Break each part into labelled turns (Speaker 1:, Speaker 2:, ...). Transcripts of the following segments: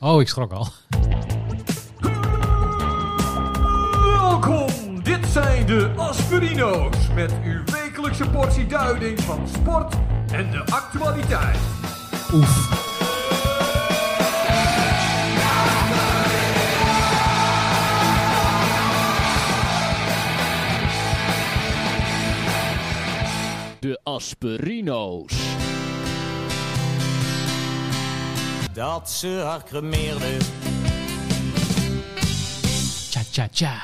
Speaker 1: Oh, ik schrok al.
Speaker 2: Welkom, dit zijn de Aspirino's met uw wekelijkse portie duiding van sport en de actualiteit.
Speaker 1: Oef.
Speaker 3: De Asperino's.
Speaker 4: dat ze haar cremeerde.
Speaker 1: Tja, tja, tja.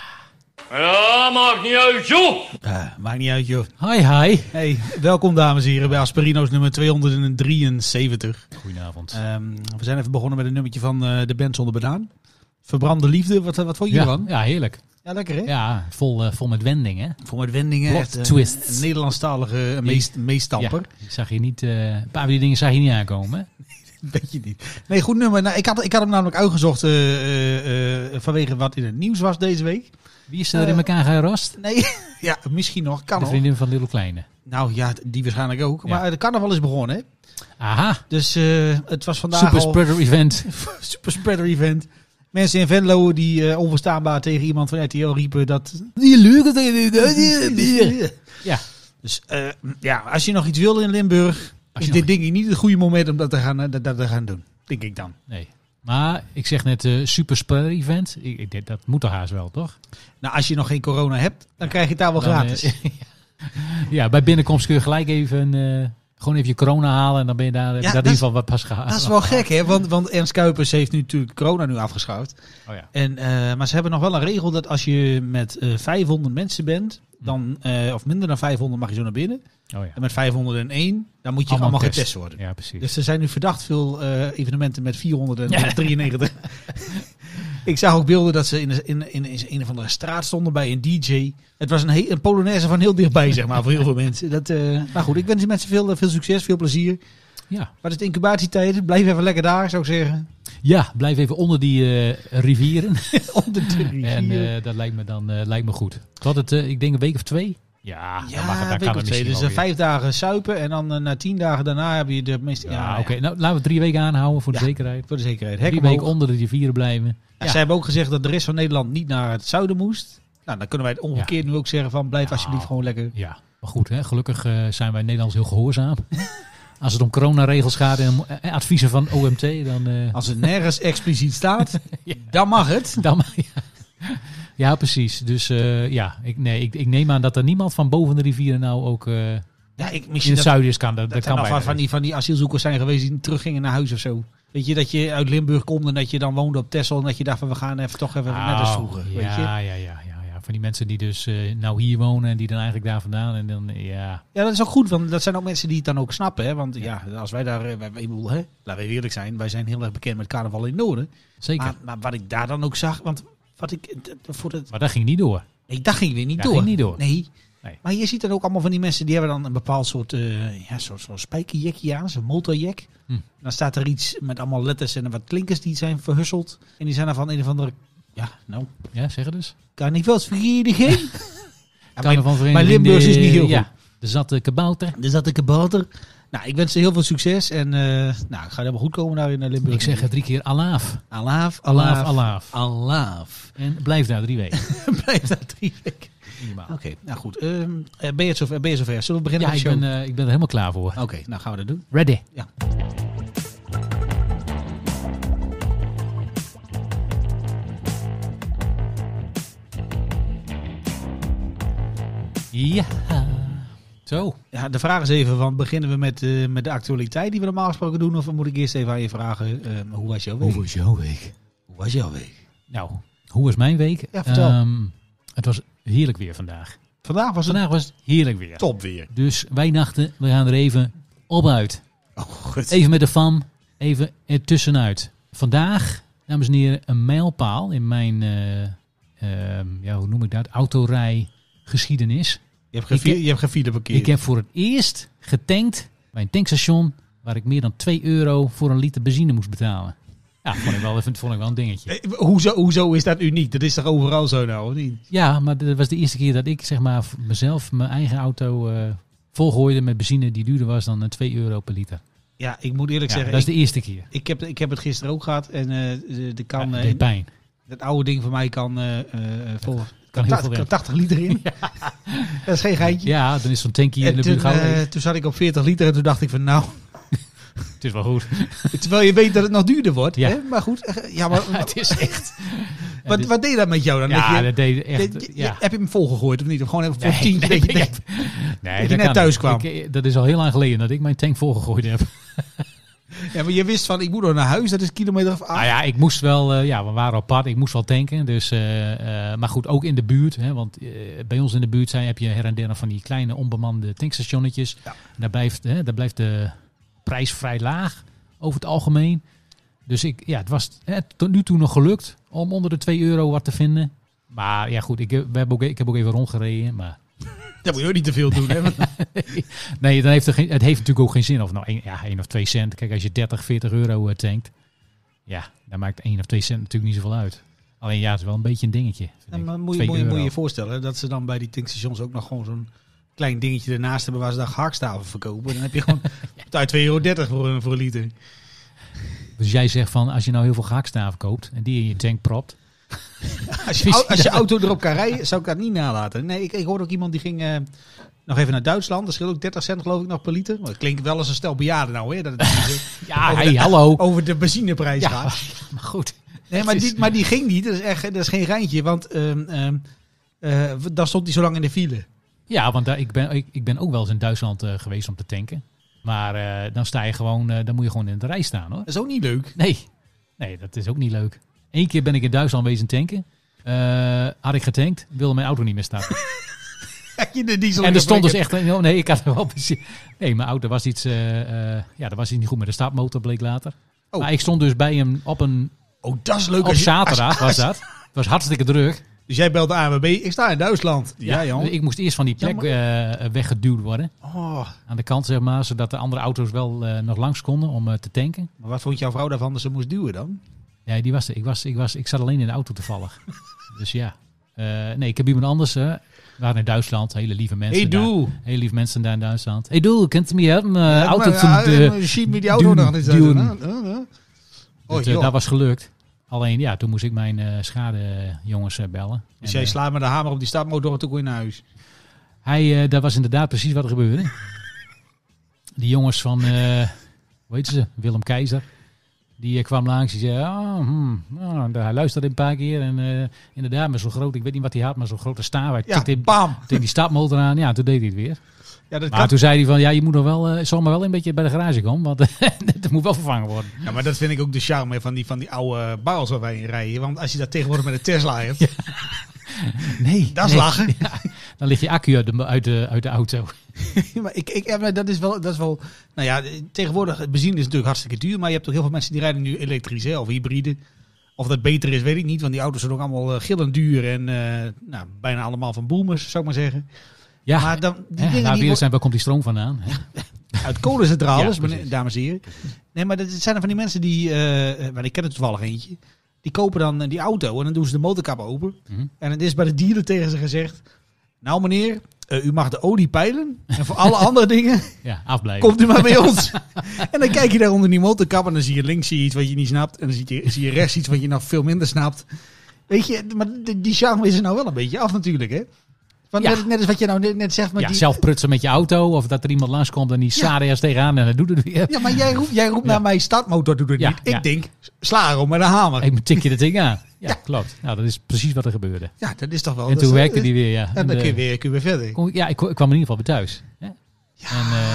Speaker 5: Ja, maakt niet uit, joh!
Speaker 6: Eh, maakt niet uit, joh.
Speaker 1: Hi, hi.
Speaker 6: Hey, welkom dames en heren bij Asperino's nummer 273.
Speaker 1: Goedenavond.
Speaker 6: Ehm, we zijn even begonnen met een nummertje van eh, de band zonder banaan. Verbrande liefde, wat, wat vond je
Speaker 1: ja,
Speaker 6: ervan?
Speaker 1: ja, heerlijk.
Speaker 6: Ja, lekker hè?
Speaker 1: Ja, vol, eh, vol met wending, hè?
Speaker 6: Vol met wendingen.
Speaker 1: Plot
Speaker 6: echt, eh,
Speaker 1: twists.
Speaker 6: een Nederlandstalige eh, meest, meestamper.
Speaker 1: Ja, zag je niet, eh, een paar van die dingen zag je niet aankomen. hè?
Speaker 6: Weet je niet. Nee, goed nummer. Nou, ik, had, ik had hem namelijk uitgezocht eh, eh, eh, vanwege wat in het nieuws was deze week.
Speaker 1: Wie is er in elkaar gerost?
Speaker 6: Nee, ja, misschien nog. Kan
Speaker 1: De
Speaker 6: Eh, nog.
Speaker 1: vriendin van Little Kleine.
Speaker 6: Nou ja, die waarschijnlijk ook.
Speaker 1: Ja.
Speaker 6: Maar de carnaval is begonnen hè.
Speaker 1: Aha,
Speaker 6: Dus eh, het was vandaag
Speaker 1: super
Speaker 6: al...
Speaker 1: spreader event.
Speaker 6: super spreader event. Mensen in Venlo die eh, onverstaanbaar tegen iemand van RTL riepen dat... Die lukt het
Speaker 1: Ja.
Speaker 6: Dus eh, ja, als je nog iets wil in Limburg,
Speaker 1: Als
Speaker 6: is
Speaker 1: je
Speaker 6: dit
Speaker 1: nog-
Speaker 6: ding niet het goede moment om dat te gaan, eh, dat, dat te gaan doen. Denk ik dan.
Speaker 1: Nee. Maar ik zeg net eh super spreader event. Ik, ik, denk, dat moet toch haast wel, toch?
Speaker 6: Nou, als je nog geen corona hebt, dan krijg je het daar wel
Speaker 1: Dan, eh,
Speaker 6: gratis.
Speaker 1: ja, bij binnenkomst kun je gelijk even, eh, gewoon even je corona halen. En dan ben je daar, heb je
Speaker 6: Ja,
Speaker 1: daar in ieder
Speaker 6: dat is-
Speaker 1: geval wat pas gehaald.
Speaker 6: dat is wel gek, hè? Want, want Ernst Kuipers heeft nu natuurlijk corona nu afgeschaft.
Speaker 1: Oh ja.
Speaker 6: En, eh, maar ze hebben nog wel een regel dat als je met eh, 500 mensen bent, dan, eh, of minder dan 500 mag je zo naar binnen.
Speaker 1: Oh ja.
Speaker 6: En met 501, dan moet je allemaal, getest worden.
Speaker 1: Ja, precies.
Speaker 6: Dus er zijn nu verdacht veel eh, evenementen met 493. ik zag ook beelden dat ze in, in, in, in een of andere straat stonden bij een DJ. Het was een, he- een Polonaise van heel dichtbij, zeg maar, voor heel veel mensen. Dat, eh nou goed, ik wens die mensen veel, eh, veel succes, veel plezier.
Speaker 1: ja.
Speaker 6: Maar het is incubatietijd, blijf even lekker daar, zou ik zeggen.
Speaker 1: ja, blijf even onder die eh, rivieren.
Speaker 6: Onder de rivier.
Speaker 1: En eh, dat lijkt me dan eh, lijkt me goed. Tot het, eh, ik denk een week of twee. Ja,
Speaker 6: ja,
Speaker 1: dan mag het, dan kan
Speaker 6: week of
Speaker 1: het
Speaker 6: twee.
Speaker 1: misschien
Speaker 6: Dus
Speaker 1: wel
Speaker 6: eh,
Speaker 1: weer.
Speaker 6: vijf dagen suipen en dan eh, na tien dagen daarna heb je de meeste...
Speaker 1: Ja, oké. Nou, laten we drie weken aanhouden voor de
Speaker 6: Ja.
Speaker 1: zekerheid.
Speaker 6: Voor de zekerheid. Hek
Speaker 1: Drie
Speaker 6: omhoog.
Speaker 1: weken onder de rivieren blijven.
Speaker 6: Ja.
Speaker 1: Ja.
Speaker 6: Zij hebben ook gezegd dat de rest van Nederland niet naar het zuiden moest. Nou, dan kunnen wij het omgekeerd nu ook zeggen van blijf
Speaker 1: Ja.
Speaker 6: alsjeblieft gewoon lekker.
Speaker 1: Ja, maar goed, hè? gelukkig eh, zijn wij Nederlands heel gehoorzaam. Als het om coronaregels gaat en om, eh, adviezen van OMT, dan... eh,
Speaker 6: Als het nergens expliciet staat, dan mag het.
Speaker 1: dan maar, ja. ja, precies. Dus eh, ja, ik, nee, ik, ik neem aan dat er niemand van boven de rivieren nou ook eh,
Speaker 6: Ja, ik
Speaker 1: in
Speaker 6: misschien
Speaker 1: het
Speaker 6: dat,
Speaker 1: zuiden is. Kan, dat, dat
Speaker 6: dat
Speaker 1: kan
Speaker 6: er nog
Speaker 1: bijna
Speaker 6: van, van,
Speaker 1: niet.
Speaker 6: die, van die asielzoekers zijn geweest die teruggingen naar huis of zo. Weet je, dat je uit Limburg komt en dat je dan woonde op Texel en dat je dacht van we gaan even toch even net als
Speaker 1: Oh,
Speaker 6: vroeger.
Speaker 1: Ja,
Speaker 6: Weet je?
Speaker 1: ja, ja, ja, ja. Van die mensen die dus eh, nou hier wonen en die dan eigenlijk daar vandaan. En dan, eh, ja,
Speaker 6: ja, dat is ook goed, want dat zijn ook mensen die het dan ook snappen. Hè? Want ja, als wij daar, eh, wij, wij- ik bedoel, hè, laten we eerlijk zijn, wij zijn heel erg bekend met carnaval in het noorden.
Speaker 1: zeker.
Speaker 6: Maar,
Speaker 1: Maar,
Speaker 6: maar wat ik daar dan ook zag, want wat ik eh, d- voor het
Speaker 1: dat ging niet door.
Speaker 6: Nee, dat ging weer niet
Speaker 1: Dat
Speaker 6: door.
Speaker 1: ging niet door.
Speaker 6: Nee.
Speaker 1: Nee.
Speaker 6: Maar je ziet dan ook allemaal van die mensen die hebben dan een bepaald soort, eh ja, zo'n zo'n spijkerjekje aan, zo'n motorjek.
Speaker 1: Hm.
Speaker 6: Dan staat er iets met allemaal letters en wat klinkers die zijn verhusseld. En die zijn dan van een of andere, ja, nou,
Speaker 1: Ja, zeg het dus.
Speaker 6: kan ik wel eens verenigen? Ja,
Speaker 1: Kan
Speaker 6: mijn-
Speaker 1: ervan verenigen,
Speaker 6: mijn Limburgs is
Speaker 1: eh,
Speaker 6: niet heel
Speaker 1: ja. Er zat de kabouter.
Speaker 6: Dus dat ik een boter. Nou, ik wens ze heel veel succes en eh nou, het gaat helemaal goed komen daar in eh, Limburg.
Speaker 1: Ik zeg het drie keer alaaf.
Speaker 6: Alaaf,
Speaker 1: Alaaf,
Speaker 6: alaaf,
Speaker 1: alaaf.
Speaker 6: alaaf.
Speaker 1: En blijf daar drie weken.
Speaker 6: Blijf daar drie weken.
Speaker 1: minimaal.
Speaker 6: Oké, nou goed. Ehm, eh, ben, je het zover, ben je zover? Zullen we
Speaker 1: Ja,
Speaker 6: beginnen met
Speaker 1: ik
Speaker 6: de show?
Speaker 1: ben, eh, ik ben er helemaal klaar voor.
Speaker 6: Oké, nou gaan we dat doen.
Speaker 1: Ready.
Speaker 6: Ja.
Speaker 1: Ja. Zo.
Speaker 6: Ja, de vraag is even, van, beginnen we met, eh, met de actualiteit die we normaal gesproken doen? Of moet ik eerst even aan je vragen, eh, hoe was jouw week? Hoe was jouw week? Hoe was jouw week?
Speaker 1: Hm. Nou, hoe was mijn week?
Speaker 6: Ja, vertel.
Speaker 1: Ehm, het was heerlijk weer vandaag.
Speaker 6: Vandaag was het
Speaker 1: Vandaag was het heerlijk weer.
Speaker 6: top weer.
Speaker 1: Dus wij dachten, we gaan er even op uit.
Speaker 6: Oh, goed.
Speaker 1: Even met de fam, even ertussenuit. Vandaag, dames en heren, een mijlpaal in mijn, eh, ehm, ja, hoe noem ik dat, autorijgeschiedenis.
Speaker 6: Je hebt geen vier-
Speaker 1: Ik-
Speaker 6: je hebt geen vierde parkeer.
Speaker 1: Ik heb voor het eerst getankt bij een tankstation waar ik meer dan 2 euro voor een liter benzine moest betalen. Ja, vond ik wel, even, vond ik wel een dingetje.
Speaker 6: Eh, hoezo, hoezo is dat uniek? Dat is toch overal zo nou, of niet?
Speaker 1: Ja, maar dat was de eerste keer dat ik zeg maar voor mezelf mijn eigen auto eh volgooide met benzine die duurder was dan eh, 2 euro per liter.
Speaker 6: Ja, ik moet eerlijk
Speaker 1: Ja,
Speaker 6: zeggen,
Speaker 1: dat is
Speaker 6: ik,
Speaker 1: de eerste keer.
Speaker 6: ik, heb, ik heb het gisteren ook gehad. En eh, de, de kan,
Speaker 1: Ja,
Speaker 6: eh,
Speaker 1: het deed pijn.
Speaker 6: dat oude ding van mij kan, eh eh, volgens
Speaker 1: Kan heel veel
Speaker 6: 80,
Speaker 1: werk.
Speaker 6: 80 liter in. Dat is geen geintje.
Speaker 1: Ja, dan is zo'n tankje in
Speaker 6: en
Speaker 1: de
Speaker 6: toen,
Speaker 1: buurt gauw
Speaker 6: eh,
Speaker 1: leeg.
Speaker 6: toen zat ik op 40 liter en toen dacht ik van nou,
Speaker 1: Het is wel goed.
Speaker 6: terwijl je weet dat het nog duurder wordt.
Speaker 1: Ja.
Speaker 6: Hè? Maar goed, eh, ja, maar,
Speaker 1: het is echt...
Speaker 6: wat,
Speaker 1: dit-
Speaker 6: wat deed dat met jou dan?
Speaker 1: ja,
Speaker 6: dat je,
Speaker 1: dat deed
Speaker 6: dat
Speaker 1: echt...
Speaker 6: je-
Speaker 1: Ja.
Speaker 6: Heb je hem volgegooid of niet? Of gewoon even voor
Speaker 1: Nee,
Speaker 6: 10
Speaker 1: nee,
Speaker 6: dat je
Speaker 1: ik
Speaker 6: denkt,
Speaker 1: Nee,
Speaker 6: je
Speaker 1: dat
Speaker 6: net
Speaker 1: kan
Speaker 6: thuis
Speaker 1: niet.
Speaker 6: kwam.
Speaker 1: Ik, eh, dat is al heel lang geleden dat ik mijn tank volgegooid heb.
Speaker 6: Ja, maar je wist van ik moet nog naar huis, dat is een kilometer of acht.
Speaker 1: Nou ja, ik moest wel, eh, ja, we waren apart, ik moest wel tanken. Dus, eh, eh, maar goed, ook in de buurt. Hè, want eh, bij ons in de buurt zijn, heb je her en der nog van die kleine onbemande tankstationnetjes.
Speaker 6: Ja.
Speaker 1: Daar, blijft, hè, daar blijft de prijs vrij laag over het algemeen. Dus ik, ja, het was hè, tot nu toe nog gelukt om onder de 2 euro wat te vinden. Maar ja, goed, ik, heb- we hebben ook, ik heb ook even rondgereden. Maar
Speaker 6: Dat moet je ook niet te veel doen. Hè? want-
Speaker 1: nee, dan heeft er geen, het heeft natuurlijk ook geen zin. Of nou één ja, één of 2 cent. Kijk, als je 30, 40 euro eh, tankt. Ja, dan maakt 1 of 2 cent natuurlijk niet zoveel uit. Alleen ja, het is wel een beetje een dingetje. vind
Speaker 6: Ja,
Speaker 1: ik.
Speaker 6: maar moet, je,
Speaker 1: Twee
Speaker 6: moet, je, moet je
Speaker 1: euro.
Speaker 6: je voorstellen hè, dat ze dan bij die tankstations ook nog gewoon zo'n klein dingetje ernaast hebben waar ze dan gehaktstaven verkopen. Dan heb je gewoon betaal je 2,30 euro voor, een- voor een liter.
Speaker 1: Dus jij zegt van, als je nou heel veel gehaktstaven koopt en die in je tank propt.
Speaker 6: Als je, au- als je auto erop kan rijden, zou ik dat niet nalaten. Nee, ik, ik hoorde ook iemand die ging eh, nog even naar Duitsland. Dat scheelt ook 30 cent geloof ik nog per liter. Maar dat klinkt wel als een stel bejaarden nou hè. Dat het niet zo
Speaker 1: Ja,
Speaker 6: over
Speaker 1: Oh, hey,
Speaker 6: de-
Speaker 1: hallo.
Speaker 6: over de benzineprijs
Speaker 1: Ja,
Speaker 6: gaat.
Speaker 1: maar goed.
Speaker 6: Nee, maar
Speaker 1: Het is-
Speaker 6: die, maar die ging niet. Dat is, echt, dat is geen rijntje, want ehm ehm, eh, daar stond hij zo lang in de file.
Speaker 1: Ja, want daar, ik, ben, ik, ik ben ook wel eens in Duitsland eh, geweest om te tanken. Maar eh, dan sta je gewoon, eh, dan moet je gewoon in de rij staan hoor.
Speaker 6: Dat is ook niet leuk.
Speaker 1: Nee. Nee, dat is ook niet leuk. Eén keer ben ik in Duitsland wezen tanken. Eh, had ik getankt, wilde mijn auto niet meer starten.
Speaker 6: Je de diesel
Speaker 1: en er stond dus
Speaker 6: geflikkerd.
Speaker 1: echt... een- oh nee, ik had er wel benzine. Nee, mijn auto was iets... eh, eh, ja, dat was iets niet goed met de startmotor, bleek later.
Speaker 6: Oh.
Speaker 1: Maar ik stond dus bij hem op een...
Speaker 6: Oh, dat is leuk.
Speaker 1: Op
Speaker 6: als je-
Speaker 1: zaterdag
Speaker 6: als-
Speaker 1: was dat. Het was hartstikke druk.
Speaker 6: Dus jij belt de ANWB. Ik sta in Duitsland. Ja, joh.
Speaker 1: dus Ik moest eerst van die plek eh, weggeduwd worden.
Speaker 6: Oh,
Speaker 1: Aan de kant, zeg maar. Zodat de andere auto's wel eh, nog langs konden om eh, te tanken.
Speaker 6: maar wat vond jouw vrouw daarvan dat ze moest duwen dan?
Speaker 1: Nee, die was er. Ik, was, ik, was, ik zat alleen in de auto toevallig. dus ja. Eh, nee, ik heb iemand anders. eh, we waren in Duitsland. Hele lieve mensen.
Speaker 6: Hey,
Speaker 1: daar.
Speaker 6: doe.
Speaker 1: Hele lieve mensen daar in Duitsland. Hey, doe. Kunt u me helpen? eh, auto
Speaker 6: maar,
Speaker 1: te...
Speaker 6: ja,
Speaker 1: de-
Speaker 6: eh, schiet me die auto
Speaker 1: duwen,
Speaker 6: nog eens uit.
Speaker 1: duwen.
Speaker 6: hè? Eh, eh. Oh,
Speaker 1: dat, eh,
Speaker 6: joh.
Speaker 1: dat was gelukt. Alleen ja, toen moest ik mijn eh, schadejongens eh, bellen.
Speaker 6: Dus
Speaker 1: En,
Speaker 6: jij
Speaker 1: eh,
Speaker 6: slaat met de hamer op die startmotor en toen kon je naar huis.
Speaker 1: hij, eh, dat was inderdaad precies wat er gebeurde. die jongens van, eh hoe heet ze? Willem Keizer. Die eh, kwam langs en zei, ah, hmm, ah, hij luisterde een paar keer. En eh, inderdaad, met zo'n groot, ik weet niet wat hij had, maar zo'n grote staaf. Hij
Speaker 6: Ja,
Speaker 1: tikte-
Speaker 6: bam.
Speaker 1: tikte die stapmotor aan. Ja, toen deed hij het weer.
Speaker 6: Ja, dat
Speaker 1: Maar
Speaker 6: kan.
Speaker 1: toen zei hij van, ja, je moet nog wel, eh, zal maar wel een beetje bij de garage komen. Want het moet wel vervangen worden.
Speaker 6: Ja, maar dat vind ik ook de charme van die, van die oude barrels waar wij in rijden. Want als je dat tegenwoordig met een Tesla hebt,
Speaker 1: Nee.
Speaker 6: dat is
Speaker 1: nee.
Speaker 6: lachen.
Speaker 1: Dan ligt je accu uit de, uit de, uit de auto.
Speaker 6: Ja, maar ik, ik, ja, maar dat, is wel, dat is wel. Nou ja, tegenwoordig, benzine is natuurlijk hartstikke duur. Maar je hebt ook heel veel mensen die rijden nu elektrisch hè, of hybride. Of dat beter is, weet ik niet. Want die auto's zijn ook allemaal eh, gillend duur. En eh, nou, bijna allemaal van boomers, zou ik maar zeggen.
Speaker 1: Ja,
Speaker 6: Maar dan, die
Speaker 1: hè,
Speaker 6: dingen
Speaker 1: laat
Speaker 6: die
Speaker 1: eerlijk zijn, waar komt die stroom vandaan? hè?
Speaker 6: worden uit kolencentrales,
Speaker 1: Ja,
Speaker 6: meneer-
Speaker 1: precies.
Speaker 6: dames en heren. Nee, maar dat zijn er van die mensen die... eh maar ik ken er toevallig eentje. Die kopen dan eh, die auto en dan doen ze de motorkap open.
Speaker 1: Mhm.
Speaker 6: En het is bij de dealer tegen ze gezegd... Nou meneer, eh, u mag de olie peilen. En voor alle andere dingen
Speaker 1: Ja, afblijven.
Speaker 6: Komt u maar bij ons. en dan kijk je daar onder die motorkap en dan zie je links zie je iets wat je niet snapt. En dan zie je, zie je rechts iets wat je nog veel minder snapt. Weet je, maar d- die charme is er nou wel een beetje af natuurlijk, hè? Want
Speaker 1: Ja.
Speaker 6: net, net als wat je nou net, net zegt, maar
Speaker 1: ja,
Speaker 6: die,
Speaker 1: zelf prutsen met je auto. Of dat er iemand langskomt en die
Speaker 6: Ja.
Speaker 1: ja. ergens tegenaan en dan doet het weer.
Speaker 6: ja, maar jij roept, jij roept
Speaker 1: Ja.
Speaker 6: naar mij, startmotor doet het
Speaker 1: Ja,
Speaker 6: niet. Ik
Speaker 1: ja.
Speaker 6: denk, sla erom met een hamer.
Speaker 1: Hey, maar tik je dat ding aan. Ja,
Speaker 6: Ja.
Speaker 1: klopt. Nou, dat is precies wat er gebeurde.
Speaker 6: Ja, dat is toch wel...
Speaker 1: en
Speaker 6: dat
Speaker 1: toen
Speaker 6: is-
Speaker 1: werkte die weer, eh, ja.
Speaker 6: En dan
Speaker 1: de-
Speaker 6: kun je weer, Nou. kun je weer verder.
Speaker 1: kon ik- ja, ik, ik kwam in ieder geval weer thuis. Hè?
Speaker 6: Ja,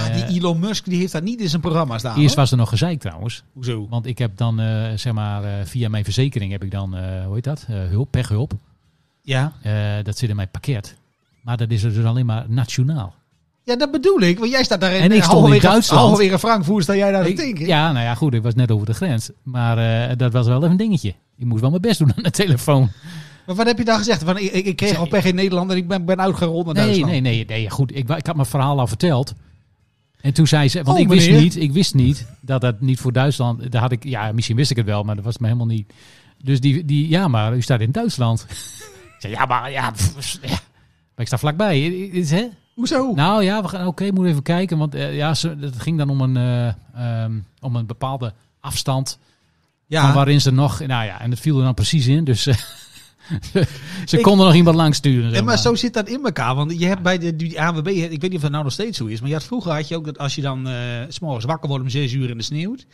Speaker 1: en, eh,
Speaker 6: die Elon Musk die heeft dat niet in zijn programma staan.
Speaker 1: Eerst
Speaker 6: hoor.
Speaker 1: was er nog gezeik trouwens.
Speaker 6: Hoezo?
Speaker 1: Want ik heb dan, eh, zeg maar, eh, via mijn verzekering heb ik dan, eh, hoe heet dat? Eh, hulp, pechhulp.
Speaker 6: Ja.
Speaker 1: Eh, dat zit in mijn pakket. Maar dat is er dus alleen maar nationaal.
Speaker 6: ja, dat bedoel ik. Want jij staat daar in, eh,
Speaker 1: En ik stond in
Speaker 6: halverwege-
Speaker 1: Duitsland.
Speaker 6: halverwege Frankfurt sta jij daar te
Speaker 1: Ik-
Speaker 6: denken.
Speaker 1: ja, nou ja, goed, ik was net over de grens. Maar eh, dat was wel even een dingetje. Ik moest wel mijn best doen aan de telefoon.
Speaker 6: Maar wat heb je dan gezegd? Want ik, ik, ik kreeg
Speaker 1: Zeg-
Speaker 6: al pech in Nederland en ik ben, ben uitgerold naar
Speaker 1: Nee,
Speaker 6: Duitsland.
Speaker 1: nee, nee, nee. Goed, ik, wa- ik had mijn verhaal al verteld. En toen zei ze, want
Speaker 6: Oh,
Speaker 1: ik, wist
Speaker 6: meneer.
Speaker 1: niet, ik wist niet dat dat niet voor Duitsland. Daar had ik, ja, misschien wist ik het wel, maar dat was me helemaal niet. Dus die, die ja, maar u staat in Duitsland. ik zei, ja, maar ja, pff, ja. Maar ik sta vlakbij. Dit is, hè?
Speaker 6: Hoezo?
Speaker 1: Nou ja, we gaan, oké, moet even kijken. Want eh, ja, ze, het ging dan om een, eh, ehm, om een bepaalde afstand. van
Speaker 6: ja,
Speaker 1: waarin ze nog, nou ja, en het viel er dan precies in. Dus eh, ze
Speaker 6: Ik-
Speaker 1: konden nog iemand langs sturen.
Speaker 6: en
Speaker 1: Zeg
Speaker 6: maar
Speaker 1: maar.
Speaker 6: zo zit dat in elkaar. Want je hebt bij de die ANWB, ik weet niet of dat nou nog steeds zo is, maar je had, vroeger had je ook dat als je dan eh, s s'morgens wakker wordt om 6 uur en het sneeuwt.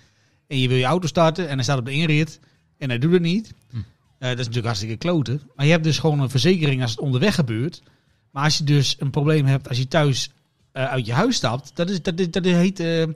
Speaker 6: En je wil je auto starten en hij staat op de inrit en hij doet het niet.
Speaker 1: Hm.
Speaker 6: Eh, dat is natuurlijk hartstikke kloten. Maar je hebt dus gewoon een verzekering als het onderweg gebeurt. Maar als je dus een probleem hebt als je thuis eh, uit je huis stapt, dat, is, dat, dat heet eh, eh,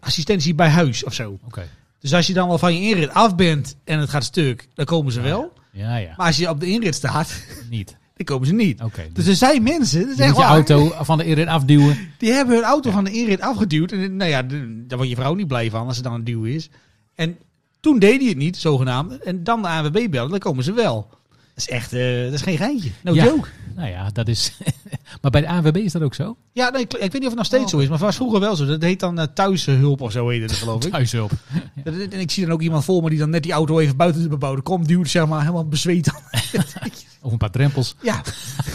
Speaker 6: assistentie bij huis of zo.
Speaker 1: Oké.
Speaker 6: Dus als je dan al van je inrit af bent en het gaat stuk, dan komen ze wel.
Speaker 1: Ja, ja,
Speaker 6: Maar als je op de inrit staat,
Speaker 1: niet.
Speaker 6: dan komen ze niet.
Speaker 1: Oké.
Speaker 6: Dus
Speaker 1: Dus
Speaker 6: er zijn mensen, er
Speaker 1: je
Speaker 6: zijn
Speaker 1: moet je
Speaker 6: gewoon,
Speaker 1: auto van de inrit afduwen.
Speaker 6: die hebben hun auto van de inrit afgeduwd. En nou ja, de- daar wordt je vrouw niet blij van als het dan een duw is. En toen deed hij het niet, zogenaamd. En dan de ANWB bellen, dan komen ze wel. Dat is echt, eh, dat is geen geintje. No
Speaker 1: Ja.
Speaker 6: joke.
Speaker 1: Nou ja, dat is. maar bij de ANWB is dat ook zo.
Speaker 6: Ja, nee, ik, ik weet niet of het nog
Speaker 1: Oh.
Speaker 6: steeds zo is, maar het was vroeger wel zo. Dat heet dan eh, thuishulp of zo heette het, geloof ik.
Speaker 1: Thuishulp.
Speaker 6: Dat- dat- En ik zie dan ook iemand voor me die dan net die auto even buiten de bebouwde kom duwt, zeg maar, helemaal bezweet.
Speaker 1: Of een paar drempels.
Speaker 6: Ja.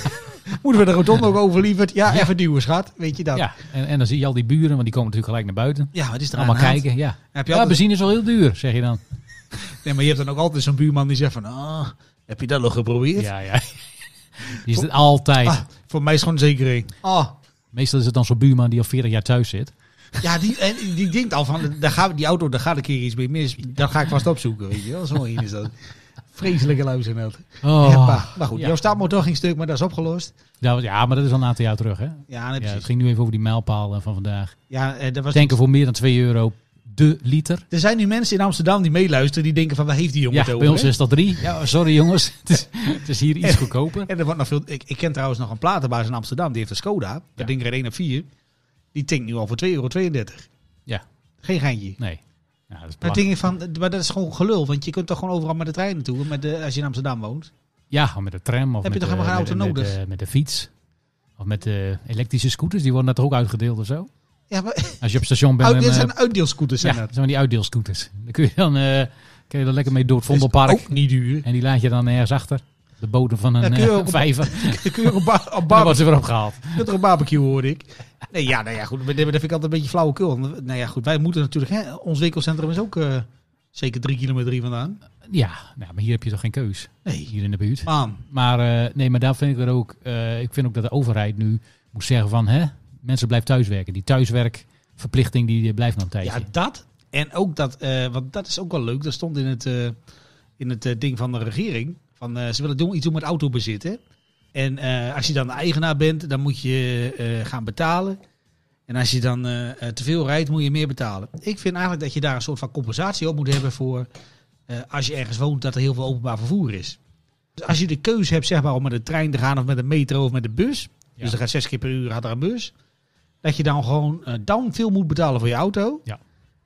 Speaker 6: Moeten we de rotonde ook over, lieverd? Ja, even duwen, schat. Weet je dat?
Speaker 1: Ja. En, en dan zie je al die buren, want die komen natuurlijk gelijk naar buiten.
Speaker 6: ja wat is er
Speaker 1: Allemaal
Speaker 6: aan de hand?
Speaker 1: kijken, ja.
Speaker 6: Heb je
Speaker 1: Ja,
Speaker 6: altijd-
Speaker 1: benzine is wel heel duur, zeg je dan.
Speaker 6: Nee, maar je hebt dan ook altijd zo'n buurman die zegt van... ah, heb je dat nog geprobeerd?
Speaker 1: Ja, ja. Die is het altijd.
Speaker 6: Ah, voor mij is het gewoon zeker één. Ah,
Speaker 1: Meestal is het dan zo'n buurman die al 40 jaar thuis zit.
Speaker 6: ja, die, en die denkt al van... Daar gaat, die auto, daar gaat een keer iets mee mis. Dat ga ik vast opzoeken, weet je wel. Zo één is dat. Vreselijke luizenheld.
Speaker 1: Oh.
Speaker 6: Heppa. Maar goed,
Speaker 1: Ja.
Speaker 6: jouw staatmotor ging stuk, maar dat is opgelost.
Speaker 1: Ja, want- ja, maar dat is al een aantal jaar terug, hè?
Speaker 6: Ja, nee,
Speaker 1: Ja, het
Speaker 6: precies.
Speaker 1: ging nu even over die mijlpaal eh, van vandaag.
Speaker 6: Ja, eh, dat was...
Speaker 1: Tanken voor meer dan 2 euro de liter.
Speaker 6: Er zijn nu mensen in Amsterdam die meeluisteren die denken van... Waar heeft die jongen
Speaker 1: Ja,
Speaker 6: het over?
Speaker 1: bij ons
Speaker 6: hè?
Speaker 1: is dat 3. Ja, sorry jongens, het is, het is hier iets goedkoper.
Speaker 6: En er wordt nog veel. Ik, ik ken trouwens nog een platenbaas in Amsterdam. Die heeft een Skoda.
Speaker 1: Ja.
Speaker 6: Dat ding rijdt 1 op 4. Die tinkt nu al voor 2,32 euro.
Speaker 1: Ja.
Speaker 6: Geen geintje.
Speaker 1: Nee. Ja, dat is
Speaker 6: Dan
Speaker 1: belachelijk.
Speaker 6: denk ik van, maar dat is gewoon gelul. Want je kunt toch gewoon overal met de trein naartoe. Met de, als je in Amsterdam woont.
Speaker 1: Ja, met de tram of
Speaker 6: Heb je
Speaker 1: met,
Speaker 6: toch
Speaker 1: de,
Speaker 6: helemaal geen
Speaker 1: met de-
Speaker 6: auto
Speaker 1: met de-
Speaker 6: nodig?
Speaker 1: Met, de fiets. Of met de elektrische scooters, die worden daar toch ook uitgedeeld of zo?
Speaker 6: Ja, maar,
Speaker 1: Als je op station bent...
Speaker 6: uit,
Speaker 1: en,
Speaker 6: Oh, dit
Speaker 1: eh,
Speaker 6: zijn uitdeelscooters.
Speaker 1: ja,
Speaker 6: Zijn
Speaker 1: zijn
Speaker 6: dat.
Speaker 1: van die uitdeelscooters. Daar kun je dan, eh, kun je dan lekker mee door het Vondelpark.
Speaker 6: Ook niet duur.
Speaker 1: En die laat je dan ergens achter. De bodem van
Speaker 6: Ja,
Speaker 1: een
Speaker 6: kun
Speaker 1: eh
Speaker 6: je ook op-
Speaker 1: vijver.
Speaker 6: Dan kun je ook op, ba- op
Speaker 1: Daar
Speaker 6: bar-
Speaker 1: wordt ze weer opgehaald.
Speaker 6: Dat er een barbecue hoorde ik. Nee, ja, nou ja, goed. Maar Dat vind ik altijd een beetje flauwekul. Want, Nou ja, goed. Wij moeten natuurlijk. Hè, ons winkelcentrum is ook eh, zeker drie kilometer hier vandaan.
Speaker 1: Ja, nou, maar hier heb je toch geen keus.
Speaker 6: Nee.
Speaker 1: Hier in de buurt.
Speaker 6: Man.
Speaker 1: Maar eh, nee, maar daar vind ik er ook. eh, ik vind ook dat de overheid nu moet zeggen van hè, mensen blijven thuiswerken. Die thuiswerkverplichting die eh, blijft nog een tijdje.
Speaker 6: Ja, dat. En ook dat, eh, want dat is ook wel leuk. Dat stond in het, eh, in het eh, ding van de regering. Van, eh, ze willen doen, iets doen met autobezit. Hè? En eh, als je dan de eigenaar bent, dan moet je eh, gaan betalen. En als je dan eh, eh, te veel rijdt, moet je meer betalen. Ik vind eigenlijk dat je daar een soort van compensatie op moet hebben voor eh, als je ergens woont dat er heel veel openbaar vervoer is. Dus als je de keuze hebt zeg maar, om met de trein te gaan of met de metro of met de bus.
Speaker 1: Ja.
Speaker 6: Dus er gaat zes keer per uur gaat er een bus. Dat je dan gewoon eh, down veel moet betalen voor je auto.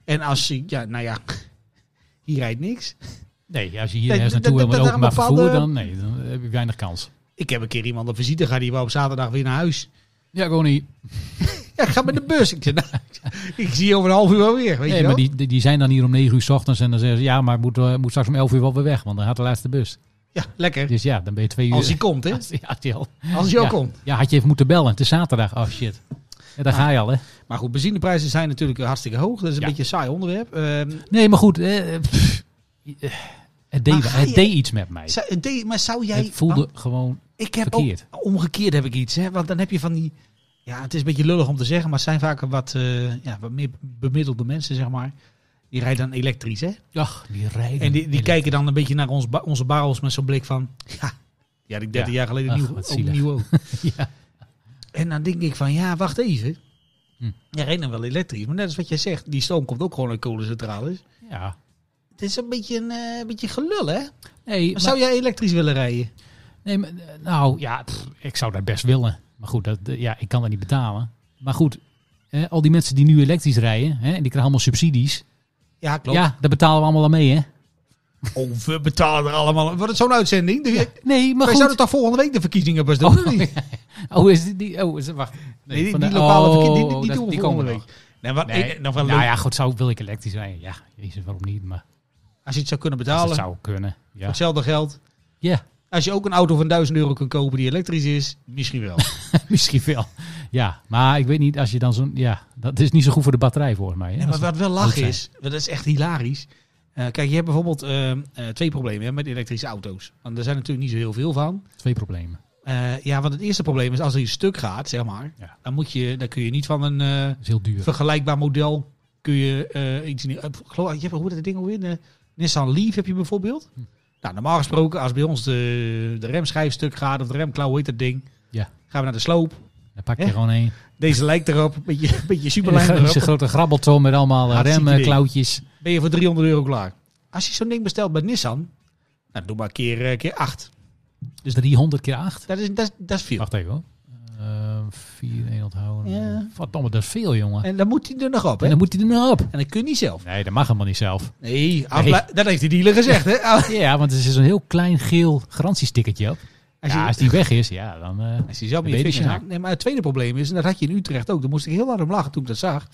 Speaker 6: En als je, ja, nou ja, hier rijdt niks.
Speaker 1: nee, als je hier
Speaker 6: Nee,
Speaker 1: ergens
Speaker 6: dat-
Speaker 1: naartoe wil
Speaker 6: dat-
Speaker 1: met
Speaker 6: dat
Speaker 1: openbaar
Speaker 6: daar een
Speaker 1: vervoer,
Speaker 6: bepaalde-
Speaker 1: dan, nee, dan heb je weinig kans.
Speaker 6: Ik heb een keer iemand op visite gehad, die wou op zaterdag weer naar huis.
Speaker 1: Ja, gewoon niet.
Speaker 6: Ja, ik ga met de bus. Ik, zei, nou, ik zie je over een half uur wel weer, weet
Speaker 1: Nee, maar
Speaker 6: je wel.
Speaker 1: die, die- die zijn dan hier om 9 uur 's ochtends en dan zeggen ze ja, maar ik moet, eh, moet straks om 11 uur wel weer weg, want dan gaat de laatste bus.
Speaker 6: Ja, lekker.
Speaker 1: Dus ja, dan ben je twee uur.
Speaker 6: Als hij komt, hè.
Speaker 1: Als die- als die al-
Speaker 6: Als
Speaker 1: ja,
Speaker 6: hij ook komt.
Speaker 1: Ja, had je even moeten bellen. Het is zaterdag. Oh shit. Ja,
Speaker 6: Ah.
Speaker 1: daar ga je al, hè?
Speaker 6: Maar goed, benzineprijzen zijn natuurlijk hartstikke hoog. Dat is een
Speaker 1: Ja.
Speaker 6: beetje een saai onderwerp. Ehm,
Speaker 1: Nee, maar goed. eh, pff, eh, het deed,
Speaker 6: Maar ga
Speaker 1: het
Speaker 6: je-
Speaker 1: deed iets met mij.
Speaker 6: zou- de- maar zou jij...
Speaker 1: Het voelde
Speaker 6: want
Speaker 1: gewoon
Speaker 6: ik heb
Speaker 1: verkeerd.
Speaker 6: Ook, omgekeerd heb ik iets, hè. Want dan heb je van die... Ja, het is een beetje lullig om te zeggen, maar het zijn vaak wat, eh, ja, wat meer bemiddelde mensen, zeg maar. Die rijden dan elektrisch, hè.
Speaker 1: Ach, die rijden.
Speaker 6: En die, die
Speaker 1: Hele-
Speaker 6: kijken dan een beetje naar ons, ba- onze barrels met zo'n blik van... Ja, die had ik 30
Speaker 1: Ja.
Speaker 6: jaar geleden
Speaker 1: Ach,
Speaker 6: nieuw,
Speaker 1: wat
Speaker 6: ook
Speaker 1: zielig.
Speaker 6: nieuw ook.
Speaker 1: Ja.
Speaker 6: En dan denk ik van, ja, wacht even.
Speaker 1: Hm.
Speaker 6: Jij rijdt dan wel elektrisch. Maar net als wat jij zegt, die stoom komt ook gewoon uit kolencentrales.
Speaker 1: Ja.
Speaker 6: Het is een beetje een eh, beetje gelul, hè? Maar,
Speaker 1: Nee, maar,
Speaker 6: zou jij elektrisch willen rijden?
Speaker 1: nee, maar, eh, nou ja, pff, ik zou dat best willen. Maar goed, dat, eh, ja, ik kan dat niet betalen. Maar goed, eh, al die mensen die nu elektrisch rijden, hè, en die krijgen allemaal subsidies.
Speaker 6: Ja, klopt.
Speaker 1: Ja, daar betalen we allemaal aan mee, hè?
Speaker 6: Oh, we betalen er allemaal. Wordt het zo'n uitzending? De-
Speaker 1: Nee, maar
Speaker 6: Wij
Speaker 1: goed.
Speaker 6: zouden toch volgende week de verkiezingen pas doen?
Speaker 1: Oh,
Speaker 6: of niet?
Speaker 1: ja. Oh, is dit die? Oh, is, wacht.
Speaker 6: Nee, die,
Speaker 1: van de-
Speaker 6: die lokale
Speaker 1: oh,
Speaker 6: verkiezingen, die, die
Speaker 1: dat-
Speaker 6: doen we
Speaker 1: die
Speaker 6: volgende
Speaker 1: komen
Speaker 6: week. Nee, wat,
Speaker 1: Nee,
Speaker 6: eh, nog wel
Speaker 1: nou
Speaker 6: leuk.
Speaker 1: ja, goed, zou wil ik elektrisch rijden? Ja, jezus, waarom niet? Maar
Speaker 6: Als je het zou kunnen
Speaker 1: als
Speaker 6: betalen,
Speaker 1: het zou kunnen.
Speaker 6: voor
Speaker 1: Ja.
Speaker 6: hetzelfde geld.
Speaker 1: ja.
Speaker 6: Als je ook een auto van 1000 euro kunt kopen die elektrisch is, misschien wel.
Speaker 1: Misschien wel. Ja, maar ik weet niet, als je dan zo'n... Ja, dat is niet zo goed voor de batterij volgens mij. Hè?
Speaker 6: Nee, maar
Speaker 1: Als
Speaker 6: wat wel
Speaker 1: oud
Speaker 6: lach
Speaker 1: zijn.
Speaker 6: is, want dat is echt hilarisch. Eh, kijk, je hebt bijvoorbeeld eh, eh, twee problemen hè, met elektrische auto's. Want er zijn natuurlijk niet zo heel veel van.
Speaker 1: dat- Twee problemen.
Speaker 6: Eh, ja, want het eerste probleem is als er iets stuk gaat, zeg maar,
Speaker 1: Ja.
Speaker 6: dan, moet je, dan kun je niet van een eh,
Speaker 1: Dat is heel duur.
Speaker 6: vergelijkbaar model kun je eh, iets. nieuw- eh, geloof, je hebt hoe dat ding alweer? De Nissan Leaf heb je bijvoorbeeld.
Speaker 1: Hm.
Speaker 6: Nou, normaal gesproken, als bij ons de, de remschijf stuk gaat of de remklauw, hoe heet dat ding?
Speaker 1: Ja.
Speaker 6: Gaan we naar de sloop.
Speaker 1: Dan pak je
Speaker 6: Hè?
Speaker 1: gewoon één.
Speaker 6: Deze lijkt erop, een beetje, een beetje superlijn
Speaker 1: Een
Speaker 6: erop.
Speaker 1: grote grabbelton met allemaal eh,
Speaker 6: Hartstikke
Speaker 1: remklauwtjes.
Speaker 6: ben je voor 300 euro klaar. Als je zo'n ding bestelt bij Nissan, nou, doe maar keer, eh, keer 8.
Speaker 1: Dus 300 keer 8.
Speaker 6: Dat is, dat, is- dat is veel.
Speaker 1: Wacht even hoor. Eh, Vier, één onthouden.
Speaker 6: Ja.
Speaker 1: Wat allemaal, dat is veel jongen. En,
Speaker 6: En dan moet hij er nog op, hè?
Speaker 1: dan
Speaker 6: En
Speaker 1: moet hij er nou op.
Speaker 6: dat kun je niet zelf.
Speaker 1: Nee, dat mag helemaal niet zelf.
Speaker 6: Nee, afbla- dat heeft die dealer gezegd, hè? Ah. Als
Speaker 1: Ja, want er is een heel klein geel garantiestickertje op.
Speaker 6: je,
Speaker 1: ja, als die weg is, ja, dan... eh,
Speaker 6: als je zelf
Speaker 1: Dan weet
Speaker 6: met je
Speaker 1: je
Speaker 6: vingers
Speaker 1: het.
Speaker 6: haakt. Nee, maar het tweede probleem is, en dat had je in Utrecht ook, daar moest ik heel hard om lachen toen ik dat zag.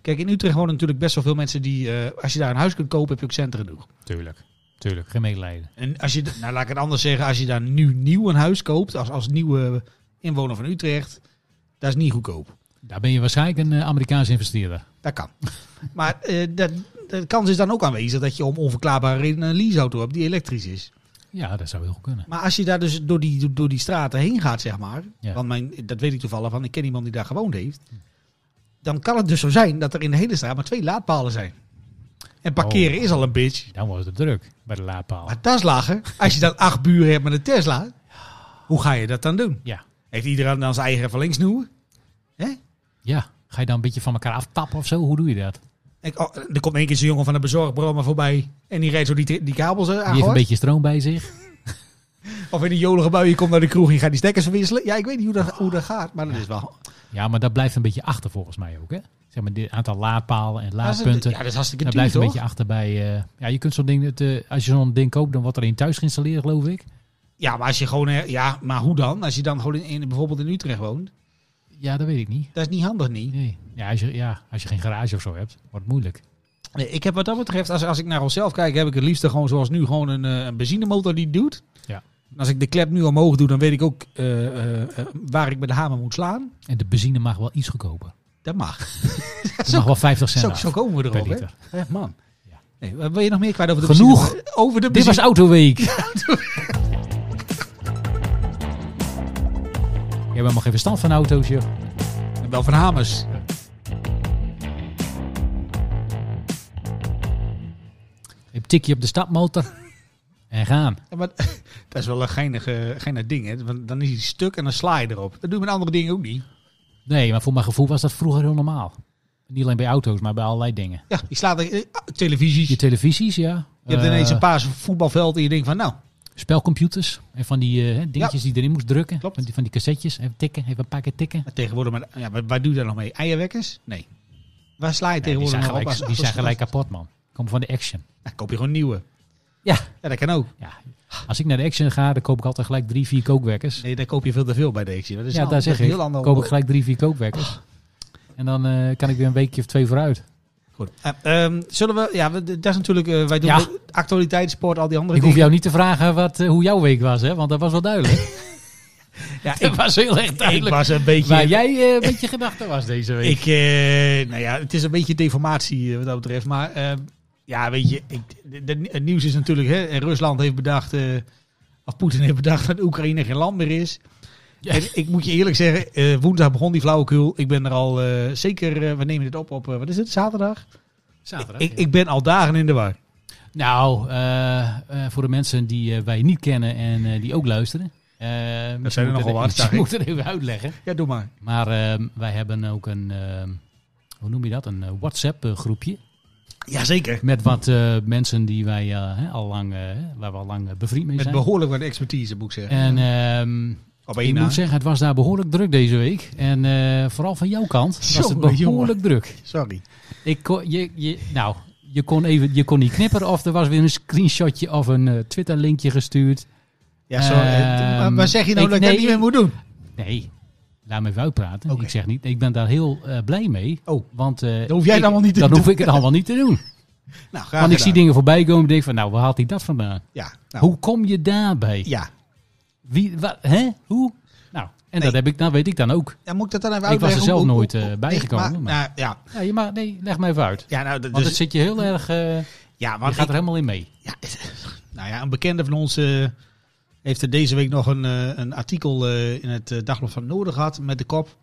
Speaker 6: Kijk, in Utrecht wonen natuurlijk best wel veel mensen die, eh, als je daar een huis kunt kopen, heb je ook centen genoeg.
Speaker 1: tuurlijk. Tuurlijk, geen medelijden.
Speaker 6: En als je, nou laat ik het anders zeggen, als je daar nu nieuw een huis koopt, als, als nieuwe inwoner van Utrecht, dat is niet goedkoop.
Speaker 1: Daar ben je waarschijnlijk een eh, Amerikaanse investeerder.
Speaker 6: Dat kan. maar eh, dat, de kans is dan ook aanwezig dat je om onverklaarbare redenen een leaseauto hebt die elektrisch is.
Speaker 1: Ja, dat zou heel goed kunnen.
Speaker 6: Maar als je daar dus door die, door die straten heen gaat, zeg maar.
Speaker 1: Ja.
Speaker 6: Want mijn, dat weet ik toevallig, want ik ken iemand die daar gewoond heeft. Dan kan het dus zo zijn dat er in de hele straat maar twee laadpalen zijn. En parkeren
Speaker 1: Oh.
Speaker 6: is al een bitch.
Speaker 1: Dan wordt het druk bij de laadpaal.
Speaker 6: Maar dat is lachen. Als je dan acht buren hebt met een Tesla, hoe ga je dat dan doen?
Speaker 1: Ja.
Speaker 6: Heeft iedereen dan zijn eigen verlengsnoer? Hè?
Speaker 1: ja, ga je dan een beetje van elkaar aftappen of zo? Hoe doe je dat?
Speaker 6: Ik, oh, er komt één keer zo'n jongen van de bezorgbrommer voorbij. En die rijdt zo die, die kabels eh,
Speaker 1: Die heeft een
Speaker 6: aan.
Speaker 1: beetje stroom bij zich.
Speaker 6: Of in een jolige bui, je komt naar de kroeg en je gaat die stekkers verwisselen. Ja, ik weet niet hoe dat, hoe dat gaat, maar dat is wel...
Speaker 1: Ja, maar dat blijft een beetje achter volgens mij ook, hè? Zeg maar, dit aantal laadpalen en
Speaker 6: Dat is-
Speaker 1: laadpunten.
Speaker 6: Ja, dat is hartstikke
Speaker 1: Dat
Speaker 6: duur,
Speaker 1: blijft
Speaker 6: toch?
Speaker 1: een beetje achter bij... eh, ja, je kunt zo'n ding... het, eh, als je zo'n ding koopt, dan wordt er één thuis geïnstalleerd, geloof ik.
Speaker 6: Ja, maar als je gewoon... eh, Ja, maar hoe dan? Als je dan gewoon in, in- bijvoorbeeld in Utrecht woont.
Speaker 1: Ja, dat weet ik niet.
Speaker 6: Dat is niet handig, niet?
Speaker 1: Nee. Ja, als je, ja, als je geen garage of zo hebt, wordt het moeilijk.
Speaker 6: Nee, ik heb wat dat betreft, als, als ik naar onszelf kijk, heb ik het liefst gewoon zoals nu gewoon een, eh, een benzinemotor die het doet.
Speaker 1: Ja.
Speaker 6: En als ik de klep nu omhoog doe, dan weet ik ook eh, eh, eh, waar ik met de hamer moet slaan.
Speaker 1: En de benzine mag wel iets goedkoper.
Speaker 6: Dat mag.
Speaker 1: Het mag wel 50 cent
Speaker 6: Zo,
Speaker 1: af
Speaker 6: zo komen we
Speaker 1: per
Speaker 6: erop, hè?
Speaker 1: liter.
Speaker 6: Echt man.
Speaker 1: Ja.
Speaker 6: Nee, wat wil je nog meer kwijt over de
Speaker 1: Genoeg.
Speaker 6: benzine? Over de
Speaker 1: Dit was
Speaker 6: benzine.
Speaker 1: Autoweek. Jij hebt helemaal geen verstand van auto's, joh.
Speaker 6: Wel van hamers.
Speaker 1: Een tikje op de stapmotor en gaan.
Speaker 6: Ja, maar dat is wel een geinig, eh, geinig ding, hè? Want dan is hij stuk en dan sla je erop. Dat doe je met andere dingen ook niet.
Speaker 1: Nee, maar voor mijn gevoel was dat vroeger heel normaal. Niet alleen bij auto's, maar bij allerlei dingen.
Speaker 6: Ja, je slaat er, eh, televisies.
Speaker 1: Je
Speaker 6: Je,
Speaker 1: televisies, ja.
Speaker 6: hebt ineens
Speaker 1: Eh,
Speaker 6: een paar voetbalveld en je denkt van, nou,
Speaker 1: Spelcomputers en van die eh, hè, dingetjes die je erin moest drukken.
Speaker 6: Klopt.
Speaker 1: Van die, van die cassettes. Even tikken, even een paar keer tikken.
Speaker 6: maar tegenwoordig, maar, ja, maar waar doe je dat nog mee? Eierwekkers? Nee. Waar sla je
Speaker 1: Nee, die
Speaker 6: tegenwoordig
Speaker 1: zijn
Speaker 6: nog op?
Speaker 1: gelijk,
Speaker 6: als-
Speaker 1: die zijn
Speaker 6: als-
Speaker 1: gelijk kapot, man. Komen van de action.
Speaker 6: Dan koop je gewoon nieuwe.
Speaker 1: Ja.
Speaker 6: Ja, dat kan ook.
Speaker 1: ja. Als ik naar de action ga, dan koop ik altijd gelijk drie, vier kookwekkers.
Speaker 6: Nee, daar koop je veel te veel bij deze. Dat is
Speaker 1: ja,
Speaker 6: een-
Speaker 1: daar
Speaker 6: dat is
Speaker 1: zeg
Speaker 6: een
Speaker 1: ik.
Speaker 6: heel ander Ah.
Speaker 1: koop ik gelijk drie, vier kookwekkers. En dan eh, kan ik weer een weekje of twee vooruit.
Speaker 6: Goed. Eh, ehm, zullen we, ja, we- dat is natuurlijk, eh, wij doen
Speaker 1: Ja.
Speaker 6: de actualiteit, sport, al die andere
Speaker 1: Ik hoef
Speaker 6: dingen.
Speaker 1: jou niet te vragen wat, eh, hoe jouw week was, hè? want dat was wel duidelijk.
Speaker 6: Ja,
Speaker 1: Het was heel erg
Speaker 6: ik
Speaker 1: duidelijk
Speaker 6: was een beetje...
Speaker 1: waar jij eh, een beetje gedachten was deze week.
Speaker 6: Ik, eh, nou ja, het is een beetje deformatie eh, wat dat betreft. Maar eh, ja, weet je, ik, de- de- het nieuws is natuurlijk, hè, en Rusland heeft bedacht, eh, of Poetin heeft bedacht dat Oekraïne geen land meer is.
Speaker 1: Ja.
Speaker 6: En ik moet je eerlijk zeggen, eh, woensdag begon die flauwekul. Ik ben er al eh, zeker, eh, we nemen dit op op, eh, wat is het, zaterdag?
Speaker 1: Zaterdag.
Speaker 6: Ik, ik ben al dagen in de war.
Speaker 1: Nou, eh, eh, voor de mensen die eh, wij niet kennen en eh, die ook luisteren. eh, misschien
Speaker 6: zijn er
Speaker 1: moet
Speaker 6: nogal
Speaker 1: het-
Speaker 6: wat, zag
Speaker 1: misschien
Speaker 6: ik.
Speaker 1: moet het even uitleggen.
Speaker 6: Ja, doe maar.
Speaker 1: Maar ehm, wij hebben ook een, ehm, hoe noem je dat, een eh, WhatsApp-groepje.
Speaker 6: Jazeker.
Speaker 1: Met wat eh, mensen die wij eh, hè, al lang, eh, waar we al lang eh, bevriend mee
Speaker 6: Met
Speaker 1: zijn.
Speaker 6: behoorlijk wat expertise, moet ik
Speaker 1: En
Speaker 6: zeggen.
Speaker 1: ehm,
Speaker 6: op
Speaker 1: ik
Speaker 6: één na.
Speaker 1: moet zeggen, het was daar behoorlijk druk deze week. En eh, vooral van jouw kant was het
Speaker 6: Jongen,
Speaker 1: behoorlijk
Speaker 6: jongen.
Speaker 1: druk.
Speaker 6: Sorry.
Speaker 1: Ik kon, je, je, nou, je kon, even, je kon niet knipperen of er was weer een screenshotje of een eh, Twitter-linkje gestuurd.
Speaker 6: Ja, sorry.
Speaker 1: Ehm,
Speaker 6: maar, maar zeg je nou
Speaker 1: ik-
Speaker 6: dat ik
Speaker 1: nee,
Speaker 6: dat niet meer moet doen?
Speaker 1: Nee, laat me even uitpraten.
Speaker 6: Oké.
Speaker 1: Ik zeg niet, ik ben daar heel eh, blij mee.
Speaker 6: Oh.
Speaker 1: Want, eh,
Speaker 6: hoef jij het
Speaker 1: ik-
Speaker 6: allemaal niet te
Speaker 1: dan
Speaker 6: doen.
Speaker 1: hoef ik het allemaal niet te doen.
Speaker 6: Nou, graag
Speaker 1: Want ik zie
Speaker 6: gedaan.
Speaker 1: dingen voorbij komen en denk van, nou, waar haalt hij dat vandaan?
Speaker 6: Ja, nou,
Speaker 1: Hoe kom je daarbij?
Speaker 6: Ja.
Speaker 1: Wie, wat, hè? Hoe? Nou, en dat, heb ik, dat weet ik dan ook.
Speaker 6: Ja, moet ik dat dan even
Speaker 1: Ik was er
Speaker 6: uitleggen?
Speaker 1: zelf
Speaker 6: Hoe- hoe-
Speaker 1: nooit, eh,
Speaker 6: hoe-
Speaker 1: bijgekomen,
Speaker 6: Nee, maar,
Speaker 1: maar-
Speaker 6: nou, ja,
Speaker 1: Ja, je mag, nee, leg maar even uit.
Speaker 6: ja, nou, dat-
Speaker 1: Want
Speaker 6: dus,
Speaker 1: het zit je heel erg... eh,
Speaker 6: ja,
Speaker 1: je
Speaker 6: want
Speaker 1: gaat
Speaker 6: ik-
Speaker 1: er helemaal in mee.
Speaker 6: ja, nou ja, een bekende van ons eh, heeft er deze week nog een, eh, een artikel eh, in het eh, Dagblad van het Noorden gehad met de kop.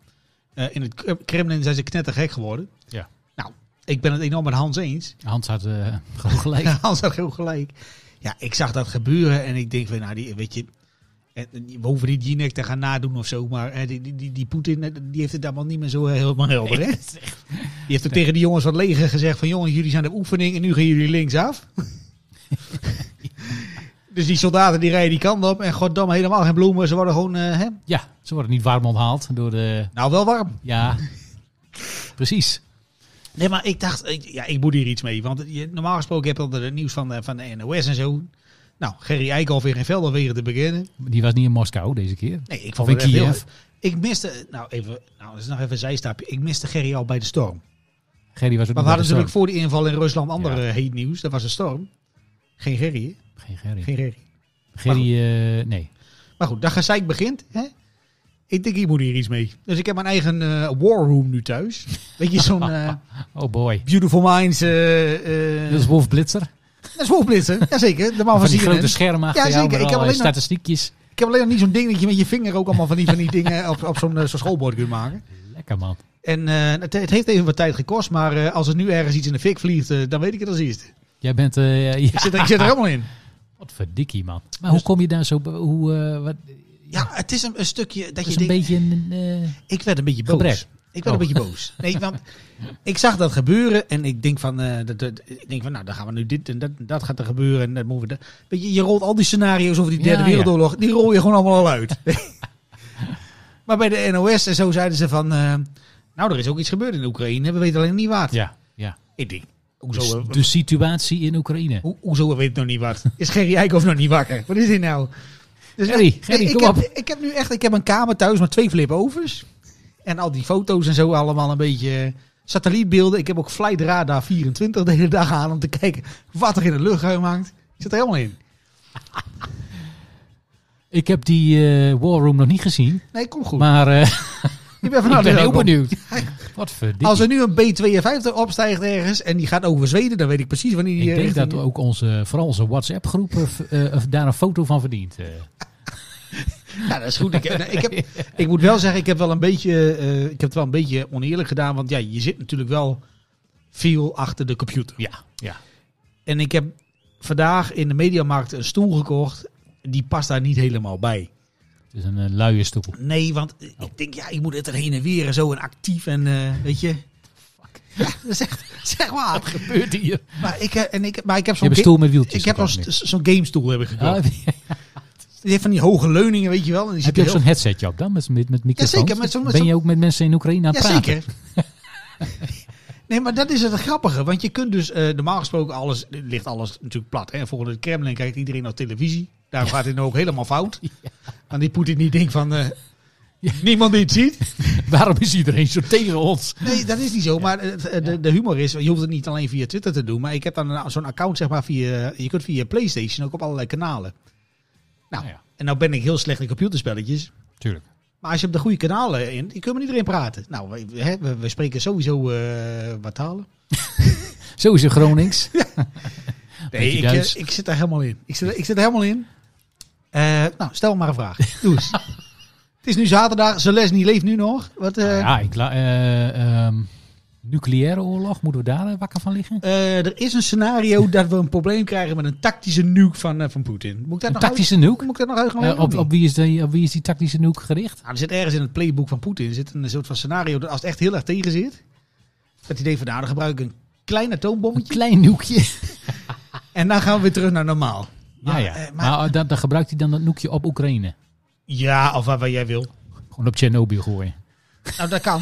Speaker 6: eh, in het K- Kremlin zijn ze knettergek geworden.
Speaker 1: Ja.
Speaker 6: Nou, ik ben het enorm met Hans eens.
Speaker 1: Hans had eh, gewoon gelijk.
Speaker 6: Hans had heel gelijk. Ja, ik zag dat gebeuren en ik denk van, nou, die, weet je, en we hoeven die Jinek te gaan nadoen of zo, maar eh, die, die, die, die Poetin, eh, die heeft het allemaal niet meer zo eh, helemaal helder, hè? Die heeft ook tegen die jongens van het leger gezegd van, jongens, jullie zijn de oefening en nu gaan jullie linksaf. dus die soldaten die rijden die kant op en goddamme, helemaal geen bloemen, ze worden gewoon, eh, hè?
Speaker 1: Ja, ze worden niet warm onthaald door de...
Speaker 6: nou wel warm.
Speaker 1: Ja, precies.
Speaker 6: Nee, maar ik dacht, ik, ja, ik moet hier iets mee. Want je, normaal gesproken heb je altijd het nieuws van, de- van de NOS en zo. Nou, Gerry Eikhoff weer in Velden weer te beginnen.
Speaker 1: Die was niet in Moskou deze keer.
Speaker 6: Nee, ik
Speaker 1: Of
Speaker 6: vond
Speaker 1: in
Speaker 6: het echt heel...
Speaker 1: Kiev.
Speaker 6: Ik miste, nou even, nou dat is nog even een zijstapje. Ik miste Gerry al bij de storm.
Speaker 1: Gerry was er
Speaker 6: Maar
Speaker 1: nog bij
Speaker 6: we hadden
Speaker 1: de
Speaker 6: natuurlijk voor die inval in Rusland ander
Speaker 1: Ja.
Speaker 6: eh, heet nieuws. Dat was een storm. Geen Gerry, hè?
Speaker 1: storm. Geen Gerry.
Speaker 6: Geen Gerry.
Speaker 1: Gerry, eh, nee.
Speaker 6: Maar goed, dat gezeik begint, hè? Ik denk, hier moet hier iets mee. Dus ik heb mijn eigen eh war room nu thuis. Weet je, zo'n eh,
Speaker 1: Oh boy.
Speaker 6: Beautiful Minds... eh eh
Speaker 1: Dat is Wolf Blitzer.
Speaker 6: dat is Wolfblitzer, jazeker. De man van,
Speaker 1: Van die
Speaker 6: CNN.
Speaker 1: grote schermen achter
Speaker 6: Ja,
Speaker 1: jou
Speaker 6: zeker.
Speaker 1: met
Speaker 6: Ik heb
Speaker 1: allerlei
Speaker 6: alleen nog-
Speaker 1: statistiekjes.
Speaker 6: Ik heb alleen nog niet zo'n ding dat je met je vinger ook allemaal van die, van die dingen op, op zo'n eh, zo'n schoolbord kunt maken.
Speaker 1: Lekker man.
Speaker 6: En eh, het, het heeft even wat tijd gekost, maar eh, als er nu ergens iets in de fik vliegt, eh, dan weet ik het als eerste.
Speaker 1: Jij bent... eh ja,
Speaker 6: Ik zit, er- ik zit er helemaal in.
Speaker 1: Wat verdikkie man.
Speaker 6: Dus-
Speaker 1: Maar hoe kom je daar zo... be- Hoe, eh, wat,
Speaker 6: Ja, het is een, een stukje dat
Speaker 1: dat is
Speaker 6: je
Speaker 1: een
Speaker 6: denkt,
Speaker 1: beetje een... eh,
Speaker 6: ik werd een beetje boos.
Speaker 1: Gebrek.
Speaker 6: Ik werd
Speaker 1: Oh.
Speaker 6: een beetje boos. Nee, want ik zag dat gebeuren en ik denk van, eh, dat, dat- ik denk van nou, dan gaan we nu dit en dat, en dat gaat er gebeuren. En dat moeten we dat. Weet je, je rolt al die scenario's over die
Speaker 1: Ja,
Speaker 6: derde
Speaker 1: ja.
Speaker 6: wereldoorlog, die rol je gewoon allemaal al uit. maar bij de NOS en zo zeiden ze van, eh, nou, er is ook iets gebeurd in Oekraïne, we weten alleen niet wat.
Speaker 1: ja, ja.
Speaker 6: Ik denk,
Speaker 1: Dus
Speaker 6: hoezo, Oh, eh,
Speaker 1: de situatie in Oekraïne.
Speaker 6: Ho- hoezo weet ik nog niet wat? Is Gerry Eikhoff nog niet wakker? Wat is dit nou? Dus
Speaker 1: Gerry,
Speaker 6: eh,
Speaker 1: Gerry,
Speaker 6: ik
Speaker 1: kom
Speaker 6: heb,
Speaker 1: op.
Speaker 6: Ik heb nu echt ik heb een kamer thuis met twee flip-overs. En al die foto's en zo allemaal een beetje eh, satellietbeelden. Ik heb ook Flight Radar 24 de hele dag aan om te kijken wat er in de luchtruim hangt. Ik zit er helemaal in.
Speaker 1: Ik heb die eh, War Room nog niet gezien.
Speaker 6: Nee, kom goed.
Speaker 1: Maar eh,
Speaker 6: ik ben, van
Speaker 1: ik
Speaker 6: harte
Speaker 1: ben heel
Speaker 6: welkom.
Speaker 1: benieuwd. Wat verdikkie.
Speaker 6: Als er nu een B-52 opstijgt ergens en die gaat over Zweden, dan weet ik precies wanneer die...
Speaker 1: Ik
Speaker 6: eh,
Speaker 1: denk
Speaker 6: richting-
Speaker 1: dat ook onze, vooral onze WhatsApp-groep eh, v- eh, eh, daar een foto van verdient. eh.
Speaker 6: Ja, dat is goed. Ik, nou, ik, heb, ik moet wel zeggen, ik heb, wel een beetje, eh, ik heb het wel een beetje oneerlijk gedaan. Want ja, je zit natuurlijk wel veel achter de computer.
Speaker 1: ja, ja.
Speaker 6: En ik heb vandaag in de mediamarkt een stoel gekocht. Die past daar niet helemaal bij.
Speaker 1: Het is een eh, luie stoel.
Speaker 6: Nee, want
Speaker 1: Oh.
Speaker 6: ik denk, ja, ik moet het er heen en weer en zo en actief en eh, weet je. Ja, dat is echt, zeg maar.
Speaker 1: Gebeurt hier?
Speaker 6: Maar ik, eh, en ik, maar ik heb
Speaker 1: Je hebt
Speaker 6: zo'n
Speaker 1: een
Speaker 6: ga-
Speaker 1: stoel met wieltjes.
Speaker 6: ik heb
Speaker 1: dat
Speaker 6: zo'n
Speaker 1: kan niet.
Speaker 6: st- zo'n game stoel heb ik gekocht.
Speaker 1: Ah,
Speaker 6: Die heeft van die hoge leuningen, weet je wel. En die
Speaker 1: heb
Speaker 6: zit
Speaker 1: je ook
Speaker 6: heel-
Speaker 1: zo'n headsetje op dan? Met, met, met microfoons?
Speaker 6: Jazeker, met zo'n- met
Speaker 1: ben je
Speaker 6: zo'n-
Speaker 1: ook met mensen in Oekraïne aan het praten?
Speaker 6: Jazeker. nee, maar dat is het grappige. Want je kunt dus eh, normaal gesproken alles, ligt alles natuurlijk plat. Hè? Volgens het Kremlin kijkt iedereen naar televisie. Daar gaat het nou ook helemaal fout. Want die Poetin die denkt van, eh, niemand die het ziet.
Speaker 1: Waarom is iedereen zo tegen ons?
Speaker 6: Nee, dat is niet zo. Maar het- eh, de, de humor is, je hoeft het niet alleen via Twitter te doen. Maar ik heb dan een- zo'n account, zeg maar, via, je kunt via Playstation ook op allerlei kanalen. Nou,
Speaker 1: Nou ja.
Speaker 6: en nou ben ik heel slecht in computerspelletjes.
Speaker 1: Tuurlijk.
Speaker 6: Maar als je op de goede kanalen in, je kunt met iedereen praten. Nou, we, hè, we, we spreken sowieso eh, wat talen.
Speaker 1: Sowieso Gronings. Beetje
Speaker 6: ik, eh,
Speaker 1: Duits.
Speaker 6: ik zit daar helemaal in. Ik zit, ik zit er helemaal in. Eh, nou, stel maar een vraag. Doe eens. het is nu zaterdag. Zelesny leeft nu nog. Wat, eh,
Speaker 1: Nou ja, ik la- eh, ehm, nucleaire oorlog, moeten we daar eh, wakker van liggen?
Speaker 6: eh, er is een scenario dat we een probleem krijgen met een tactische nuke van, eh, van Poetin. Moet ik dat
Speaker 1: Een
Speaker 6: nog
Speaker 1: tactische
Speaker 6: uit-
Speaker 1: nuke?
Speaker 6: Moet ik dat nog uit gaan
Speaker 1: Eh,
Speaker 6: leggen,
Speaker 1: op,
Speaker 6: of
Speaker 1: op,
Speaker 6: niet?
Speaker 1: wie is die, op wie is die tactische nuke gericht?
Speaker 6: Nou, er zit ergens in het playbook van Poetin zit een soort van scenario dat als het echt heel erg tegen zit, dat hij denkt van nou, dan gebruik ik een klein
Speaker 1: Een
Speaker 6: atoombommetje
Speaker 1: klein nukeje.
Speaker 6: en dan gaan we weer terug naar normaal.
Speaker 1: Ja, ja.
Speaker 6: eh,
Speaker 1: Maar, dan, dan gebruikt hij dan dat noekje op Oekraïne.
Speaker 6: Ja, of waar, waar jij wil.
Speaker 1: Gewoon op Tsjernobyl gooien.
Speaker 6: Nou, dat kan.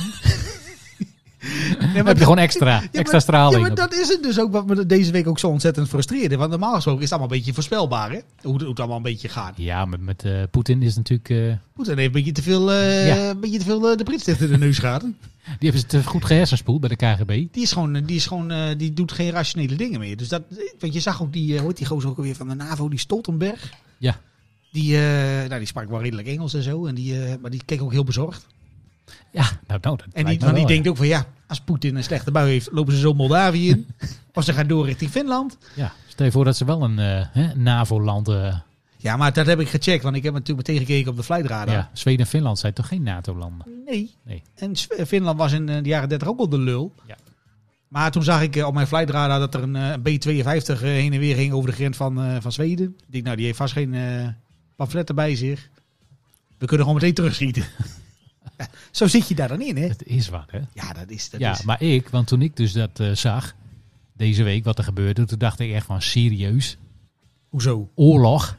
Speaker 1: Dan heb je gewoon extra, extra straling.
Speaker 6: Ja, maar dat is het dus ook wat me deze week ook zo ontzettend frustreerde. Want normaal gesproken is het allemaal een beetje voorspelbaar, hè? Hoe, het- hoe het allemaal een beetje gaat.
Speaker 1: Ja, met, met eh, Poetin is natuurlijk... eh,
Speaker 6: Poetin heeft een beetje te veel, eh,
Speaker 1: Ja.
Speaker 6: een beetje te veel eh, de Brits tegen de neus gehad.
Speaker 1: die heeft het eh, goed gehersenspoeld bij de KGB.
Speaker 6: Die is gewoon, eh, die, is gewoon eh, die doet geen rationele dingen meer. Dus dat, want je zag ook die, eh, hoe heet die gozer ook alweer van de NAVO, die Stoltenberg.
Speaker 1: Ja.
Speaker 6: Die Die, eh, nou, die sprak wel redelijk Engels en zo. En die, eh, maar die keek ook heel bezorgd.
Speaker 1: Ja, nou, nou dat
Speaker 6: En die,
Speaker 1: lijkt
Speaker 6: want
Speaker 1: me wel,
Speaker 6: die
Speaker 1: ja.
Speaker 6: denkt ook van ja, als Poetin een slechte bui heeft, lopen ze zo Moldavië in. of ze gaan door richting Finland.
Speaker 1: Ja, stel je voor dat ze wel een eh, hè, NAVO-land... eh,
Speaker 6: Ja, maar dat heb ik gecheckt, want ik heb natuurlijk meteen gekeken op de flightradar.
Speaker 1: ja, Zweden en Finland zijn toch geen NATO-landen?
Speaker 6: Nee.
Speaker 1: Nee.
Speaker 6: En Sv- eh, Finland was in eh, de jaren 30 ook al de lul.
Speaker 1: Ja.
Speaker 6: Maar toen zag ik eh, op mijn flightradar dat er een eh, B-52 eh, heen en weer ging over de grens van, eh, van Zweden. Ik denk, nou, die heeft vast geen eh pamfletten bij zich. We kunnen gewoon meteen terugschieten. Ja, zo zit je daar dan in, hè?
Speaker 1: Dat is wat, hè?
Speaker 6: Ja, dat is... Dat
Speaker 1: ja,
Speaker 6: is.
Speaker 1: maar ik, want toen ik dus dat eh, zag, deze week, wat er gebeurde, toen dacht ik echt van serieus,
Speaker 6: Hoezo?
Speaker 1: oorlog,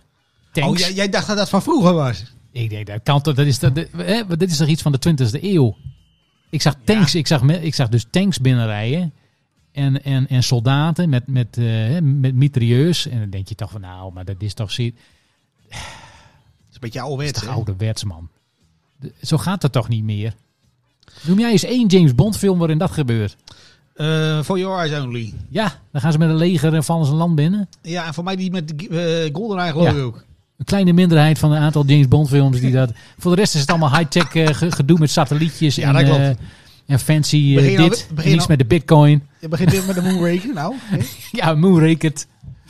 Speaker 1: tanks.
Speaker 6: Oh, jij, jij dacht dat dat van vroeger was?
Speaker 1: Ik denk, dat kan toch, dat is, dat, dat- hè, maar dit is toch iets van de 20e eeuw? Ik zag tanks, ik, zag, me- ik zag dus tanks binnenrijden en, en, en soldaten met, met, eh, hè, met mitrailleurs. En dan denk je toch van, nou, maar dat is toch, se-
Speaker 6: Dat is een beetje
Speaker 1: dat is
Speaker 6: ouderwets,
Speaker 1: toch
Speaker 6: hè?
Speaker 1: ouderwets, man. De- Zo gaat dat toch niet meer? Noem jij eens één James Bond film waarin dat gebeurt?
Speaker 6: Eh, For Your Eyes Only.
Speaker 1: Ja, dan gaan ze met een leger en vallen ze een land binnen.
Speaker 6: Ja, en voor mij die met eh GoldenEye geloof
Speaker 1: Ja.
Speaker 6: ik ook.
Speaker 1: Een kleine minderheid van een aantal James Bond films die dat. Voor de rest is het allemaal high-tech eh, ge- gedoe met satellietjes
Speaker 6: Ja,
Speaker 1: en,
Speaker 6: dat klopt.
Speaker 1: eh, en fancy eh,
Speaker 6: Begin al-
Speaker 1: dit.
Speaker 6: begin nou-
Speaker 1: en iets
Speaker 6: al-
Speaker 1: met de bitcoin.
Speaker 6: Je begint weer met de Moonraker, nou. hè?
Speaker 1: Ja, Moon Rocket.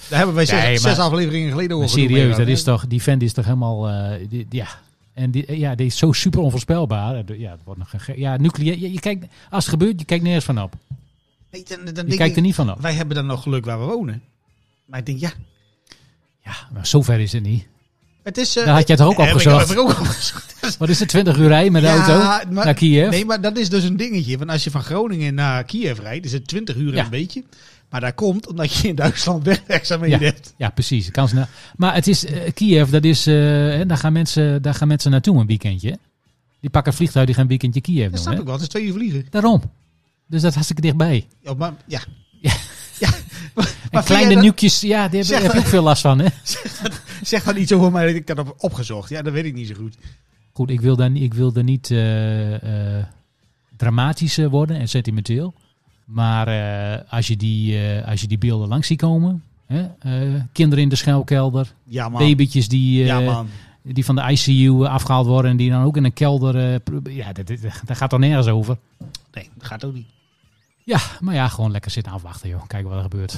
Speaker 6: Daar hebben wij zes,
Speaker 1: Nee, maar-
Speaker 6: zes afleveringen geleden
Speaker 1: Maar
Speaker 6: over
Speaker 1: serieus,
Speaker 6: gedoe mee
Speaker 1: dat is
Speaker 6: gehad,
Speaker 1: toch, die vent is toch helemaal. eh, die- ja. En die, ja, die is zo super onvoorspelbaar. Eh, Ja, het wordt nog een ge- ja, nucleair. Je, je kijkt, als het gebeurt, je kijkt nergens van op.
Speaker 6: hè? Nee, dan, dan denk
Speaker 1: Je kijkt er
Speaker 6: ik,
Speaker 1: niet van op.
Speaker 6: Wij hebben dan nog geluk waar we wonen. Maar ik denk, ja,
Speaker 1: Ja, maar zover is het niet.
Speaker 6: het is... eh,
Speaker 1: Daar had je het toch ook
Speaker 6: heb ik-
Speaker 1: opgezocht?
Speaker 6: Heb ik ook opgezocht. Dat is-
Speaker 1: Wat is het, 20 uur rijden met de
Speaker 6: Ja,
Speaker 1: auto
Speaker 6: maar-
Speaker 1: naar Kiev?
Speaker 6: Nee, maar dat is dus een dingetje. Want als je van Groningen naar Kiev rijdt, is het 20 uur en
Speaker 1: Ja.
Speaker 6: een beetje. Maar dat komt omdat je in Duitsland wegwerkzaamheden
Speaker 1: ja,
Speaker 6: hebt.
Speaker 1: ja, precies. Het Kan snel. Maar het is eh, Kiev, dat is, eh, hè, daar, gaan mensen, daar gaan mensen naartoe een weekendje. hè. Die pakken een vliegtuig, die gaan een weekendje Kiev
Speaker 6: Dat
Speaker 1: doen.
Speaker 6: snap
Speaker 1: Hè?
Speaker 6: ik wel. Het is twee uur vliegen.
Speaker 1: Daarom. Dus dat is hartstikke dichtbij.
Speaker 6: Ja, maar, ja.
Speaker 1: Ja.
Speaker 6: ja. Maar
Speaker 1: En
Speaker 6: vind
Speaker 1: kleine
Speaker 6: jij dat-
Speaker 1: nuukjes, ja, daar heb, daar
Speaker 6: Zeg
Speaker 1: heb je
Speaker 6: dat-
Speaker 1: ook veel last van. Hè?
Speaker 6: Zeg dan iets over mij dat ik dat heb opgezocht. Ja, dat weet ik niet zo goed.
Speaker 1: Goed, ik wil daar, niet- ik wil daar niet eh, eh, dramatisch eh, worden en sentimenteel. Maar eh, als, je die, eh, als je die beelden langs ziet komen... Hè? eh, kinderen in de schuilkelder,
Speaker 6: Ja, man.
Speaker 1: babytjes die, eh,
Speaker 6: ja, man.
Speaker 1: die van de ICU eh, afgehaald worden... en die dan ook in een kelder... eh, pro- ja, dat, dat, dat gaat toch nergens over?
Speaker 6: Nee, dat gaat ook niet.
Speaker 1: Ja, maar ja, gewoon lekker zitten afwachten, joh. Kijken wat er gebeurt.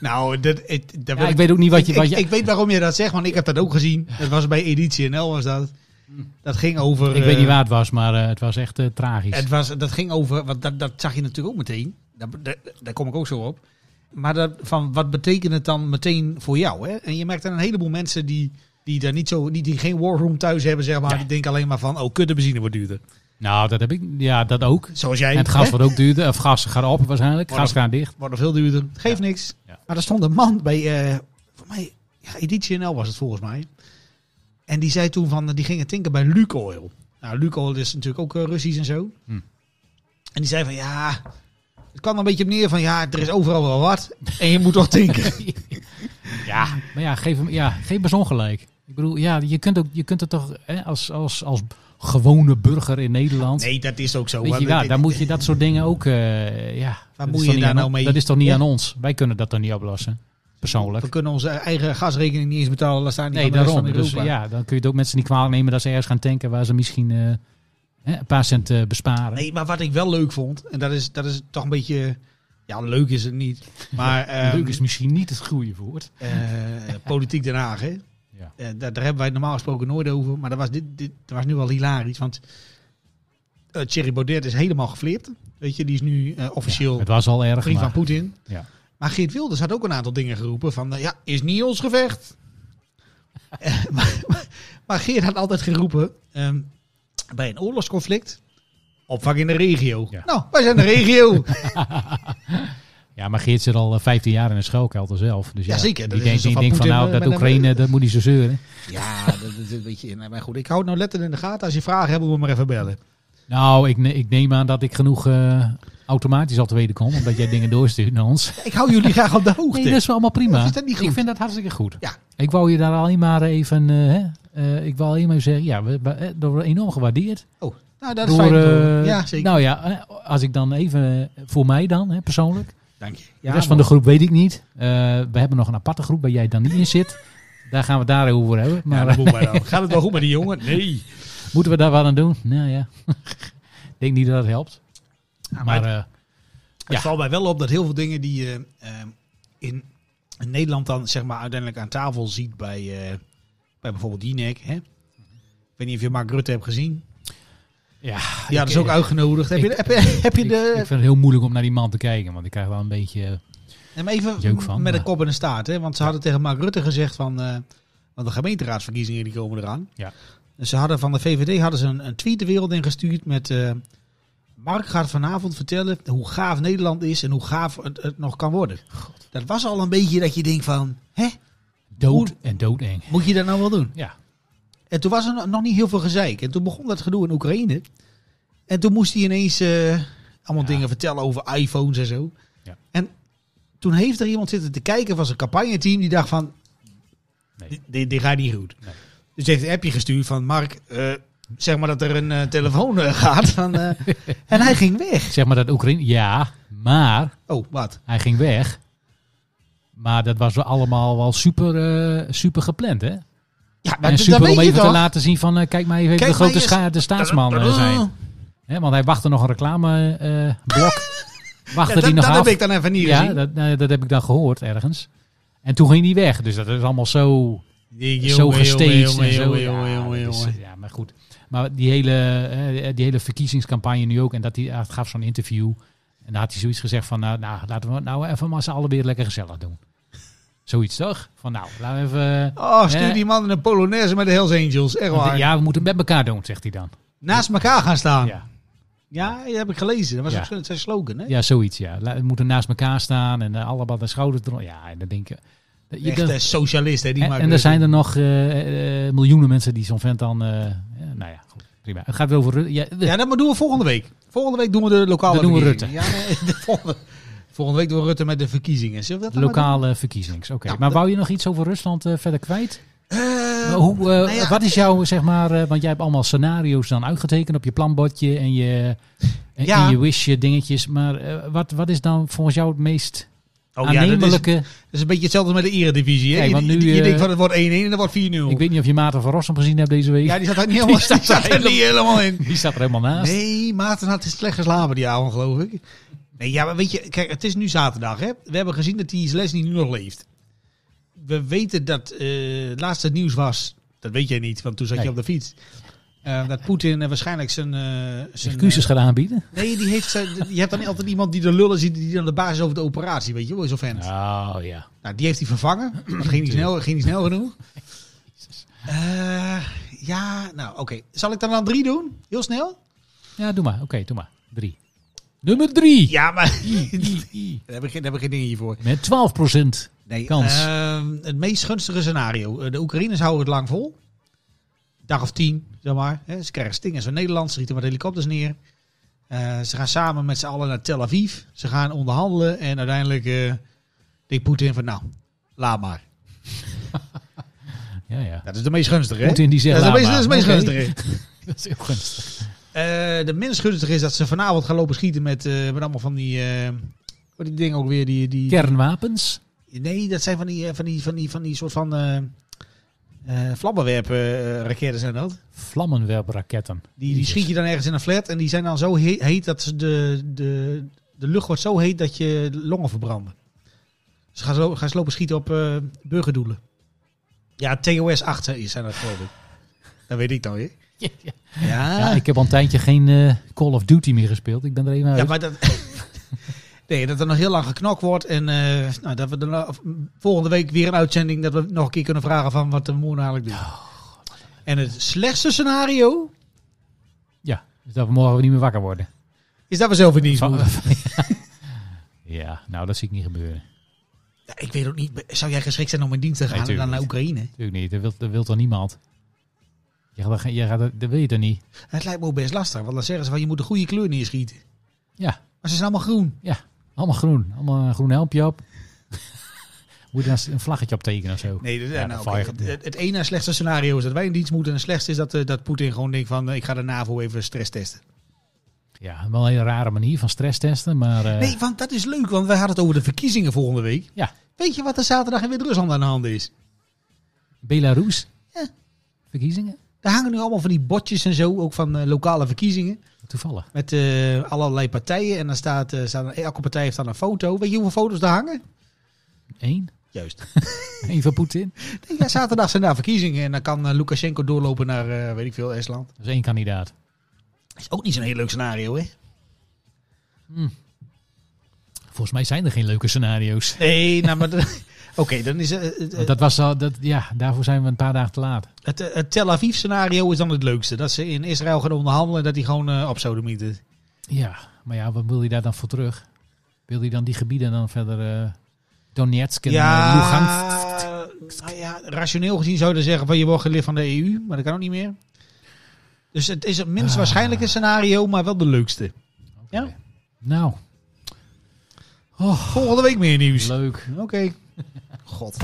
Speaker 6: Nou, dat, ik, dat
Speaker 1: Ja, ik weet ook niet wat je...
Speaker 6: ik,
Speaker 1: Wat
Speaker 6: ik-
Speaker 1: je ik,
Speaker 6: ik weet waarom je dat zegt, want ik heb dat ook gezien. Dat was bij Editie NL was dat. Dat ging over. eh,
Speaker 1: weet niet waar het was, maar eh, het was echt eh, tragisch.
Speaker 6: Het was, dat ging over, want dat, dat zag je natuurlijk ook meteen. Daar, daar, daar kom ik ook zo op. Maar dat, van wat betekent het dan meteen voor jou? Hè? En je merkt dan een heleboel mensen die, die daar niet zo, die, die geen warroom thuis hebben, zeg maar.
Speaker 1: Ja.
Speaker 6: Die denken alleen maar van, oh, kut, de benzine wordt duurder.
Speaker 1: nou, dat heb ik... Ja, dat ook.
Speaker 6: Zoals jij.
Speaker 1: En het
Speaker 6: hè? Oh,
Speaker 1: gas wordt ook duurder. Of gas gaat op waarschijnlijk.
Speaker 6: Wordt
Speaker 1: Gas gaat dicht.
Speaker 6: Wordt nog veel duurder. Geeft niks.
Speaker 1: Ja.
Speaker 6: Maar er stond een man bij, eh voor mij, ja, Editie NL was het volgens mij. En die zei toen van, eh, die gingen tinken bij Lukoil. Nou, Lukoil is natuurlijk ook eh, Russisch en zo.
Speaker 1: Hm.
Speaker 6: En die zei van, ja, het kwam er een beetje op neer van, ja, er is overal wel wat. En je moet toch tinken.
Speaker 1: Ja. Maar ja, geef hem, ja, geef hem eens ongelijk. Ik bedoel, ja, je kunt, ook, je kunt het toch hè, als, als, als gewone burger in Nederland...
Speaker 6: nee, dat is ook zo.
Speaker 1: Weet je,
Speaker 6: hè.
Speaker 1: ja,
Speaker 6: Dit-
Speaker 1: dan moet je dat soort dingen ook... eh, ja, dat
Speaker 6: moet
Speaker 1: is
Speaker 6: je
Speaker 1: toch niet
Speaker 6: daar
Speaker 1: aan
Speaker 6: nou
Speaker 1: ons-
Speaker 6: mee?
Speaker 1: Dat is toch niet
Speaker 6: Ja.
Speaker 1: aan ons? Wij kunnen dat dan niet oplossen. Persoonlijk.
Speaker 6: We kunnen onze eigen gasrekening niet eens betalen. Laat staan die
Speaker 1: Nee,
Speaker 6: van de rest
Speaker 1: daarom.
Speaker 6: van
Speaker 1: Dus
Speaker 6: Europa.
Speaker 1: ja, dan kun je het ook mensen niet kwalijk nemen dat ze ergens gaan tanken waar ze misschien eh, hè, een paar cent eh, besparen.
Speaker 6: Nee, maar wat ik wel leuk vond, en dat is, dat is toch een beetje... Ja, leuk is het niet. Maar, ehm,
Speaker 1: Leuk is misschien niet het goede woord.
Speaker 6: Eh, politiek Den Haag. Hè?
Speaker 1: Ja.
Speaker 6: Eh, daar, daar hebben wij het normaal gesproken nooit over. Maar dat was, dit, dit, dat was nu wel hilarisch. Want eh Thierry Baudet is helemaal geflipt. Weet je, die is nu eh, officieel
Speaker 1: Het was al erg.
Speaker 6: vriend van
Speaker 1: Maar,
Speaker 6: Poetin.
Speaker 1: ja.
Speaker 6: Maar Geert Wilders had ook een aantal dingen geroepen. Van eh, ja, is niet ons gevecht. Eh, maar, maar, maar Geert had altijd geroepen. ehm, bij een oorlogsconflict. Opvang in de regio.
Speaker 1: Ja.
Speaker 6: Nou, wij zijn de regio.
Speaker 1: ja, maar Geert zit al eh, 15 jaar in een schuilkelder zelf. Dus ja,
Speaker 6: Jazeker, dat
Speaker 1: Die denkt
Speaker 6: is dus
Speaker 1: die
Speaker 6: van
Speaker 1: denkt van
Speaker 6: Poetin,
Speaker 1: nou,
Speaker 6: eh,
Speaker 1: dat
Speaker 6: met-
Speaker 1: Oekraïne, dat moet niet zo zeuren.
Speaker 6: ja, dat, dat, dat weet je. nou, Maar goed, ik hou het nou letterlijk in de gaten. Als je vragen hebt, moet je maar even bellen.
Speaker 1: Nou, ik, ne- ik neem aan dat ik genoeg eh, automatisch al te weten kom. Omdat jij dingen doorstuurt naar ons.
Speaker 6: Ik hou jullie graag op de hoogte.
Speaker 1: Nee, dus- dat is wel allemaal prima.
Speaker 6: Of is dat niet goed?
Speaker 1: Ik vind dat hartstikke goed.
Speaker 6: Ja.
Speaker 1: Ik wou je daar alleen maar even... eh, hè, eh, ik wou alleen maar zeggen, ja, we, we, eh, dat wordt enorm gewaardeerd.
Speaker 6: Oh, nou, dat is
Speaker 1: Door,
Speaker 6: fijn. om te
Speaker 1: eh,
Speaker 6: horen. ja, zeker.
Speaker 1: Nou ja, eh, als ik dan even, eh, voor mij dan hè, persoonlijk.
Speaker 6: Dank je.
Speaker 1: de rest van de groep weet ik niet. Eh, we hebben nog een aparte groep waar jij dan niet in zit. Daar gaan we het daar over hebben. Maar
Speaker 6: Ja,
Speaker 1: eh,
Speaker 6: dat moet maar dan. Gaat het wel goed met die jongen? Nee.
Speaker 1: moeten we daar wat aan doen? Nou ja, ik denk niet dat het helpt.
Speaker 6: Ja,
Speaker 1: Maar
Speaker 6: maar
Speaker 1: eh,
Speaker 6: Het valt mij wel op dat heel veel dingen die je ehm, in, in Nederland dan zeg maar uiteindelijk aan tafel ziet bij, eh, bij bijvoorbeeld Jinek. Hè? Ik weet niet of je Mark Rutte hebt gezien.
Speaker 1: ja,
Speaker 6: Ja, dat is ook uitgenodigd. Heb je, heb je, heb je
Speaker 1: ik, ik
Speaker 6: de...
Speaker 1: vind het heel moeilijk om naar die man te kijken, want ik krijg wel een beetje... eh,
Speaker 6: Neem
Speaker 1: jeuk
Speaker 6: even
Speaker 1: van,
Speaker 6: met een
Speaker 1: maar-
Speaker 6: kop en een staart. Hè? Want ze hadden tegen Mark Rutte gezegd van... eh, want de gemeenteraadsverkiezingen die komen eraan.
Speaker 1: Ja.
Speaker 6: En ze hadden van de VVD hadden ze een, een tweet de wereld ingestuurd met... eh, Mark gaat vanavond vertellen hoe gaaf Nederland is en hoe gaaf het, het nog kan worden. Dat was al een beetje dat je denkt van... Hè?
Speaker 1: dood
Speaker 6: Oeh.
Speaker 1: en doodeng.
Speaker 6: Moet je dat nou wel doen?
Speaker 1: Ja,
Speaker 6: En toen was er no- nog niet heel veel gezeik. En toen begon dat gedoe in Oekraïne. En toen moest hij ineens eh, allemaal dingen vertellen over iPhones en zo.
Speaker 1: Ja.
Speaker 6: En toen heeft er iemand zitten te kijken van zijn campagneteam. Die dacht van,
Speaker 1: Nee.
Speaker 6: "Di- dit, dit gaat niet goed.
Speaker 1: Nee.
Speaker 6: Dus hij heeft een appje gestuurd van, Mark, eh, zeg maar dat er een eh, telefoon eh, gaat. Van, eh, en hij ging weg.
Speaker 1: zeg maar dat Oekraïne... Ja, maar
Speaker 6: Oh, wat?
Speaker 1: hij ging weg. Maar dat was wel allemaal wel super, eh, super gepland, hè?
Speaker 6: Ja,
Speaker 1: en
Speaker 6: dat
Speaker 1: super om
Speaker 6: weet je
Speaker 1: even te
Speaker 6: toch?
Speaker 1: laten zien van... eh, kijk maar even
Speaker 6: Kijk
Speaker 1: de grote
Speaker 6: maar eens.
Speaker 1: scha- de staatsman eh, zijn. Hè, want hij wachtte nog een reclameblok. wachtte
Speaker 6: Ja,
Speaker 1: die
Speaker 6: dat
Speaker 1: nog
Speaker 6: dat
Speaker 1: af.
Speaker 6: heb ik dan even niet
Speaker 1: ja,
Speaker 6: gezien.
Speaker 1: dat, nou ja, dat heb ik dan gehoord ergens. En toen ging hij weg. Dus dat is allemaal zo, zo gestaged en zo. Ja, dat is- Ja, maar goed. Maar die hele, eh, die hele verkiezingscampagne nu ook. En dat hij, hij gaf zo'n interview. En daar had hij zoiets gezegd van... Nou, nou laten we het nou even maar z'n allen weer lekker gezellig doen. Zoiets toch? Van nou, laten we even...
Speaker 6: Oh, stuur
Speaker 1: Eh.
Speaker 6: die man in een Polonaise met de Hells Angels. Echt waar.
Speaker 1: ja, we moeten het met elkaar doen, zegt hij dan.
Speaker 6: Naast elkaar gaan staan. Ja,
Speaker 1: Ja.
Speaker 6: dat heb ik gelezen. Dat was
Speaker 1: Ja.
Speaker 6: ook zo'n- zijn slogan, hè?
Speaker 1: Ja, zoiets, ja. La- We moeten naast elkaar staan en eh, allemaal de schouders eronder. Ja, en dan denk je... dat je-
Speaker 6: Echte
Speaker 1: dat-
Speaker 6: socialist, hè? eh, Die dus-
Speaker 1: en,
Speaker 6: Mark
Speaker 1: en er
Speaker 6: Rutte.
Speaker 1: zijn er nog eh, eh, miljoenen mensen die zo'n vent dan... eh, eh, nou ja, goed, prima. Het gaat weer over... Ru- Ja,
Speaker 6: Ja, dat maar doen we volgende week. Volgende week doen we de lokale
Speaker 1: Dan doen we
Speaker 6: verkiezingen. Ja, nee, de volgende, volgende week doen we Rutte met de verkiezingen. Zullen we dat
Speaker 1: de
Speaker 6: dan maar
Speaker 1: lokale verkiezings. Oké,
Speaker 6: Nou,
Speaker 1: maar
Speaker 6: dat-
Speaker 1: wou je nog iets over Rusland eh, verder kwijt?
Speaker 6: doen? Eh,
Speaker 1: Hoe, eh,
Speaker 6: ja,
Speaker 1: wat is jouw, zeg maar... eh, want jij hebt allemaal scenario's dan uitgetekend op je planbordje en je... En,
Speaker 6: Ja.
Speaker 1: en je wish eh, dingetjes. Maar eh, wat, wat is dan volgens jou het meest
Speaker 6: oh, ja, dat, is, dat
Speaker 1: aannemelijke...
Speaker 6: is een beetje hetzelfde met de eredivisie, hè?
Speaker 1: Kijk,
Speaker 6: je,
Speaker 1: want nu,
Speaker 6: je- je
Speaker 1: eh,
Speaker 6: denkt van het wordt 1-1 en dan wordt 4-0.
Speaker 1: ik weet niet of je Maarten van Rossum gezien hebt deze week.
Speaker 6: Ja, die zat daar niet helemaal, die zat daar niet helemaal in.
Speaker 1: Die staat er helemaal naast.
Speaker 6: Nee, Maarten had slecht geslapen die avond, geloof ik. Nee, ja, maar weet je, kijk, het is nu zaterdag, hè. We hebben gezien dat die Zelensky nu nog leeft. We weten dat, eh het laatste nieuws was, dat weet jij niet, want toen zat
Speaker 1: Nee.
Speaker 6: je op de fiets. eh, dat Poetin eh, waarschijnlijk zijn... eh, zijn
Speaker 1: Excuses gaat aanbieden.
Speaker 6: eh, nee, die heeft zijn, je hebt dan altijd iemand die de lullen ziet, die dan de baas is over de operatie, weet je wel, zo'n vent.
Speaker 1: Oh ja.
Speaker 6: Nou, die heeft hij vervangen. Dat ging niet snel, ging niet snel genoeg. Eh, ja, nou, oké. Zal ik dan dan drie doen? Heel snel?
Speaker 1: Ja, doe maar. Oké, doe maar. Drie. Nummer drie.
Speaker 6: Ja, maar...
Speaker 1: I, I.
Speaker 6: Daar heb ik geen, daar heb ik geen dingen hiervoor.
Speaker 1: Met 12
Speaker 6: Nee,
Speaker 1: Kans.
Speaker 6: ehm, het meest gunstige scenario. Eh, De Oekraïners houden het lang vol. Dag of tien, zeg maar. Hè, Ze krijgen stingers van Nederland. Ze schieten wat helikopters neer. Eh, ze gaan samen met z'n allen naar Tel Aviv. Ze gaan onderhandelen. En uiteindelijk eh denkt Poetin van, nou, laat maar.
Speaker 1: Ja, ja.
Speaker 6: Dat is de meest gunstige, hè?
Speaker 1: Poetin die zegt,
Speaker 6: dat is de
Speaker 1: "Laat
Speaker 6: meest, dat is de meest
Speaker 1: maar." Oké.
Speaker 6: gunstige.
Speaker 1: Dat is heel gunstig.
Speaker 6: Eh, de minst gunstige is dat ze vanavond gaan lopen schieten met, eh, met allemaal van die... eh, wat die dingen ook weer, die, die,
Speaker 1: Kernwapens.
Speaker 6: Nee, dat zijn van die, eh, van die, van die, van die soort van eh eh, vlammenwerpen eh, raketten zijn dat.
Speaker 1: Vlammenwerpraketten.
Speaker 6: Die, die schiet je dan ergens in een flat en die zijn dan zo he- heet dat ze de, de, de lucht wordt zo heet dat je de longen verbranden. Ze gaan, zo, gaan ze lopen schieten op eh, burgerdoelen. Ja, TOS 8 zijn- zijn dat geloof ik. Dat weet ik dan weer.
Speaker 1: Ja, ja.
Speaker 6: Ja,
Speaker 1: Ja,
Speaker 6: ja,
Speaker 1: ik heb al een tijdje geen eh, Call of Duty meer gespeeld. Ik ben er even uit.
Speaker 6: maar dat... Nee, dat er nog heel lang geknokt wordt. En eh, nou, dat we er nou- of, mm, volgende week weer een uitzending... dat we nog een keer kunnen vragen van wat de moer eigenlijk doet.
Speaker 1: Oh,
Speaker 6: en het slechtste scenario...
Speaker 1: Ja, dus dat we morgen niet meer wakker worden.
Speaker 6: is dat we zelf in dienst
Speaker 1: Van-
Speaker 6: moeten.
Speaker 1: ja, nou dat zie ik niet gebeuren.
Speaker 6: Ja, ik weet ook niet. Zou jij geschikt zijn om in dienst te gaan en
Speaker 1: tuurlijk
Speaker 6: dan naar
Speaker 1: niet.
Speaker 6: Oekraïne?
Speaker 1: Natuurlijk niet. Dat wil, dat wil toch niemand? Je gaat, je gaat, dat wil je toch niet?
Speaker 6: Het lijkt me ook best lastig. Want dan zeggen ze van je moet de goede kleur neerschieten.
Speaker 1: Ja.
Speaker 6: Maar ze zijn allemaal groen.
Speaker 1: Allemaal groen. Allemaal een groen helmpje op. Moet je daar een vlaggetje op tekenen of zo?
Speaker 6: Nee, dat,
Speaker 1: Ja,
Speaker 6: nou,
Speaker 1: dan
Speaker 6: oké.
Speaker 1: val je-
Speaker 6: het, het- het ene slechtste scenario is dat wij in dienst moeten. En het slechtste is dat, eh, dat Poetin gewoon denkt van eh, ik ga de NAVO even stress testen.
Speaker 1: Ja, wel een hele rare manier van stress testen, maar... eh,
Speaker 6: Nee, want dat is leuk. Want wij hadden het over de verkiezingen volgende week.
Speaker 1: Ja.
Speaker 6: Weet je wat er zaterdag in Wit-Rusland aan de hand is?
Speaker 1: Belarus. Ja. Verkiezingen.
Speaker 6: Daar hangen nu allemaal van die botjes en zo, ook van eh, lokale verkiezingen.
Speaker 1: Toevallig.
Speaker 6: Met eh, allerlei partijen. En dan staat, eh, staan, elke partij heeft dan een foto. Weet je hoeveel foto's daar hangen?
Speaker 1: Eén.
Speaker 6: Juist.
Speaker 1: Eén van Poetin.
Speaker 6: ja, zaterdag zijn daar verkiezingen. En dan kan eh, Lukashenko doorlopen naar, eh, weet ik veel, Estland.
Speaker 1: Dat is één kandidaat.
Speaker 6: Is ook niet zo'n heel leuk scenario, hè?
Speaker 1: Volgens mij zijn er geen leuke scenario's.
Speaker 6: Nee, nou, maar... Oké, dan is eh, eh,
Speaker 1: Want dat was al, dat, ja, daarvoor zijn we een paar dagen te laat.
Speaker 6: het, eh, het Tel Aviv scenario is dan het leukste. Dat ze in Israël gaan onderhandelen en dat die gewoon eh op sodomieten.
Speaker 1: Ja, maar ja, wat wil je daar dan voor terug? Wil je dan die gebieden dan verder eh, Donetsk en eh, ja. eh, Lugansk?
Speaker 6: nou ja, rationeel gezien zou je dan zeggen van je wordt gelid van de EU, maar dat kan ook niet meer. Dus het is het minst
Speaker 1: Ah.
Speaker 6: waarschijnlijke scenario, maar wel de leukste. Ja?
Speaker 1: Oké. Nou,
Speaker 6: Volgende week meer nieuws.
Speaker 1: leuk.
Speaker 6: Oké. God.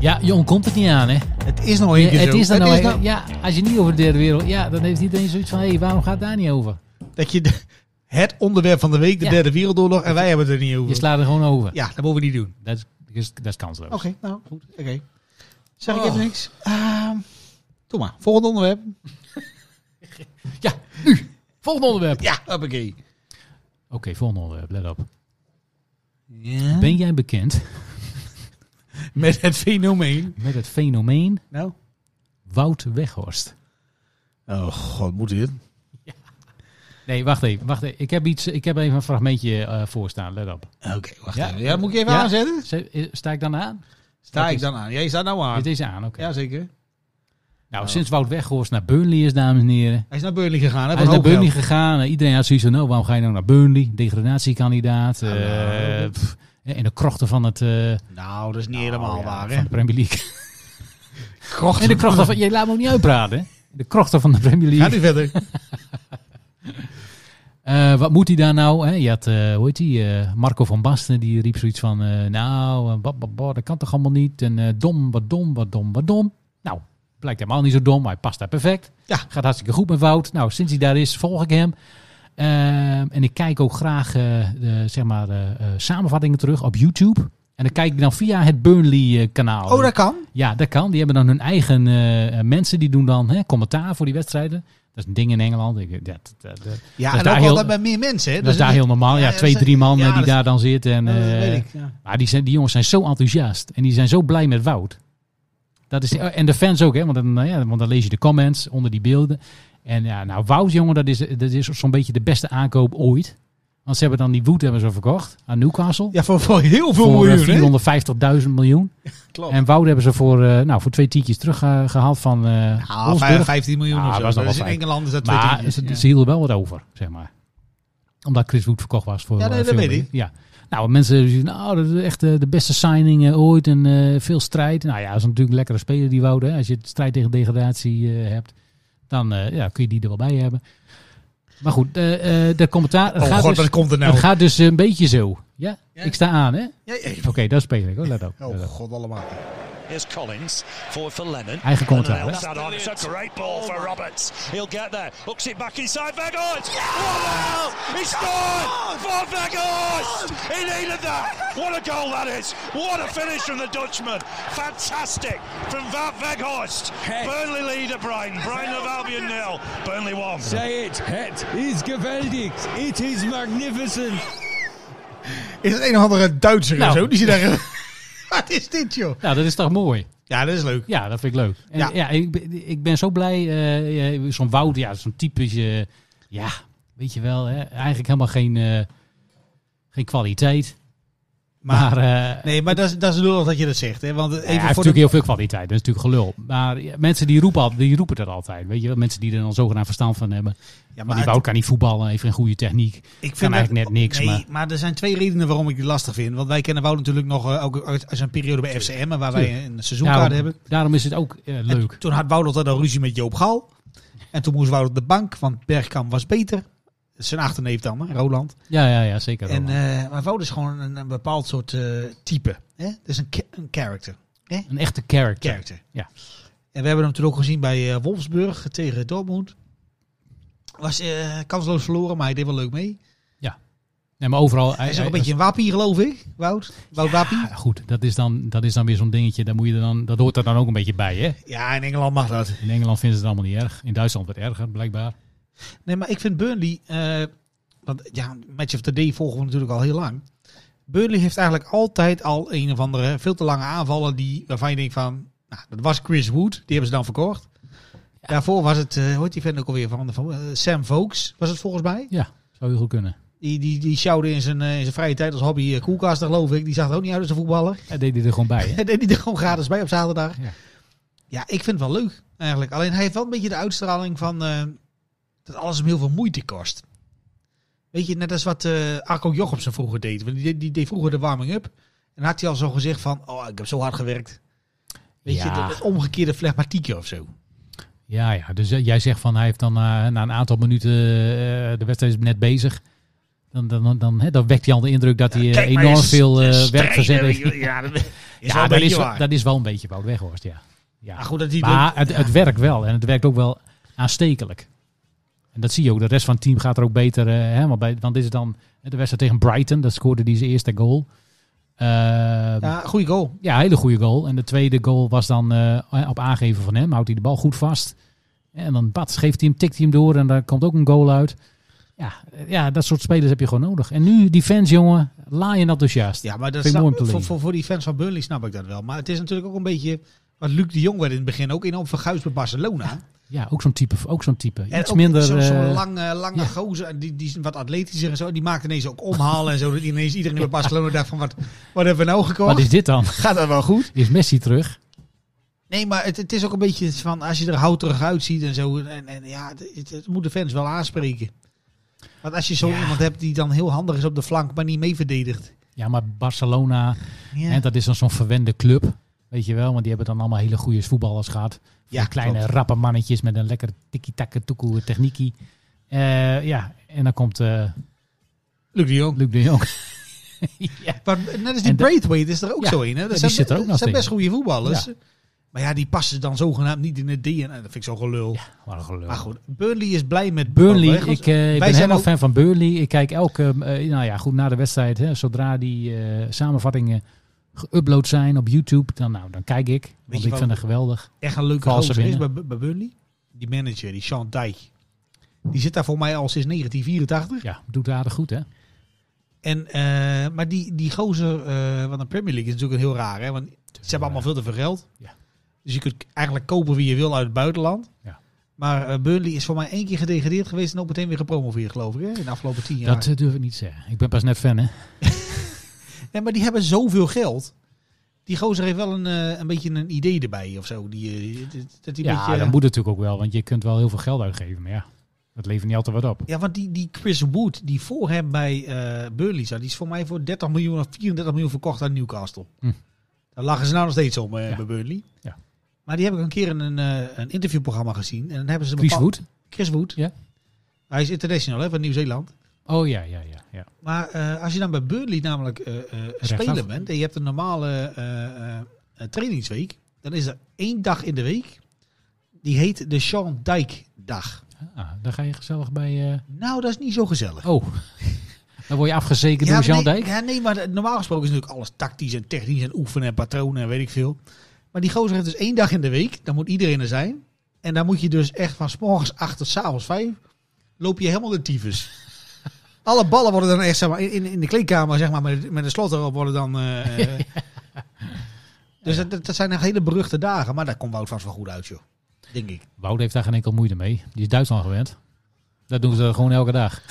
Speaker 1: Ja, Jon komt het niet aan, hè?
Speaker 6: Het is nog
Speaker 1: Ja,
Speaker 6: een keer
Speaker 1: het
Speaker 6: zo.
Speaker 1: is dan nou,
Speaker 6: nou-
Speaker 1: ja, als je niet over de derde wereld, ja, dan heeft iedereen zoiets van, hé, hey, waarom gaat het daar niet over?
Speaker 6: dat je de- het onderwerp van de week, de
Speaker 1: Ja.
Speaker 6: derde wereldoorlog, en wij hebben het er niet
Speaker 1: Je
Speaker 6: over.
Speaker 1: slaat er gewoon over.
Speaker 6: Ja, dat mogen we niet doen.
Speaker 1: Dat, is, is- dat is kansloos.
Speaker 6: Oké, nou goed. Oké. Zeg ik
Speaker 1: Oh.
Speaker 6: even niks? Ehm doe maar. Volgende onderwerp.
Speaker 1: Ja, nu. Volgende onderwerp.
Speaker 6: Ja, hoppakee.
Speaker 1: Oké, volgende onderwerp. Let op.
Speaker 6: Ja.
Speaker 1: Ben jij bekend
Speaker 6: Met het fenomeen.
Speaker 1: met het fenomeen
Speaker 6: Nou.
Speaker 1: Wout Weghorst?
Speaker 6: Oh god, moet dit?
Speaker 1: Nee, wacht even. Wacht even. Ik, heb iets, ik heb even een fragmentje eh voorstaan. Let op.
Speaker 6: Oké, wacht
Speaker 1: Ja.
Speaker 6: even. Ja, moet ik je even
Speaker 1: Ja.
Speaker 6: aanzetten?
Speaker 1: Zet- eh, Sta ik dan aan?
Speaker 6: Sta
Speaker 1: Dat
Speaker 6: ik
Speaker 1: is-
Speaker 6: dan aan? Jij staat nou aan.
Speaker 1: Dit is aan, oké.
Speaker 6: Jazeker.
Speaker 1: Nou, sinds Wout Weghorst naar Burnley is, dames en heren.
Speaker 6: Hij is naar Burnley gegaan. Hè,
Speaker 1: Hij is naar Burnley gegaan. Eh, Iedereen had zoiets van, nou, waarom ga je nou naar Burnley? Degradatiekandidaat. eh,
Speaker 6: nou, dat-
Speaker 1: pff, eh, in de krochten van het... eh, oh
Speaker 6: Nou, dat is niet helemaal
Speaker 1: ja,
Speaker 6: waar,
Speaker 1: Van
Speaker 6: hè?
Speaker 1: de Premier League.
Speaker 6: Krocht.
Speaker 1: In de krochten van... Je laat me ook niet uitpraten, hè? In De krochten van de Premier
Speaker 6: Ga
Speaker 1: League.
Speaker 6: nu verder.
Speaker 1: Eh, wat moet hij daar nou? Hè? Je had, eh, hoe heet die? eh, Marco van Basten, die riep zoiets van... eh, nou, eh, bab, bab, bab, dat kan toch allemaal niet? En eh, dom, wat dom, wat dom, wat dom. Nou, blijkt helemaal niet zo dom, maar hij past daar perfect.
Speaker 6: Ja.
Speaker 1: Gaat hartstikke goed met Wout. Nou, sinds hij daar is, volg ik hem. Ehm, en ik kijk ook graag eh, de, zeg maar, eh, eh, samenvattingen terug op YouTube. En dan kijk ik dan via het Burnley-kanaal.
Speaker 6: Oh, dat kan.
Speaker 1: Ja, dat kan. Die hebben dan hun eigen eh, eh, mensen. Die doen dan hè, commentaar voor die wedstrijden. Dat is een ding in Engeland. Ik, dat, dat, dat, dat
Speaker 6: Ja,
Speaker 1: is
Speaker 6: en
Speaker 1: daar
Speaker 6: ook
Speaker 1: heel-
Speaker 6: altijd bij meer mensen, hè?
Speaker 1: is daar heel normaal. Ja,
Speaker 6: ja, dat
Speaker 1: twee,
Speaker 6: is-
Speaker 1: drie man eh,
Speaker 6: ja,
Speaker 1: die
Speaker 6: dat is-
Speaker 1: daar dan zitten. En,
Speaker 6: Ja, dat
Speaker 1: eh,
Speaker 6: weet ik, ja.
Speaker 1: Maar die, zijn, die jongens zijn zo enthousiast. En die zijn zo blij met Wout. Dat is, en de fans ook, hè? Want, dan, nou ja, want dan lees je de comments onder die beelden. En ja, nou, Wout, jongen, dat is, dat is zo'n beetje de beste aankoop ooit. Want ze hebben dan die Wood hebben ze verkocht aan Newcastle.
Speaker 6: Ja, voor, voor heel veel
Speaker 1: voor eh,
Speaker 6: miljoen, hè?
Speaker 1: 450.000 miljoen.
Speaker 6: Klopt.
Speaker 1: En Wout hebben ze voor, eh, nou, voor twee tientjes teruggehaald van eh
Speaker 6: Ah,
Speaker 1: Wolfsburg.
Speaker 6: 15 miljoen
Speaker 1: Ah,
Speaker 6: of
Speaker 1: was nog
Speaker 6: zo. Dat
Speaker 1: wel
Speaker 6: is in
Speaker 1: fijn.
Speaker 6: Engeland is dat twee
Speaker 1: Maar
Speaker 6: tientjes,
Speaker 1: ze,
Speaker 6: ja.
Speaker 1: ze hielden wel wat over, zeg maar. Omdat Chris Wood verkocht was voor
Speaker 6: Ja, nee,
Speaker 1: eh,
Speaker 6: dat
Speaker 1: veel
Speaker 6: weet
Speaker 1: meer. Ja. Nou, mensen zeggen, nou, dat is echt eh, de beste signing eh, ooit en eh, veel strijd. Nou ja, dat is natuurlijk een lekkere speler die Wout. Hè. Als je het strijd tegen degradatie eh, hebt, dan eh, ja, kun je die er wel bij hebben. Maar goed, eh, eh, de commentaar het
Speaker 6: Oh
Speaker 1: gaat,
Speaker 6: god,
Speaker 1: dus,
Speaker 6: wat komt er
Speaker 1: het
Speaker 6: nou?
Speaker 1: gaat dus een beetje zo. Ja?
Speaker 6: Ja.
Speaker 1: Ik sta aan, hè?
Speaker 6: Ja, ja,
Speaker 1: Oké, dat speel ik. Hoor. Let op. Let
Speaker 6: Oh
Speaker 1: op.
Speaker 6: god, allemaal.
Speaker 7: Here's Collins for for Lennon.
Speaker 1: Eigen commentaar, hè?
Speaker 7: That's that on. It's a great ball for Roberts. He'll get there. Hooks it back inside Vegas. Wow! He scored for Vegas. He needed that. What a goal that is. What a finish from the Dutchman. Fantastic from Van Veghorst. Burnley lead at Brighton. Brighton of Albion nil. Burnley one.
Speaker 8: Say it, het is geweldig, it is magnificent.
Speaker 6: Is het een of andere Duitser
Speaker 1: Nou.
Speaker 6: of zo? Die zit daar... Wat is dit, joh?
Speaker 1: Nou, dat is toch mooi?
Speaker 6: Ja, dat is leuk.
Speaker 1: Ja, dat vind ik leuk. En,
Speaker 6: Ja.
Speaker 1: ja. ik, ben- ik ben zo blij. eh, eh, zo'n Wout, ja, zo'n typische... Ja, weet je wel. Hè, eigenlijk helemaal geen, eh, geen kwaliteit.
Speaker 6: Maar...
Speaker 1: Maar, eh,
Speaker 6: Nee, maar dat is, dat is lullig dat je dat zegt. Hè? Want
Speaker 1: hij
Speaker 6: even
Speaker 1: heeft
Speaker 6: voor de...
Speaker 1: natuurlijk heel veel kwaliteit. Dat is natuurlijk gelul. Maar ja, mensen die roepen, al- die roepen dat altijd. Weet je wel? Mensen die er dan zogenaamd verstand van hebben.
Speaker 6: Ja,
Speaker 1: maar die Wout kan niet voetballen. Heeft geen goede techniek.
Speaker 6: ik
Speaker 1: kan eigenlijk net niks,
Speaker 6: Nee,
Speaker 1: maar-
Speaker 6: er zijn twee redenen waarom ik die lastig vind. Want wij kennen Wout natuurlijk nog eh, ook uit uit zijn periode bij FCM, waar wij een seizoenkaart hebben.
Speaker 1: daarom is het ook eh,
Speaker 6: En
Speaker 1: leuk.
Speaker 6: Toen had Wout altijd al ruzie met Joop Gal. En toen moest Wout op de bank, want Bergkamp was beter. Zijn achterneef dan, hè, Roland.
Speaker 1: Ja, ja, ja, zeker.
Speaker 6: En,
Speaker 1: Roland.
Speaker 6: eh, maar Wout is gewoon een, een bepaald soort eh, type. Hè? Dat is een, cha- een character.
Speaker 1: een echte character.
Speaker 6: character.
Speaker 1: Ja.
Speaker 6: En we hebben hem natuurlijk ook gezien bij eh, Wolfsburg tegen Dortmund. Was eh, kansloos verloren, maar hij deed wel leuk mee.
Speaker 1: Nee, maar overal...
Speaker 6: Hij is ook een beetje een wappie, geloof ik. Wout? Wout Wappie?
Speaker 1: Ja, goed, dat is, dan, dat is dan weer zo'n dingetje. Daar moet je er dan, dat hoort er dan ook een beetje bij, hè?
Speaker 6: Ja, in Engeland mag dat.
Speaker 1: In Engeland vinden ze het allemaal niet erg. In Duitsland wat erger, blijkbaar.
Speaker 6: Nee, maar ik vind Burnley... eh, want ja, Match of the Day volgen we natuurlijk al heel lang. Burnley heeft eigenlijk altijd al een of andere veel te lange aanvallen... Die, waarvan je denkt van... Nou, dat was Chris Wood. Die hebben ze dan verkocht. Daarvoor was het... eh hoe heet die vent ook alweer? Van, van, eh, Sam Vokes was het volgens mij.
Speaker 1: Ja, zou heel goed kunnen.
Speaker 6: Die, die, die sjouwde in zijn, eh, in zijn vrije tijd als hobby eh, koelkasten, geloof ik. Die zag er ook niet uit als een voetballer.
Speaker 1: Hij deed hij er gewoon bij, hè?
Speaker 6: En deed hij er gewoon gratis dus bij op zaterdag.
Speaker 1: Ja.
Speaker 6: Ja. ik vind het wel leuk eigenlijk. Alleen hij heeft wel een beetje de uitstraling van eh, dat alles hem heel veel moeite kost. Weet je, net als wat eh Arco Jochemsen vroeger deed. Want die, deed- die deed vroeger de warming-up. En had hij al zo gezegd van, oh, ik heb zo hard gewerkt. Weet
Speaker 1: Ja.
Speaker 6: je, dat, dat omgekeerde flegmatiekje of zo.
Speaker 1: Ja, ja. Dus eh, jij zegt van hij heeft dan eh, na een aantal minuten eh, de wedstrijd is net bezig. Dan, dan, dan, dan, hè, dan wekt hij al de indruk dat hij eh,
Speaker 6: Kijk maar
Speaker 1: enorm
Speaker 6: eens,
Speaker 1: veel eh,
Speaker 6: de
Speaker 1: werk verzet
Speaker 6: strijder,
Speaker 1: heeft.
Speaker 6: Ja, dat is, wel
Speaker 1: Ja, dat
Speaker 6: een beetje
Speaker 1: is, wel-
Speaker 6: waar.
Speaker 1: dat is wel een beetje Wout Weghorst, ja. ja.
Speaker 6: Maar goed, dat die
Speaker 1: maar het, het werkt wel. En het werkt ook wel aanstekelijk. En dat zie je ook. De rest van het team gaat er ook beter eh, helemaal bij. Want dit is dan eh, de wedstrijd tegen Brighton. Dat scoorde die zijn eerste goal. Eh, ja.
Speaker 6: ja, goede goal.
Speaker 1: hele goede goal. En de tweede goal was dan eh, op aangeven van hem. Houdt hij de bal goed vast. En dan bats, geeft hij hem, tikt hij hem door. En daar komt ook een goal uit. Ja, eh, ja, dat soort spelers heb je gewoon nodig. En nu die fans, jongen, laaien dus enthousiast.
Speaker 6: Ja, maar dat
Speaker 1: Vind ik
Speaker 6: snap-
Speaker 1: mooi om te
Speaker 6: voor,
Speaker 1: lezen.
Speaker 6: voor, voor die fans van Burnley snap ik dat wel. Maar het is natuurlijk ook een beetje wat Luc de Jong werd in het begin ook enorm verguisd bij Barcelona.
Speaker 1: Ja, ook zo'n type. Ook zo'n type.
Speaker 6: En
Speaker 1: Iets
Speaker 6: ook
Speaker 1: minder...
Speaker 6: Zo'n zo'n
Speaker 1: eh,
Speaker 6: lange, lange
Speaker 1: ja.
Speaker 6: gozer, en die, die is wat atletischer en zo. Die maakt ineens ook omhalen en zo. Dat ineens iedereen bij Barcelona dacht van, wat, wat hebben we nou gekocht?
Speaker 1: Wat is dit dan?
Speaker 6: Gaat dat wel goed?
Speaker 1: Is Messi terug?
Speaker 6: Nee, maar het, het is ook een beetje van, als je er houterig uitziet en zo. En, en ja, het, het- het moet de fans wel aanspreken. Want als je zo iemand hebt die dan heel handig is op de flank, maar niet mee verdedigt.
Speaker 1: Ja, maar Barcelona,
Speaker 6: Ja.
Speaker 1: hè, dat is dan zo'n verwende club. Weet je wel, want die hebben dan allemaal hele goede voetballers gehad. Van
Speaker 6: Ja,
Speaker 1: die kleine
Speaker 6: klopt.
Speaker 1: rappe mannetjes met een lekker tiki-taka-toekoe techniekie. Eh, ja, en dan komt eh,
Speaker 6: Luc de Jong.
Speaker 1: Luc de Jong.
Speaker 6: Maar net als die
Speaker 1: En de-
Speaker 6: Braithwaite is er ook
Speaker 1: Ja,
Speaker 6: zo in. Hè?
Speaker 1: die
Speaker 6: Dat zijn,
Speaker 1: zit er ook
Speaker 6: dat
Speaker 1: nog
Speaker 6: zijn
Speaker 1: in.
Speaker 6: best goede voetballers.
Speaker 1: Ja.
Speaker 6: Maar ja, die passen dan zogenaamd niet in het DNA. Dat vind ik zo gelul.
Speaker 1: Wat een gelul.
Speaker 6: Maar goed, Oh, Burnley is blij met
Speaker 1: Burnley,
Speaker 6: Burnley.
Speaker 1: ik eh, ben
Speaker 6: zijn
Speaker 1: helemaal
Speaker 6: ook-
Speaker 1: fan van Burnley. Ik kijk elke, eh, nou ja, goed, na de wedstrijd, hè, zodra die eh, samenvattingen geüpload zijn op YouTube, dan, nou, dan kijk ik. Want
Speaker 6: je
Speaker 1: ik
Speaker 6: wat-
Speaker 1: vind het geweldig.
Speaker 6: Echt een leuke
Speaker 1: Valse
Speaker 6: gozer is bij,
Speaker 1: winnen.
Speaker 6: bij Burnley. Die manager, die Sean Dijk. Die zit daar voor mij al sinds 1984.
Speaker 1: Ja, doet aardig goed, hè?
Speaker 6: En, eh, maar die, die gozer eh van de Premier League is natuurlijk een heel raar. Hè? Want ze hebben allemaal veel te veel geld.
Speaker 1: Ja.
Speaker 6: Dus je kunt eigenlijk kopen wie je wil uit het buitenland.
Speaker 1: Ja.
Speaker 6: Maar eh, Burnley is voor mij één keer gedegradeerd geweest en ook meteen weer gepromoveerd, geloof ik. Hè? In de afgelopen tien jaar.
Speaker 1: Dat eh, durf ik niet te zeggen. Ik ben pas net fan, hè?
Speaker 6: Nee, maar die hebben zoveel geld. Die gozer heeft wel een, eh, een beetje een idee erbij of zo. Die, eh, dat- dat die
Speaker 1: ja,
Speaker 6: beetje,
Speaker 1: dat moet natuurlijk ook wel, want je kunt wel heel veel geld uitgeven, maar ja, dat levert niet altijd wat op.
Speaker 6: Ja, want die, die Chris Wood, die voor hem bij eh Burnley zat, die is voor mij voor 30 miljoen of 34 miljoen verkocht aan Newcastle.
Speaker 1: Hm.
Speaker 6: Daar lachen ze nou nog steeds om eh,
Speaker 1: Ja.
Speaker 6: bij Burnley.
Speaker 1: Ja.
Speaker 6: Maar die heb ik een keer in een, eh, een interviewprogramma gezien. En dan hebben ze een
Speaker 1: Chris
Speaker 6: bepaal-
Speaker 1: Wood?
Speaker 6: Chris Wood.
Speaker 1: Ja.
Speaker 6: Hij is international hè, van Nieuw-Zeeland.
Speaker 1: Oh ja, ja, ja. ja.
Speaker 6: Maar eh, als je dan bij Burnley namelijk eh, eh, speler bent en je hebt een normale eh, eh, eh, trainingsweek, dan is er één dag in de week. Die heet de Sean Dijk dag.
Speaker 1: Ah, daar ga je gezellig bij... eh,
Speaker 6: Nou, dat is niet zo gezellig.
Speaker 1: Oh, dan word je afgezekerd door
Speaker 6: maar
Speaker 1: Jean
Speaker 6: nee,
Speaker 1: Dijk?
Speaker 6: Ja, nee, maar normaal gesproken is natuurlijk alles tactisch en technisch en oefenen en patronen en weet ik veel. Maar die gozer heeft dus één dag in de week, dan moet iedereen er zijn. En dan moet je dus echt van s morgens acht tot s avonds vijf, loop je helemaal de tyfus. Alle ballen worden dan echt zeg maar, in, in de kleedkamer zeg maar, met, met een slot erop worden dan... eh, eh. Dus dat- dat, dat zijn echt hele beruchte dagen, maar daar komt Wout vast wel goed uit, joh. Denk ik.
Speaker 1: Wout heeft daar geen enkel moeite mee. Die is Duitsland gewend. Dat doen ze gewoon elke dag.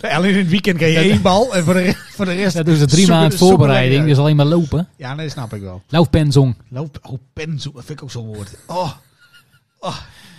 Speaker 6: Alleen in het weekend krijg je één bal en voor de, re- voor de rest...
Speaker 1: Dat doen ze drie
Speaker 6: zoeken-
Speaker 1: maanden
Speaker 6: zoeken we er
Speaker 1: voorbereiding,
Speaker 6: weer
Speaker 1: dus
Speaker 6: uit.
Speaker 1: alleen maar lopen.
Speaker 6: Ja, nee, dat snap ik wel.
Speaker 1: Laufpenzong.
Speaker 6: Loop, oh, penzo, dat vind ik ook zo'n woord. Oh. oh.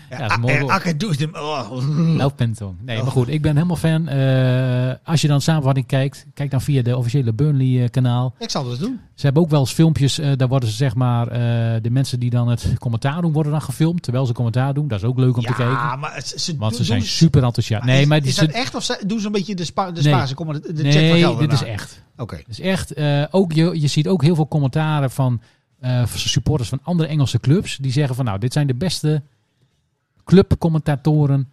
Speaker 6: Ja,
Speaker 1: dat is mooi
Speaker 6: eh,
Speaker 1: woord.
Speaker 6: akker doet hem. Oh.
Speaker 1: Laufpenzong. Nee, maar goed, ik ben helemaal fan. Eh, als je dan samenvatting kijkt, kijk dan via de officiële Burnley-kanaal.
Speaker 6: Ik zal dat doen.
Speaker 1: Ze hebben ook wel eens filmpjes, eh, daar worden ze zeg maar, eh, de mensen die dan het commentaar doen, worden dan gefilmd. Terwijl ze commentaar doen, dat is ook leuk om
Speaker 6: ja,
Speaker 1: te kijken.
Speaker 6: maar ze, ze
Speaker 1: Want ze
Speaker 6: doen-
Speaker 1: zijn
Speaker 6: doen-
Speaker 1: super enthousiast.
Speaker 6: maar
Speaker 1: Nee,
Speaker 6: is,
Speaker 1: maar die
Speaker 6: is dat
Speaker 1: ze-
Speaker 6: echt of ze- doen ze een beetje de, spa, de
Speaker 1: Nee.
Speaker 6: Spaanse comment- de check van
Speaker 1: nee,
Speaker 6: geld
Speaker 1: dit is
Speaker 6: daarna?
Speaker 1: echt.
Speaker 6: Oké.
Speaker 1: Dit is echt eh, ook je, je ziet ook heel veel commentaren van eh, supporters van andere Engelse clubs. Die zeggen van nou, dit zijn de beste clubcommentatoren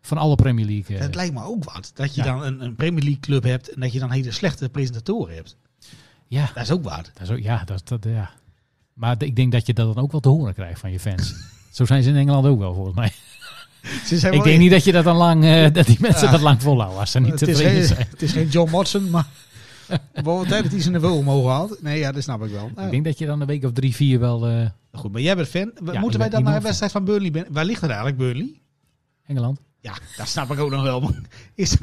Speaker 1: Van alle Premier League. eh.
Speaker 6: Het lijkt me ook wat. Dat je
Speaker 1: Ja.
Speaker 6: dan een, een Premier League club hebt en dat je dan hele slechte presentatoren hebt.
Speaker 1: ja,
Speaker 6: Dat is ook waard.
Speaker 1: dat is ook, ja, dat, dat, ja. Maar d- ik denk dat je dat dan ook wel te horen krijgt van je fans. Zo zijn ze in Engeland ook wel, volgens mij.
Speaker 6: Ze
Speaker 1: Ik
Speaker 6: zijn wel
Speaker 1: denk
Speaker 6: in-
Speaker 1: niet dat, je dat, dan lang, eh, dat die mensen
Speaker 6: Ja.
Speaker 1: dat lang volhouden als ze niet
Speaker 6: het, is
Speaker 1: tevreden
Speaker 6: geen,
Speaker 1: zijn.
Speaker 6: het is geen John Watson, maar wel tijd dat hij zijn niveau omhoog haalt. Nee, ja, dat snap ik wel. Ja.
Speaker 1: Ik denk dat je dan een week of drie, vier wel eh,
Speaker 6: Goed, maar jij bent fan. W-
Speaker 1: Ja, ik ben
Speaker 6: Moeten wij dan naar
Speaker 1: enorm
Speaker 6: de wedstrijd van Burnley? ben- Waar ligt dat eigenlijk, Burnley?
Speaker 1: Engeland.
Speaker 6: Ja, dat snap ik ook nog wel. maar Is,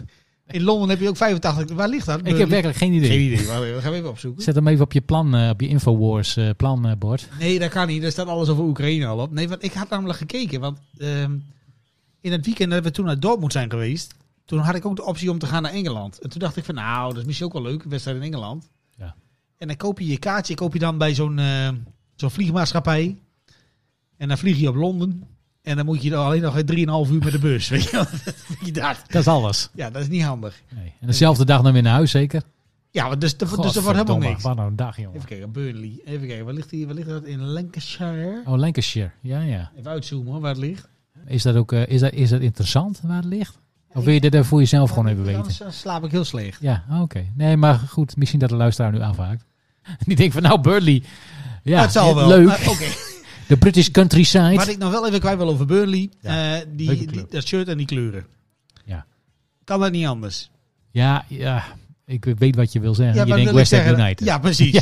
Speaker 6: in Londen heb je ook 85. Waar ligt dat?
Speaker 1: Ik heb
Speaker 6: Burnley?
Speaker 1: werkelijk geen idee.
Speaker 6: Eh, geen idee. maar We gaan even opzoeken.
Speaker 1: Zet hem even op je plan, eh, op je Infowars eh, planbord.
Speaker 6: Nee, dat kan niet. Daar staat alles over Oekraïne al op. Nee, want ik had namelijk gekeken. Want ehm, in het weekend dat we toen naar Dortmund zijn geweest, toen had ik ook de optie om te gaan naar Engeland. En toen dacht ik van, nou, dat is misschien ook wel leuk, een wedstrijd in Engeland.
Speaker 1: Ja.
Speaker 6: En dan koop je je kaartje, koop je dan bij zo'n eh, zo'n vliegmaatschappij. En dan vlieg je op Londen. En dan moet je dan alleen nog 3,5 uur met de bus. Weet je wel? Dat je dat-
Speaker 1: Dat is alles.
Speaker 6: Ja, dat is niet handig.
Speaker 1: Nee. En dezelfde dag dan weer naar huis, zeker?
Speaker 6: Ja, want dus, dus dat wordt helemaal
Speaker 1: Godverdomme,
Speaker 6: niks.
Speaker 1: Wat nou een dag, jongen.
Speaker 6: Even kijken, Burnley. Even kijken, waar ligt, die, waar ligt dat? In Lancashire?
Speaker 1: Oh, Lancashire. Ja, ja.
Speaker 6: Even uitzoomen hoor, waar het ligt.
Speaker 1: Is dat ook eh, is dat, is dat interessant waar het ligt? Of wil je dit eh, voor jezelf gewoon even weten?
Speaker 6: Anders eh, slaap ik heel slecht.
Speaker 1: Ja, oké. Nee, maar goed, misschien dat de luisteraar nu aanvaakt. Die denkt van, nou, Burnley. Ja,
Speaker 6: dat zal wel.
Speaker 1: leuk.
Speaker 6: Maar, Oké.
Speaker 1: De British countryside.
Speaker 6: Wat ik nog wel even kwijt wil over Burnley.
Speaker 1: Ja.
Speaker 6: eh,
Speaker 1: Leuke
Speaker 6: die,
Speaker 1: club.
Speaker 6: die, dat shirt en die kleuren.
Speaker 1: Ja.
Speaker 6: Kan dat niet anders?
Speaker 1: Ja, ja, ik weet wat je wil zeggen. je
Speaker 6: wat
Speaker 1: denkt
Speaker 6: wil ik
Speaker 1: West Ham
Speaker 6: zeggen?
Speaker 1: United.
Speaker 6: Ja, precies.
Speaker 1: Ja,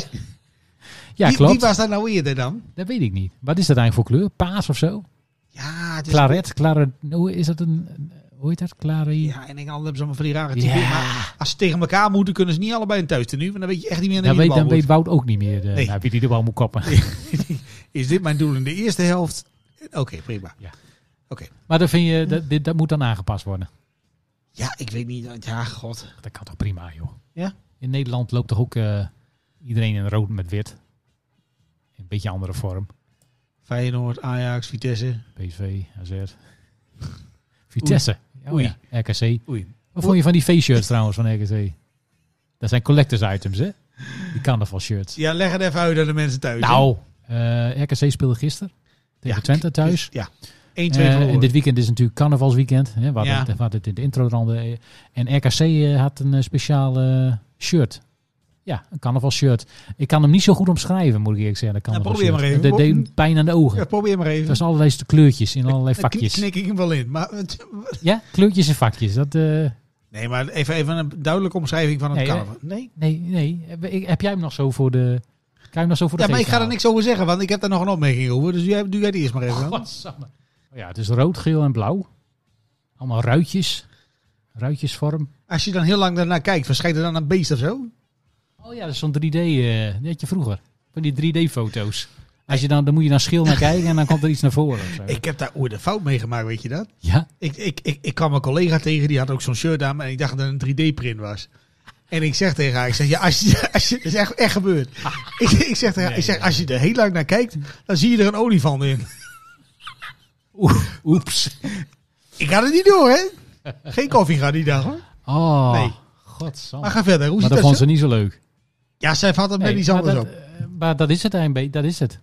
Speaker 1: Ja,
Speaker 6: Wie-
Speaker 1: klopt.
Speaker 6: Wie was dat nou eerder dan?
Speaker 1: Dat weet ik niet. Wat is dat eigenlijk voor kleur? Paas of zo?
Speaker 6: Ja, het is...
Speaker 1: Claret? Claret? Hoe is dat een... Hoe heet dat? Claret?
Speaker 6: Ja, in Engeland hebben ze allemaal van die rare typen.
Speaker 1: Ja.
Speaker 6: Maar als ze tegen elkaar moeten, kunnen ze niet allebei een thuis nu. Want dan weet je echt niet meer naar
Speaker 1: Dan,
Speaker 6: wie
Speaker 1: weet,
Speaker 6: de
Speaker 1: dan
Speaker 6: bal
Speaker 1: weet
Speaker 6: moet.
Speaker 1: Wout ook niet meer eh,
Speaker 6: Nee.
Speaker 1: naar wie die de bal moet koppen.
Speaker 6: Is dit mijn doel in de eerste helft? Oké, prima.
Speaker 1: Ja.
Speaker 6: Oké.
Speaker 1: Maar dan vind je, dat, dit, dat moet dan aangepast worden.
Speaker 6: Ja, ik weet niet. Ja, god.
Speaker 1: Dat kan toch prima, joh.
Speaker 6: Ja?
Speaker 1: In Nederland loopt toch ook eh, iedereen in rood met wit. Een beetje andere vorm.
Speaker 6: Feyenoord, Ajax, Vitesse.
Speaker 1: PSV, AZ. Vitesse. Oh
Speaker 6: Oei.
Speaker 1: ja, RKC.
Speaker 6: Oei.
Speaker 1: Wat vond je van die V-shirts trouwens van RKC? Dat zijn collectors items, hè? Die carnaval shirts.
Speaker 6: Ja, leg het even uit aan de mensen thuis. hè.
Speaker 1: Nou, eh, RKC speelde gisteren tegen
Speaker 6: Ja,
Speaker 1: Twente thuis.
Speaker 6: Ja. 1-2
Speaker 1: Eh, en
Speaker 6: verloren.
Speaker 1: dit weekend is natuurlijk carnavalsweekend. Hè, we, hadden
Speaker 6: Ja.
Speaker 1: het, we hadden het in de intro al. eh, En RKC eh, had een eh, speciaal eh, shirt. Ja, een carnavalshirt. Ik kan hem niet zo goed omschrijven, moet ik eerlijk zeggen. dat
Speaker 6: Nou,
Speaker 1: carnavalshirt.
Speaker 6: probeer maar
Speaker 1: Dat
Speaker 6: even.
Speaker 1: deed pijn aan de ogen.
Speaker 6: Ja, probeer maar even.
Speaker 1: Dat was allerlei kleurtjes in allerlei vakjes.
Speaker 6: Dan knik ik hem wel in. Maar, het-
Speaker 1: Ja, kleurtjes en vakjes. Dat, eh,
Speaker 6: nee, maar even, even een duidelijke omschrijving van het
Speaker 1: Nee,
Speaker 6: carnaval. Nee?
Speaker 1: nee, nee. Heb, ik- heb jij hem nog zo voor de... Kan je hem nog zo voor de
Speaker 6: Ja, maar ik
Speaker 1: geest
Speaker 6: ga er
Speaker 1: halen?
Speaker 6: niks over zeggen, want ik heb daar nog een opmerking over. Dus jij, doe jij die eerst maar even.
Speaker 1: Oh.
Speaker 6: dan.
Speaker 1: Godsamme. Oh Ja, het is rood, geel en blauw. Allemaal ruitjes. Ruitjesvorm.
Speaker 6: Als je dan heel lang daarnaar kijkt, verschijnt er dan een beest of zo?
Speaker 1: Oh ja, dat is zo'n 3D. eh die had je vroeger. Van die 3D-foto's. Als je dan, dan moet je naar schil naar kijken en dan komt er iets naar voren. of zo.
Speaker 6: Ik heb daar ooit een fout mee gemaakt, weet je dat?
Speaker 1: Ja,
Speaker 6: Ik, ik, ik, ik kwam een collega tegen, die had ook zo'n shirt aan, en ik dacht dat het een 3D-print was. En ik zeg tegen haar, ik zeg, ja, als je, als je, dat is echt, echt gebeurd. Ik, ik zeg tegen haar, ik zeg, als je er heel lang naar kijkt, dan zie je er een olifant in.
Speaker 1: oeps.
Speaker 6: Ik had het niet door, hè? Geen koffie gaat die dag, hoor.
Speaker 1: Oh,
Speaker 6: Nee.
Speaker 1: godsamme.
Speaker 6: Maar ga verder. Hoe
Speaker 1: Maar
Speaker 6: ziet
Speaker 1: dat
Speaker 6: dat
Speaker 1: vond
Speaker 6: zo-
Speaker 1: ze niet zo leuk.
Speaker 6: Ja, zij vat het met
Speaker 1: Nee,
Speaker 6: iets
Speaker 1: maar
Speaker 6: anders
Speaker 1: dat,
Speaker 6: op.
Speaker 1: eh, maar dat is het, AMB. Dat is het.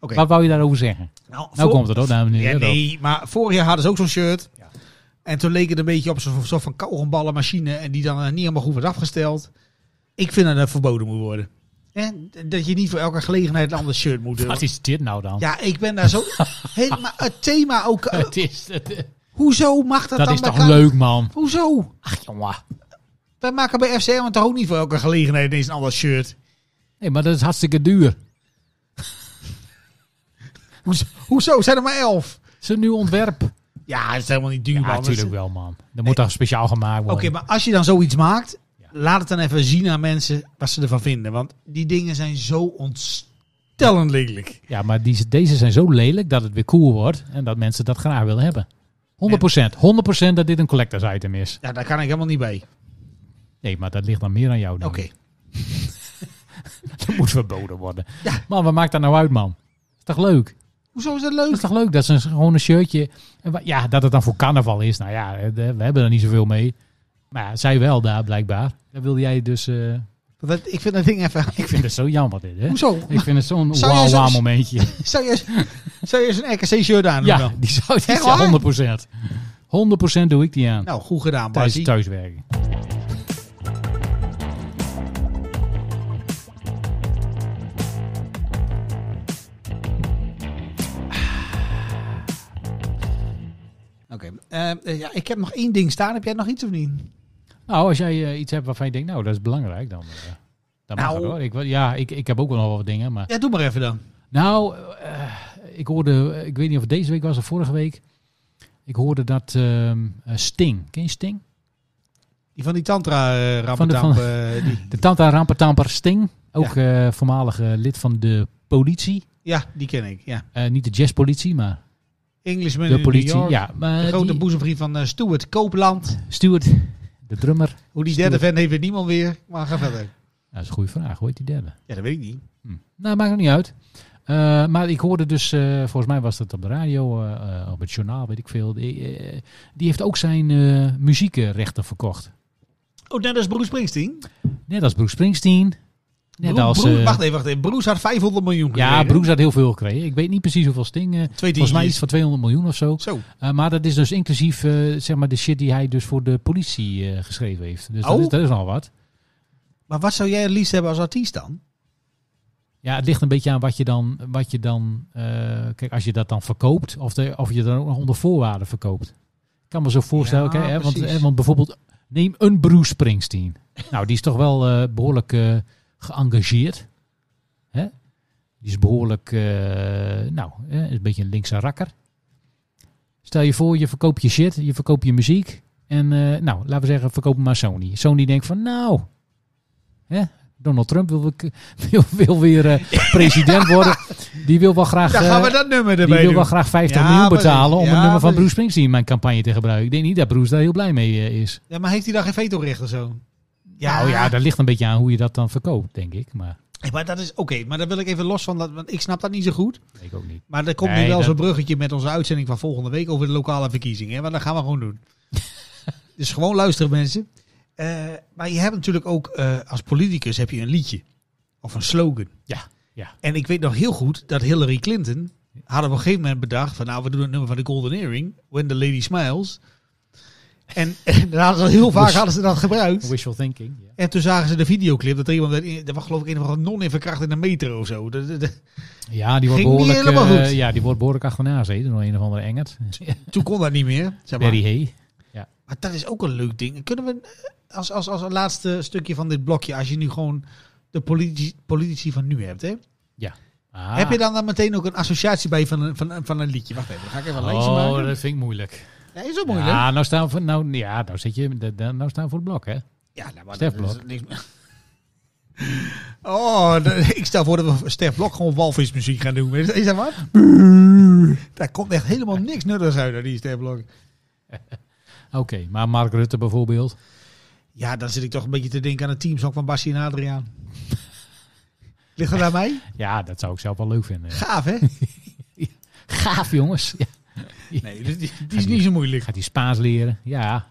Speaker 6: Oké.
Speaker 1: Wat wou je daarover zeggen? Nou komt het, hoor, dames en heren.
Speaker 6: Ja, nee, maar vorig jaar hadden ze ook zo'n shirt. En toen leek het een beetje op zo'n soort van kauwgomballenmachine. En die dan eh, niet helemaal goed werd afgesteld. Ik vind dat dat verboden moet worden. En dat je niet voor elke gelegenheid een ander shirt moet doen.
Speaker 1: Wat is dit nou dan?
Speaker 6: Ja, ik ben daar zo... helemaal het thema ook... eh,
Speaker 1: Het is, het- eh,
Speaker 6: hoezo mag dat,
Speaker 1: dat
Speaker 6: dan?
Speaker 1: is
Speaker 6: bij
Speaker 1: toch
Speaker 6: Ka-
Speaker 1: leuk, man?
Speaker 6: Hoezo?
Speaker 1: Ach, jongen.
Speaker 6: Wij maken bij FCM want toch ook niet voor elke gelegenheid ineens een ander shirt.
Speaker 1: Nee, maar dat is hartstikke duur.
Speaker 6: Hoezo? hoezo? Zijn er maar elf?
Speaker 1: Zo'n nieuw ontwerp.
Speaker 6: Ja, dat is helemaal niet duur,
Speaker 1: Ja,
Speaker 6: man. Dus- Dat is-
Speaker 1: natuurlijk wel, man. Dat moet toch speciaal gemaakt
Speaker 6: Oké,
Speaker 1: worden.
Speaker 6: maar als je dan zoiets maakt, laat het dan even zien aan mensen wat ze ervan vinden. Want die dingen zijn zo ontstellend lelijk.
Speaker 1: Ja, maar die, deze zijn zo lelijk dat het weer cool wordt en dat mensen dat graag willen hebben. 100%, 100% dat dit een collectors item is.
Speaker 6: Ja, daar kan ik helemaal niet bij.
Speaker 1: Nee, maar dat ligt dan meer aan jou.
Speaker 6: Oké.
Speaker 1: denk ik. Dat moet verboden worden. Man, wat maakt dat nou uit, man? Is toch leuk?
Speaker 6: Hoezo is dat
Speaker 1: Dat
Speaker 6: leuk?
Speaker 1: is toch leuk dat ze een- gewoon een shirtje... en wa- Ja, dat het dan voor carnaval is. Nou ja, eh, we hebben er niet zoveel mee. Maar ja, zij wel daar, blijkbaar. Dan wilde jij dus... eh,
Speaker 6: Dat, ik vind dat ding even...
Speaker 1: ik vind het zo jammer dit, hè?
Speaker 6: Hoezo?
Speaker 1: Ik vind het zo'n
Speaker 6: Zou jij
Speaker 1: wauw wauw
Speaker 6: zo-
Speaker 1: momentje.
Speaker 6: Zou je, zou je eens een RKC-shirt aan doen
Speaker 1: Ja,
Speaker 6: dan?
Speaker 1: die zou
Speaker 6: Echt
Speaker 1: dit
Speaker 6: waar?
Speaker 1: 100%. 100% doe ik die aan.
Speaker 6: Nou, goed gedaan,
Speaker 1: tijdens
Speaker 6: Basie.
Speaker 1: thuiswerken.
Speaker 6: Oké. Eh, eh, ja, ik heb nog één ding staan. Heb jij nog iets of niet?
Speaker 1: Nou, als jij eh, iets hebt waarvan je denkt, nou, dat is belangrijk, dan, eh dan mag
Speaker 6: Nou.
Speaker 1: het hoor. Ik, wa- ja, ik, ik heb ook wel nog wat dingen, maar...
Speaker 6: Ja, doe maar even dan.
Speaker 1: Nou, eh, ik hoorde, eh, ik weet niet of het deze week was of vorige week, ik hoorde dat ehm, eh, Sting, ken je Sting?
Speaker 6: Die van die tantra eh
Speaker 1: Van de- van-
Speaker 6: rampetamp, eh, die,
Speaker 1: De Tanta Rampertamper Sting, ook eh voormalig eh, lid van de politie.
Speaker 6: Ja, die ken ik. Ja.
Speaker 1: Eh, niet de jazzpolitie, maar
Speaker 6: Englishman
Speaker 1: de
Speaker 6: in New
Speaker 1: politie.
Speaker 6: York.
Speaker 1: Ja, maar
Speaker 6: De grote
Speaker 1: die-
Speaker 6: boezemvriend van eh, Stuart Copeland.
Speaker 1: Stuart, de drummer. Nou,
Speaker 6: Hoe die derde vent heeft weet niemand weer. Maar ga verder.
Speaker 1: Dat is een goede vraag, hoe heet die derde?
Speaker 6: Ja, dat weet ik niet.
Speaker 1: Nou, maakt nog niet uit. Eh, maar ik hoorde dus, eh, volgens mij was dat op de radio, eh, eh, op het journaal, weet ik veel. Die, eh, die heeft ook zijn eh, muziekrechten verkocht.
Speaker 6: Oh, net als Bruce Springsteen.
Speaker 1: Net als Bruce Springsteen. Net
Speaker 6: Bro-
Speaker 1: als...
Speaker 6: Bruce-
Speaker 1: eh,
Speaker 6: wacht even, wacht even. Bruce had 500 miljoen
Speaker 1: ja,
Speaker 6: gekregen.
Speaker 1: Bruce had heel veel gekregen. Ik weet niet precies hoeveel Sting. eh, volgens mij
Speaker 6: tientjes.
Speaker 1: iets van 200 miljoen of zo.
Speaker 6: Zo.
Speaker 1: Eh, maar dat is dus inclusief eh, zeg maar de shit die hij dus voor de politie eh, geschreven heeft. Dus dat,
Speaker 6: Oh.
Speaker 1: is, dat is al wat.
Speaker 6: Maar wat zou jij het liefst hebben als artiest dan?
Speaker 1: Ja, het ligt een beetje aan wat je dan... Wat je dan eh, kijk, als je dat dan verkoopt, of, de, of je dat ook nog onder voorwaarden verkoopt. Ik kan me zo voorstellen,
Speaker 6: Ja,
Speaker 1: kijk, hè, want,
Speaker 6: precies.
Speaker 1: hè, want bijvoorbeeld neem een Bruce Springsteen. nou, die is toch wel eh, behoorlijk eh, geëngageerd. Hè? Die is behoorlijk, eh, nou, hè, is een beetje een linkse rakker. Stel je voor, je verkoopt je shit, je verkoopt je muziek. En eh, nou, laten we zeggen, verkoop hem maar Sony. Sony denkt van, nou, hè, Donald Trump wil, weer- wil, wil weer eh, president worden. Die wil wel graag...
Speaker 6: Dan gaan we
Speaker 1: eh,
Speaker 6: dat nummer
Speaker 1: die
Speaker 6: erbij
Speaker 1: wil
Speaker 6: doen.
Speaker 1: wel graag 50
Speaker 6: Ja,
Speaker 1: miljoen
Speaker 6: precies.
Speaker 1: betalen om
Speaker 6: Ja,
Speaker 1: een nummer van
Speaker 6: precies.
Speaker 1: Bruce Springsteen in mijn campagne te gebruiken. Ik denk niet dat Bruce daar heel blij mee eh, is.
Speaker 6: Ja, maar heeft hij dan geen veto-recht of zo?
Speaker 1: Nou ja, dat ligt een beetje aan hoe je dat dan verkoopt, denk ik. Maar
Speaker 6: Hey, maar dat is oké. maar dat wil ik even los van, dat, want ik snap dat niet zo goed.
Speaker 1: ik ook niet.
Speaker 6: Maar er komt
Speaker 1: Nee,
Speaker 6: nu wel
Speaker 1: dat-
Speaker 6: zo'n bruggetje met onze uitzending van volgende week over de lokale verkiezingen. Hè? Want dat gaan we gewoon doen. dus gewoon luisteren mensen. Eh, maar je hebt natuurlijk ook eh, als politicus heb je een liedje. Of een slogan.
Speaker 1: Ja, ja.
Speaker 6: En ik weet nog heel goed dat Hillary Clinton had op een gegeven moment bedacht van nou we doen het nummer van de Golden Earring. When the Lady Smiles. En, en daar hadden ze heel vaak hadden ze dat gebruikt.
Speaker 1: Wishful thinking. ja.
Speaker 6: En toen zagen ze de videoclip dat er iemand, werd in- dat was geloof ik een of andere non in verkracht in een metro of zo. Dat- dat- dat-
Speaker 1: Ja, die wordt
Speaker 6: Ging niet
Speaker 1: behoorlijk,
Speaker 6: helemaal
Speaker 1: eh,
Speaker 6: goed.
Speaker 1: ja, die wordt behoorlijk achterna gezeten door een of andere engert.
Speaker 6: toen kon dat niet meer. Zeg maar.
Speaker 1: Barry Hay.
Speaker 6: Maar dat is ook een leuk ding. Kunnen we eh, als, als, als een laatste stukje van dit blokje, als je nu gewoon de politici, politici van nu hebt, hè?
Speaker 1: Ah.
Speaker 6: heb je dan, dan meteen ook een associatie bij van een, van, een- van een liedje? Wacht even, dan ga ik even een lijstje
Speaker 1: Oh,
Speaker 6: maken.
Speaker 1: dat vind ik moeilijk.
Speaker 6: Nee, is ook moeilijk. Ja,
Speaker 1: Ja, nou staan we voor, nou, ja, nou zit je, de- de- nou staan we voor het blok, hè?
Speaker 6: nou, maar
Speaker 1: Stef
Speaker 6: dat is
Speaker 1: Blok.
Speaker 6: niks meer. Oh, dat- ik stel voor dat we Stef Blok gewoon walvismuziek gaan doen. Is, is dat wat? Daar komt echt helemaal niks nuttigs uit, uit die Stef Blok.
Speaker 1: Oké, maar Mark Rutte bijvoorbeeld.
Speaker 6: Ja, dan zit ik toch een beetje te denken aan het teamsong van Bassie en Adriaan. Ligt dat aan mij?
Speaker 1: Ja, dat zou ik zelf wel leuk vinden. ja.
Speaker 6: Gaaf, hè?
Speaker 1: Gaaf, jongens. Ja.
Speaker 6: Nee, dus die, die- die is niet zo moeilijk.
Speaker 1: Gaat hij Spaans leren? Ja.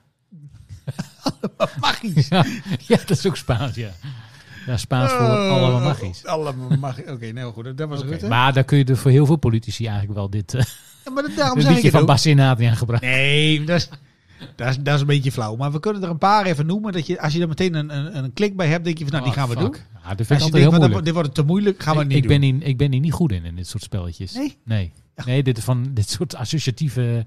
Speaker 6: Oh, Magisch.
Speaker 1: Ja, ja, dat is ook Spaans, ja. Ja, Spaans voor allemaal magisch.
Speaker 6: Oh, Allemaal magisch. Oké, nou goed, dat- dat was Rutte. Maar,
Speaker 1: Maar daar kun je dus voor heel veel politici eigenlijk wel dit, eh,
Speaker 6: maar dat- daarom
Speaker 1: dit
Speaker 6: zeg
Speaker 1: liedje
Speaker 6: ik het
Speaker 1: van
Speaker 6: ook.
Speaker 1: Bas in Adriaan gebruiken.
Speaker 6: Nee, dat is, dat, is, dat is een beetje flauw. Maar we kunnen er een paar even noemen. Dat je, als je er meteen een, een, een klik bij hebt, denk je van, nou, die gaan we doen.
Speaker 1: Oh, Ja, dat vind
Speaker 6: Als
Speaker 1: ik
Speaker 6: je
Speaker 1: altijd
Speaker 6: denkt,
Speaker 1: heel
Speaker 6: van, dat-
Speaker 1: moeilijk.
Speaker 6: dit wordt te moeilijk, gaan we
Speaker 1: Ik-
Speaker 6: Ah, niet
Speaker 1: ik
Speaker 6: doen.
Speaker 1: ben in, ik ben hier niet goed in, in dit soort spelletjes.
Speaker 6: Nee?
Speaker 1: Nee, nee dit, van, dit soort associatieve...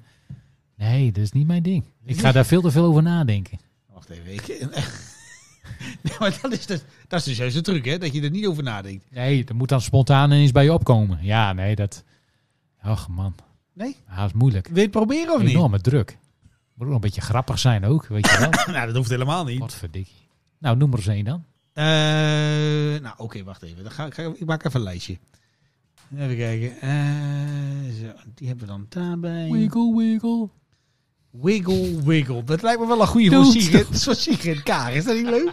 Speaker 1: Nee, dat is niet mijn ding. Ik ga daar veel te veel over nadenken.
Speaker 6: Wacht even, ik... Nee, maar dat is, dus, dat is dus juist de truc, hè? Dat je er niet over nadenkt.
Speaker 1: Nee, dat moet dan spontaan ineens bij je opkomen. Ja, nee, dat... Och man,
Speaker 6: Nee?
Speaker 1: ja, dat is moeilijk.
Speaker 6: Wil je het proberen of niet?
Speaker 1: Enorme druk. Moet ook nog een beetje grappig zijn ook, weet je wel.
Speaker 6: Nou, dat hoeft helemaal niet.
Speaker 1: Wat verdikkie. Nou, noem er eens één dan.
Speaker 6: Eh, nou, oké, wacht even. Dan ga, ik- ga, ik- ik maak even een lijstje. Even kijken. Eh, zo, die hebben we dan daarbij.
Speaker 1: Wiggle, wiggle.
Speaker 6: Wiggle, wiggle. Dat lijkt me wel een goede voor
Speaker 1: Doet
Speaker 6: Sigrid, voor Sigrid Kaag. Is dat niet leuk?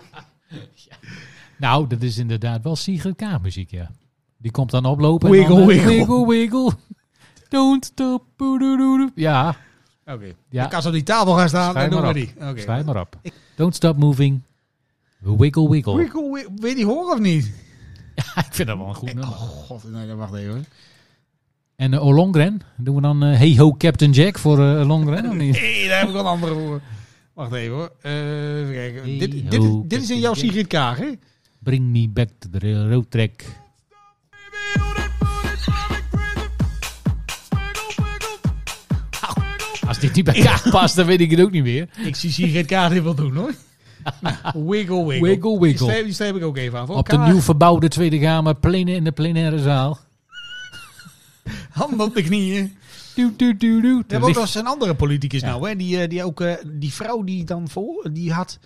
Speaker 1: Nou, dat is inderdaad wel Sigrid K muziek, ja. Die komt dan oplopen.
Speaker 6: Wiggle,
Speaker 1: en dan, eh,
Speaker 6: wiggle.
Speaker 1: wiggle, wiggle. Don't stop. boedoedoedoe. Ja,
Speaker 6: Oké.
Speaker 1: ja.
Speaker 6: Ik kan ze op die tafel gaan staan
Speaker 1: Schrijf
Speaker 6: en doen
Speaker 1: maar
Speaker 6: we
Speaker 1: op.
Speaker 6: die. Oké.
Speaker 1: Schrijf maar op. Don't stop moving. Wiggle, wiggle.
Speaker 6: Wiggle, wiggle. Wil je die horen of niet?
Speaker 1: Ik vind dat wel een goed nummer.
Speaker 6: Oh god, nee, dan wacht even. hoor.
Speaker 1: En eh, Olongren. Doen we dan eh, Hey Ho Captain Jack voor eh, Olongren? of niet?
Speaker 6: Nee, daar heb ik wel een andere voor. Wacht even hoor. Eh, even kijken.
Speaker 1: Hey,
Speaker 6: dit, dit,
Speaker 1: ho,
Speaker 6: dit is in jouw Sigrid Kaag, hè?
Speaker 1: Bring me back to the railroad track. Als dit niet bij elkaar past, dan weet ik het ook niet meer.
Speaker 6: Ik zie Sigrid Kaag dit wel doen, hoor. Nou, wiggle, wiggle.
Speaker 1: Wiggle, wiggle.
Speaker 6: Die streep- Die streep ik ook even af. hoor.
Speaker 1: Op de
Speaker 6: Kaag,
Speaker 1: nieuw verbouwde Tweede Kamer, plenen in de plenaire zaal.
Speaker 6: Handen op de knieën.
Speaker 1: Doe, doe, doe, doe.
Speaker 6: We hebben ook
Speaker 1: Richt-
Speaker 6: nog eens een andere politicus nou, hè? Die, eh, die, ook, eh, die vrouw die dan voor, die had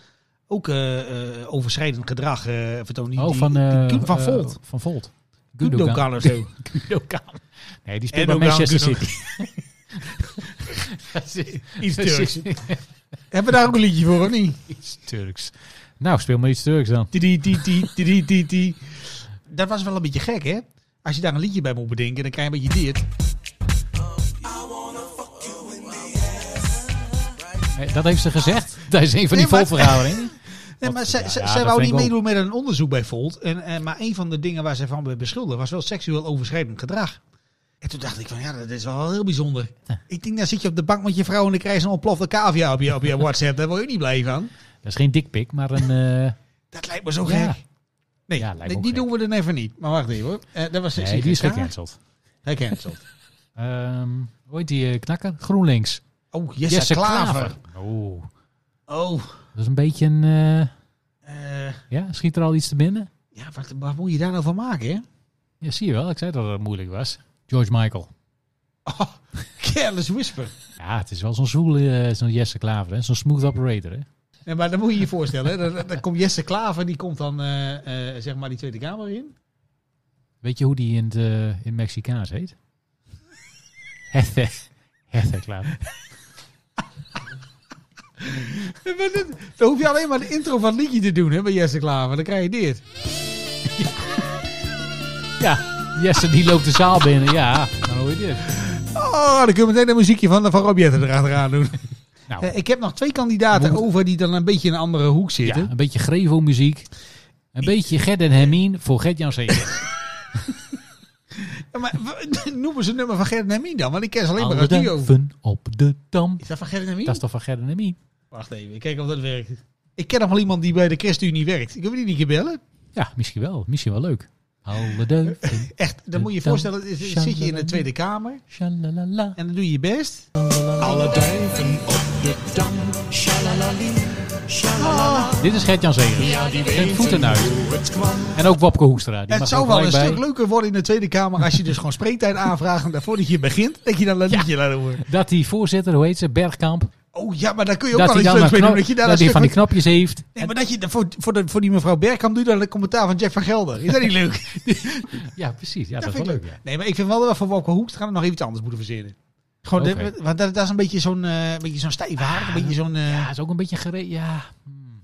Speaker 6: ook eh, eh, overschrijdend gedrag eh vertoond. Die,
Speaker 1: Oh,
Speaker 6: die-
Speaker 1: van,
Speaker 6: die
Speaker 1: eh,
Speaker 6: Kim van
Speaker 1: eh,
Speaker 6: Volt.
Speaker 1: van Volt.
Speaker 6: Gundogan of zo.
Speaker 1: Gundogan. Nee, die speelt bij
Speaker 6: En Ogan
Speaker 1: Manchester
Speaker 6: Gundogan.
Speaker 1: City. Dat is-
Speaker 6: Iets
Speaker 1: dat
Speaker 6: Turks.
Speaker 1: is
Speaker 6: Hebben we daar ook een liedje voor, of niet?
Speaker 1: Iets Turks. Nou, speel maar iets Turks dan.
Speaker 6: Tidi, tidi, tidi, tidi, tidi. Dat was wel een beetje gek, hè? Als je daar een liedje bij moet bedenken, dan krijg je een beetje dit.
Speaker 1: Eh, Dat heeft ze gezegd. Dat is een van die
Speaker 6: Nee, maar-
Speaker 1: volverhoudingen.
Speaker 6: Nee, maar zij, zij-
Speaker 1: ja,
Speaker 6: zij
Speaker 1: dat
Speaker 6: wou
Speaker 1: vind
Speaker 6: niet
Speaker 1: ik
Speaker 6: meedoen met een onderzoek bij Volt. En, en, maar een van de dingen waar zij van werd beschuldigd was wel seksueel overschrijdend gedrag. En toen dacht ik van ja, dat is wel heel bijzonder. Ik denk, dan zit je op de bank met je vrouw en dan krijg je een ontplofte cavia op je, op je WhatsApp. Daar word je niet blij van.
Speaker 1: Dat is geen dikpik, maar een... eh,
Speaker 6: Dat lijkt me zo gek.
Speaker 1: Ja.
Speaker 6: Nee,
Speaker 1: Ja, lijkt me
Speaker 6: die
Speaker 1: ook
Speaker 6: die
Speaker 1: gek.
Speaker 6: doen we dan even niet. Maar wacht even hoor. Eh, dat was
Speaker 1: nee,
Speaker 6: Sigrid
Speaker 1: die is
Speaker 6: Kaag.
Speaker 1: gecanceld.
Speaker 6: Gecanceld.
Speaker 1: Ehm hoe heet die eh, knakker? GroenLinks.
Speaker 6: Oh, Jesse, Klaver.
Speaker 1: Oh,
Speaker 6: Oh,
Speaker 1: dat is een beetje een... eh,
Speaker 6: eh,
Speaker 1: ja, schiet er al iets te binnen?
Speaker 6: ja, wat, wat moet je daar nou van maken, hè?
Speaker 1: Ja, zie je wel. Ik zei dat het moeilijk was. George Michael.
Speaker 6: Oh, careless whisper.
Speaker 1: Ja, het is wel zo'n zwoele, eh, zo'n Jesse Klaver, hè? zo'n smooth operator. Hè?
Speaker 6: Nee, maar dan moet je je voorstellen, hè. dan, dan komt Jesse Klaver, die komt dan eh, eh, zeg maar die Tweede Kamer in.
Speaker 1: Weet je hoe die in het eh, in Mexicaans heet? Hefe. Hefe Klaver.
Speaker 6: Maar dit- Dan hoef je alleen maar de intro van het liedje te doen hè, bij Jesse Klaver, dan krijg je dit.
Speaker 1: Ja, Jesse die loopt de zaal binnen. Ja, dan hoor je dit.
Speaker 6: Oh, dan kun je meteen een muziekje van, van Rob Jetten erachteraan doen.
Speaker 1: Nou.
Speaker 6: Eh, ik heb nog twee kandidaten over die dan een beetje in een andere hoek
Speaker 1: Ja,
Speaker 6: zitten.
Speaker 1: een beetje Grevo-muziek. Een beetje Ged en Hermine voor Gert-Jan Zeker.
Speaker 6: Maar w- noemen ze het nummer van Gerrit Nemien dan, want ik ken ze alleen maar
Speaker 1: Alle
Speaker 6: uit duo.
Speaker 1: duiven op de dam.
Speaker 6: Is dat van Gerrit Nemien?
Speaker 1: Dat is toch van Gert en Hermine?
Speaker 6: Wacht even, ik kijk of dat werkt. Ik ken nog wel iemand die bij de ChristenUnie werkt. Ik heb die niet gebellen.
Speaker 1: Ja, misschien wel. Misschien wel leuk. Alle duiven.
Speaker 6: Echt, dan moet je je
Speaker 1: Dan
Speaker 6: voorstellen, dan zit je in de Tweede Kamer.
Speaker 1: Shalalala.
Speaker 6: En dan doe je je best.
Speaker 1: Dit is Gert-Jan Zeker. Met voeten uit. En ook Wopke Hoekstra. Die
Speaker 6: het
Speaker 1: mag
Speaker 6: zou
Speaker 1: er
Speaker 6: wel een
Speaker 1: gelijk bij.
Speaker 6: stuk leuker worden in de Tweede Kamer als je dus gewoon spreektijd aanvraagt en daarvoor dat je begint, dat je dan dat
Speaker 1: Ja.
Speaker 6: liedje laat horen.
Speaker 1: Dat die voorzitter, hoe heet ze, Bergkamp.
Speaker 6: Oh ja, maar daar kun je ook
Speaker 1: Dat
Speaker 6: wel
Speaker 1: hij
Speaker 6: iets
Speaker 1: dan
Speaker 6: leuks
Speaker 1: een
Speaker 6: mee doen.
Speaker 1: knop-
Speaker 6: Dat je daar
Speaker 1: dat
Speaker 6: een
Speaker 1: hij van die
Speaker 6: stuk...
Speaker 1: knopjes heeft.
Speaker 6: Nee, maar dat je voor, voor, de, voor die mevrouw Bergkamp doet dan een commentaar van Jack van Gelder. Is dat niet leuk?
Speaker 1: Ja, precies. Ja, dat,
Speaker 6: dat
Speaker 1: is
Speaker 6: vind
Speaker 1: wel leuk.
Speaker 6: ik leuk.
Speaker 1: ja.
Speaker 6: Nee, maar ik vind wel dat we voor Wopke Hoekstra nog even iets anders moeten verzinnen. Gewoon, dit-
Speaker 1: Oké.
Speaker 6: want dat, dat is een beetje zo'n eh, beetje zo'n stijf haar, een beetje zo'n... eh,
Speaker 1: Ja, het is ook een beetje gere Ja, hmm.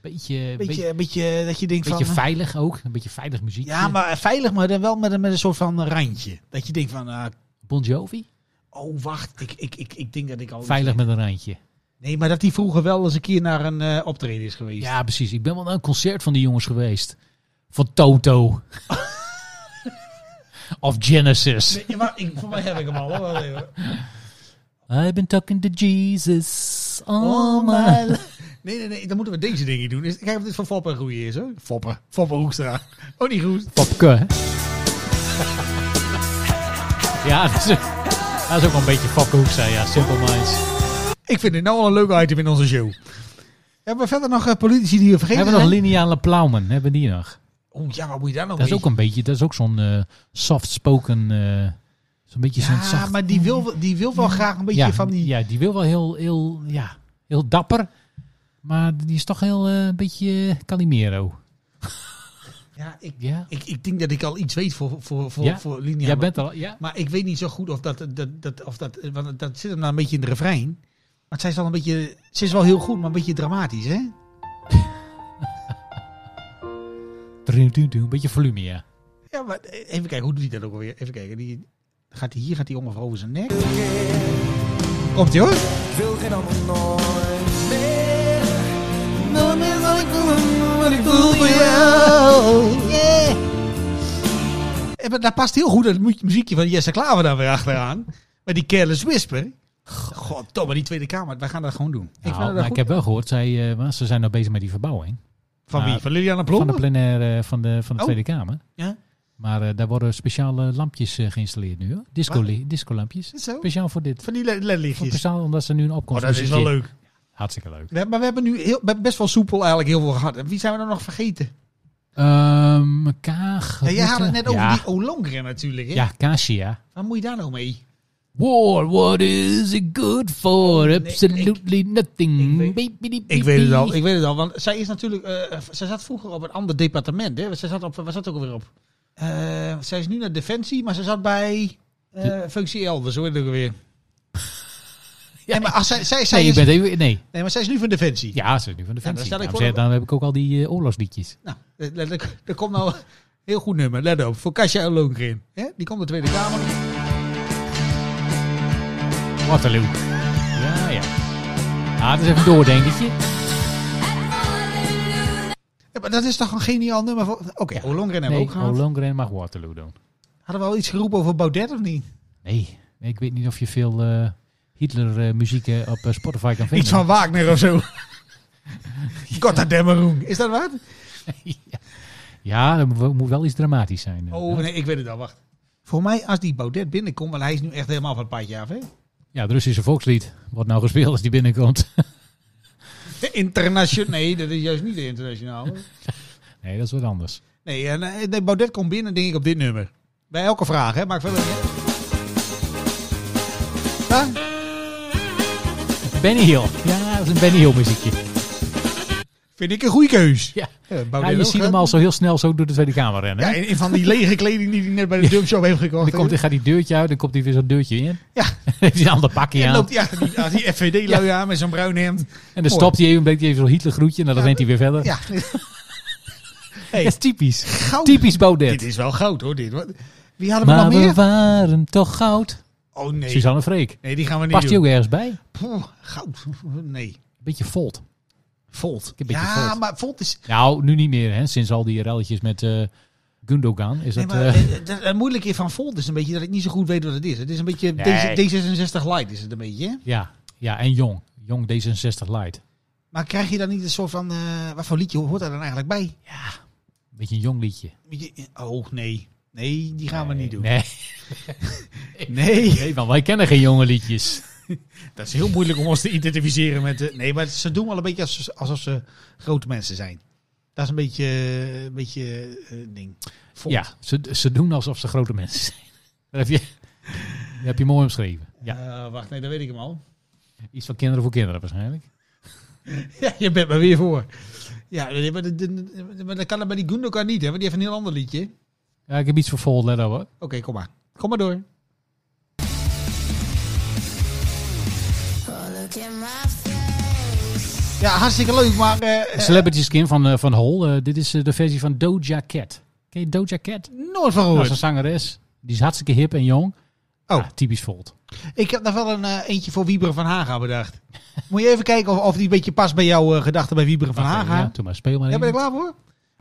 Speaker 1: beetje, beetje,
Speaker 6: beetje, een beetje dat je denkt
Speaker 1: beetje
Speaker 6: van... eh,
Speaker 1: veilig ook. Een beetje veilig muziek.
Speaker 6: ja, maar veilig, maar dan wel met een, met een soort van randje. Dat je denkt van, ah,
Speaker 1: Bon Jovi.
Speaker 6: oh wacht, ik, ik, ik, ik denk dat ik al...
Speaker 1: Veilig met een randje.
Speaker 6: Nee, maar dat hij vroeger wel eens een keer naar een eh, optreden is geweest.
Speaker 1: Ja, precies. Ik ben wel naar een concert van die jongens geweest. Van Toto. of Genesis.
Speaker 6: Ja, maar ik, voor mij heb ik hem al. hoor.
Speaker 1: I've been talking to Jesus. Oh my...
Speaker 6: Nee, nee, nee, dan moeten we deze dingen doen. Is- Kijk of dit van Foppen een goeie is, hoor. Foppen. Foppen Hoekstra. Oh, niet goed.
Speaker 1: Popke, hè? ja, dat is, dat is ook wel een beetje Popke Hoekstra, ja. Simple Minds.
Speaker 6: Ik vind dit nou al een leuk item in onze show. Hebben we verder nog eh, politici die we vergeten
Speaker 1: Hebben we nog
Speaker 6: zijn?
Speaker 1: lineale plauwen? Hebben we die
Speaker 6: Oh,
Speaker 1: nog?
Speaker 6: Oeh, ja, wat moet je daar nog
Speaker 1: Dat is
Speaker 6: mee?
Speaker 1: ook een beetje, dat is ook zo'n eh, soft-spoken, eh, zo'n beetje zo'n
Speaker 6: Ja,
Speaker 1: zacht...
Speaker 6: maar die wil, wel- die wil wel graag een beetje
Speaker 1: ja,
Speaker 6: van die...
Speaker 1: ja, die wil wel heel, heel, ja, heel dapper, maar die is toch heel eh, een beetje eh, Calimero.
Speaker 6: Ja, ik,
Speaker 1: Ja?
Speaker 6: ik, ik denk dat ik al iets weet voor, voor, voor,
Speaker 1: Ja?
Speaker 6: voor
Speaker 1: Jij
Speaker 6: lineaire-
Speaker 1: bent er al, ja?
Speaker 6: Maar ik weet niet zo goed of dat, dat, dat, of dat, want dat zit hem nou een beetje in de refrein. Maar zij is wel een beetje, ze is wel heel goed, maar een beetje dramatisch, hè?
Speaker 1: Dru- dru- dru- Een beetje volume, ja.
Speaker 6: Ja, maar eh, even kijken, hoe doet hij dat ook alweer? Even kijken, die, gaat die, hier gaat hij om of over zijn nek. Komt ie hoor.
Speaker 4: Wil geen ander nooit meer.
Speaker 6: ik voel voor jou. eh, daar past heel goed dat mu- muziekje van Jesse Klaver daar weer achteraan. Met die careless whisper. Goddomme, die Tweede Kamer. Wij gaan dat gewoon doen.
Speaker 1: Nou,
Speaker 6: vind dat
Speaker 1: maar
Speaker 6: goed.
Speaker 1: ik heb wel gehoord, zij, eh, want ze zijn nou bezig met die verbouwing.
Speaker 6: Van wie?
Speaker 1: Nou,
Speaker 6: Van Liliana
Speaker 1: Van de
Speaker 6: Ploemen?
Speaker 1: plenaire eh, van de, van de
Speaker 6: Oh.
Speaker 1: Tweede Kamer.
Speaker 6: Ja.
Speaker 1: Maar eh, daar worden speciale lampjes eh, geïnstalleerd nu. hoor. Disco,
Speaker 6: Waar?
Speaker 1: discolampjes.
Speaker 6: Is het zo?
Speaker 1: Speciaal voor dit.
Speaker 6: Van die le-
Speaker 1: Voor
Speaker 6: ledlichtjes.
Speaker 1: speciaal omdat ze nu een opkomst
Speaker 6: Oh, dat is wel
Speaker 1: muziekje-
Speaker 6: leuk.
Speaker 1: Hartstikke leuk.
Speaker 6: We hebben- maar we hebben nu heel, we hebben best wel soepel eigenlijk heel veel gehad. En wie zijn we dan nog vergeten?
Speaker 1: Ehm Kaag.
Speaker 6: Ja, jij had het
Speaker 1: Rutte.
Speaker 6: net over
Speaker 1: ja.
Speaker 6: die Olongren natuurlijk. Hè?
Speaker 1: Ja, Kasia.
Speaker 6: Waar moet je daar nou mee?
Speaker 1: War, what is it good for? Absolutely nothing.
Speaker 6: ik weet-
Speaker 1: Beep, beep, beep,
Speaker 6: Ik weet het al,
Speaker 1: beep.
Speaker 6: ik weet het al. Want zij is natuurlijk, eh, zij zat vroeger op een ander departement. Hè? Zij zat op, waar zat ze ook alweer op? Eh, zij is nu naar Defensie, maar ze zat bij eh, Functie Elders, hoor ik ook alweer. nee, maar als zij, zij, zij
Speaker 1: Nee, je
Speaker 6: is,
Speaker 1: bent even, nee.
Speaker 6: nee, maar zij is nu van Defensie.
Speaker 1: Ja, ze is nu van de
Speaker 6: dan
Speaker 1: Defensie.
Speaker 6: stel ik
Speaker 1: Daarom
Speaker 6: voor
Speaker 1: zeg-
Speaker 6: dat-
Speaker 1: dan heb ik ook al die eh, oorlogsliedjes.
Speaker 6: Nou, eh, let- let- er komt nou een heel goed nummer. Let op, voor Kasia Olongren. Hè? Die komt de Tweede Kamer.
Speaker 1: Waterloo. Ja, ja. Ah, het is even een doordenkertje.
Speaker 6: Ja, maar dat is toch een geniaal nummer? voor- Oké, Olongren hebben we ook
Speaker 1: Nee,
Speaker 6: gehad.
Speaker 1: Ollongren mag Waterloo doen.
Speaker 6: Hadden we al iets geroepen over Baudet of niet?
Speaker 1: Nee, nee, ik weet niet of je veel eh, Hitler-muziek eh, op eh, Spotify kan vinden.
Speaker 6: Iets van Wagner of zo. Gotterdammerung. Is dat wat?
Speaker 1: Ja, dat moet, wel- moet wel iets dramatisch zijn. eh.
Speaker 6: Oh, nee, ik weet het al. Wacht. Voor mij, als die Baudet binnenkomt, want hij is nu echt helemaal van het padje af, hè?
Speaker 1: Ja, het Russische volkslied wordt nou gespeeld als die binnenkomt.
Speaker 6: Internationaal. Nee, dat is juist niet de internationaal.
Speaker 1: Nee, dat is wat anders.
Speaker 6: Nee, en, eh, nee, Baudet komt binnen, denk ik, op dit nummer. Bij elke vraag, hè? Maakt verder niet uit. Ja?
Speaker 1: Benny Hill. Ja, dat is een Benny Hill muziekje.
Speaker 6: Vind ik een goede keus.
Speaker 1: Ja.
Speaker 6: Ja, Baudet
Speaker 1: Ja, je
Speaker 6: ook,
Speaker 1: ziet
Speaker 6: hè?
Speaker 1: hem al zo heel snel zo door de Tweede Kamer rennen.
Speaker 6: Ja,
Speaker 1: hè?
Speaker 6: in, in van die lege kleding die hij net bij de dumpshop heeft gekocht.
Speaker 1: dan komt, dan gaat die deurtje uit, dan komt hij weer zo'n deurtje in.
Speaker 6: Ja.
Speaker 1: Dan heeft hij een ander pakje
Speaker 6: En
Speaker 1: aan.
Speaker 6: loopt hij achter die, achter die FVD-lui aan met zo'n bruin hemd.
Speaker 1: En dan
Speaker 6: Mooi.
Speaker 1: stopt hij even, bleek hij even zo'n Hitler groetje. En dan rent hij weer verder.
Speaker 6: Ja.
Speaker 1: Dat is typisch.
Speaker 6: Goud.
Speaker 1: Typisch Baudet.
Speaker 6: Dit is wel goud hoor. Dit. Wat- Wie hadden we
Speaker 1: maar
Speaker 6: nog
Speaker 1: we
Speaker 6: meer?
Speaker 1: waren toch goud.
Speaker 6: Oh nee.
Speaker 1: Suzanne Freek.
Speaker 6: Nee, die gaan we niet
Speaker 1: Past die
Speaker 6: doen.
Speaker 1: ook ergens bij?
Speaker 6: Poeh, goud. Nee.
Speaker 1: Beetje volt.
Speaker 6: Volt.
Speaker 1: heb een beetje
Speaker 6: Ja,
Speaker 1: Volt.
Speaker 6: maar Volt is...
Speaker 1: Nou, nu niet meer, hè? Sinds al die relletjes met eh, Gundogan is
Speaker 6: Nee,
Speaker 1: dat.
Speaker 6: maar,
Speaker 1: eh,
Speaker 6: eh, het, het moeilijke van Volt is een beetje dat ik niet zo goed weet wat het is. Het is een beetje
Speaker 1: Nee.
Speaker 6: D66 light is het een beetje. hè?
Speaker 1: ja, ja, en jong. Jong D66 Light.
Speaker 6: Maar krijg je dan niet een soort van... eh wat voor liedje hoort daar dan eigenlijk bij?
Speaker 1: Beetje een jong liedje.
Speaker 6: Je- Oh nee. Nee, die gaan we niet doen.
Speaker 1: Nee,
Speaker 6: Nee.
Speaker 1: nee, want wij kennen geen jonge liedjes.
Speaker 6: Dat is heel moeilijk om ons te identificeren met... eh, nee, maar ze doen wel een beetje alsof, alsof ze grote mensen zijn. Dat is een beetje... eh, Een beetje eh, ding. Volt.
Speaker 1: Ja, ze, ze doen alsof ze grote mensen zijn. Dat heb je, dat heb je mooi omschreven. Ja,
Speaker 6: Eh, wacht, nee, dat weet ik hem al.
Speaker 1: iets van kinderen voor kinderen waarschijnlijk.
Speaker 6: Ja, je bent er weer voor. Ja, nee, maar, dat- dat- maar dat kan dat bij die Gundogan niet, hè? Want die heeft een heel ander liedje. Oké,
Speaker 1: Ja, ik heb iets voor Volt, let op hoor.
Speaker 6: kom maar. Kom maar door. Ja, hartstikke leuk, maar... eh, eh,
Speaker 1: Celebrity Skin van, eh, van Hol. Eh, dit is eh, de versie van Doja Cat. Ken je Doja Cat? Dat
Speaker 6: nooit van
Speaker 1: is een
Speaker 6: gehoord.
Speaker 1: zangeres. Die is hartstikke hip en jong.
Speaker 6: Oh.
Speaker 1: Ja, typisch Volt.
Speaker 6: Ik heb nog wel een eh, eentje voor Wieberen van Haga bedacht. Moet je even kijken of, of die een beetje past bij jouw eh, gedachten bij Wieberen van
Speaker 1: Wacht even, Ja,
Speaker 6: Haga.
Speaker 1: doe maar, speel maar
Speaker 6: Ja, ben je
Speaker 1: even.
Speaker 6: klaar voor?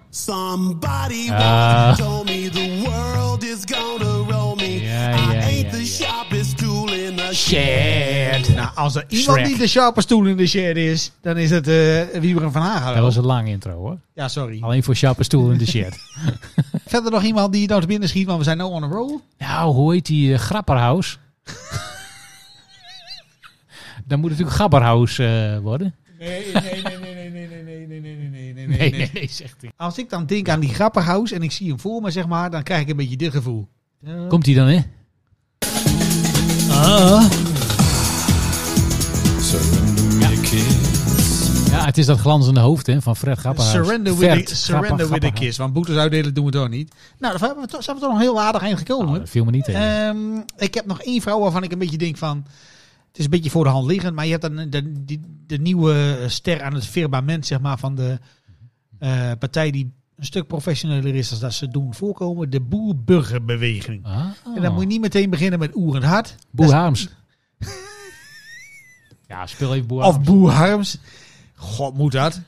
Speaker 4: Somebody
Speaker 1: Ah.
Speaker 4: once told me the world is gonna roll me.
Speaker 1: Ja,
Speaker 4: I
Speaker 1: ja,
Speaker 4: ain't
Speaker 1: ja,
Speaker 4: the
Speaker 1: ja.
Speaker 4: sharpest tool in the
Speaker 1: Shit.
Speaker 6: Nou, als er iemand
Speaker 1: Shrek.
Speaker 6: die de sharpe stoel in de shed is, dan is het eh Wieberen van Haga.
Speaker 1: Dat was een lange intro hoor.
Speaker 6: Ja, sorry.
Speaker 1: Alleen voor Sharpe Stoel in de shit.
Speaker 6: Verder nog iemand die nou te binnen schiet, want we zijn nou on a roll.
Speaker 1: nou, hoe heet die eh, Grapperhaus? Dan moet het natuurlijk Gabberhaus eh, worden.
Speaker 6: Nee, nee, nee, nee, nee, nee, nee, nee, nee, nee, nee,
Speaker 1: Nee, nee, zegt hij.
Speaker 6: Als ik dan denk aan die grappenhuis en ik zie hem voor me, zeg maar, dan krijg ik een beetje dit gevoel.
Speaker 1: Komt hij dan, hè? Ah. Ja, het is dat glanzende hoofd hè, van Fred Grapperhaus.
Speaker 6: Surrender with,
Speaker 1: Fred
Speaker 6: the, surrender
Speaker 1: Grapper-
Speaker 6: with a
Speaker 1: Grapperhaus.
Speaker 6: kiss, want boetes uitdelen doen we toch niet. Nou, daar hebben we toch- zijn we toch nog heel aardig heen gekomen.
Speaker 1: Oh, dat viel me niet tegen.
Speaker 6: Ehm, ik heb nog één vrouw waarvan ik een beetje denk van... Het is een beetje voor de hand liggend, maar je hebt dan de, die, de nieuwe ster aan het firmament zeg maar, van de eh, partij die een stuk professioneler is dan dat ze doen voorkomen. De boer-burgerbeweging.
Speaker 1: Ah.
Speaker 6: En dan moet je niet meteen beginnen met Oerend Hart
Speaker 1: Boer Harms. ja, speel even Boer
Speaker 6: of
Speaker 1: Harms.
Speaker 6: Boer Harms. God, moet dat?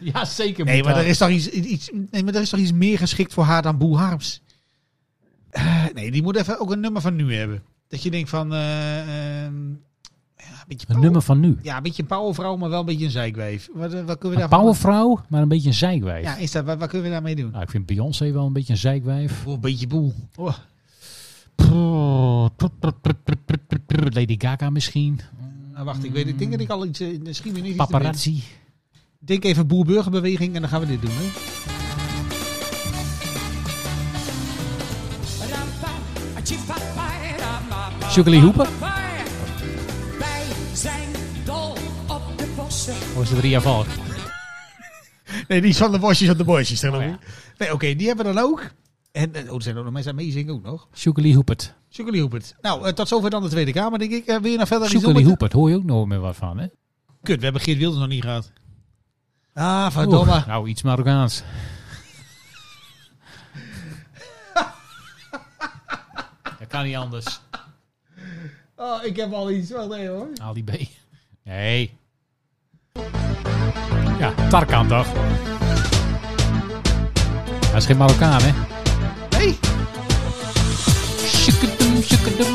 Speaker 1: Ja, zeker.
Speaker 6: Nee,
Speaker 1: moet
Speaker 6: maar
Speaker 1: dat.
Speaker 6: er is toch iets, iets, nee, maar er is toch iets meer geschikt voor haar dan Boer Harms? Eh, nee, die moet even ook een nummer van nu hebben. Dat je denkt van... eh, ehm, ja, een
Speaker 1: Een
Speaker 6: beetje power-
Speaker 1: nummer van nu.
Speaker 6: Ja, een beetje een powervrouw, maar wel een beetje een zeikwijf. Wat, eh, wat kunnen we
Speaker 1: Een
Speaker 6: daarvan...
Speaker 1: powervrouw, maar een beetje een zijkwijf.
Speaker 6: Ja, is dat, wat, wat kunnen we daarmee doen?
Speaker 1: Nou, ik vind Beyoncé wel een beetje een zijkwijf.
Speaker 6: Oh, een beetje boel. Oh,
Speaker 1: Lady Gaga misschien.
Speaker 6: nou, wacht, ik weet Ik denk dat ik al iets... eh, Misschien weer niet iets te binnen.
Speaker 1: Paparazzi.
Speaker 6: Denk even boer-burgerbeweging en dan gaan we dit doen. Hè?
Speaker 1: Sugarly Hooper.
Speaker 9: Wij zijn dol op de bossen.
Speaker 1: Of is het Ria Valk?
Speaker 6: Nee, die is van de bosjes op de bosjes, geloof
Speaker 1: Oh, ja.
Speaker 6: ik. Nee, oké, die hebben we dan ook. En eh, oh, er zijn ook nog mensen aan meezingen ook nog.
Speaker 1: Sugarly Hoopert.
Speaker 6: Sugarly Hoepert. Nou, eh, tot zover dan de Tweede Kamer, denk ik. Eh, wil je nog verder iets doen?
Speaker 1: Sugarly
Speaker 6: met de-
Speaker 1: Hoepert, hoor je ook nooit meer wat van, hè?
Speaker 6: Kut, we hebben Geert Wilders nog niet gehad. Ah, verdomme.
Speaker 1: Oeh, nou, iets Marokkaans. Dat kan niet anders.
Speaker 6: Oh, ik heb al iets. Wel nee hoor.
Speaker 1: Haal die B. Nee. Ja, Tarkan toch? Hij is geen Marokkaan, hè?
Speaker 6: Nee?
Speaker 1: Shukadum, shukadum.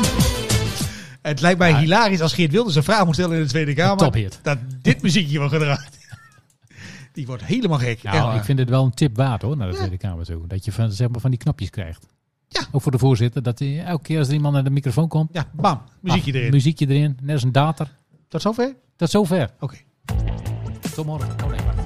Speaker 6: Het lijkt mij hilarisch als Geert Wilders een vraag moet stellen in de Tweede Kamer.
Speaker 1: tophit.
Speaker 6: Dat dit muziekje wordt gedraaid. Die wordt helemaal gek. Echt
Speaker 1: Nou,
Speaker 6: waar.
Speaker 1: ik vind het wel een tip waard hoor, naar de Tweede Kamer toe. Dat je van, zeg maar, van die knopjes krijgt.
Speaker 6: Ja.
Speaker 1: Ook voor de voorzitter, dat hij elke keer als er iemand naar de microfoon komt...
Speaker 6: Ja, bam. Muziekje
Speaker 1: ah,
Speaker 6: erin.
Speaker 1: Muziekje erin, net als een dater.
Speaker 6: Tot zover? Oké.
Speaker 1: Tot zover.
Speaker 6: Nou,
Speaker 1: Tot morgen. Oh nee, wacht.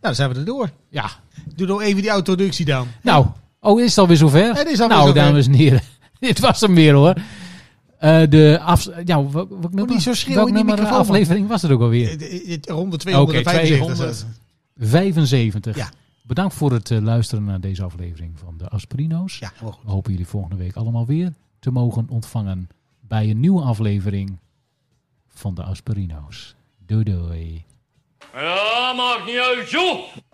Speaker 6: Nou, dan zijn we er door.
Speaker 1: Ja,
Speaker 6: Doe nog even die autoductie dan.
Speaker 1: nou. Oh, is het alweer zover?
Speaker 6: Het is alweer
Speaker 1: nou,
Speaker 6: zover.
Speaker 1: dames en heren. Dit was hem weer hoor. Eh, de af... Ja, wat, wat nummer?
Speaker 6: niet zo schreeuwen
Speaker 1: Welk
Speaker 6: in die
Speaker 1: nummer
Speaker 6: microfoon, man.
Speaker 1: aflevering was het ook alweer?
Speaker 6: Eh, eh, eh, Ronde
Speaker 1: Oké,
Speaker 6: 275.
Speaker 1: 75.
Speaker 6: Ja.
Speaker 1: Bedankt voor het eh, luisteren naar deze aflevering van de Aspirino's.
Speaker 6: Ja, heel goed.
Speaker 1: We hopen jullie volgende week allemaal weer te mogen ontvangen bij een nieuwe aflevering van de Aspirino's. Doei doei.
Speaker 5: Ja, maakt niet uit, joh!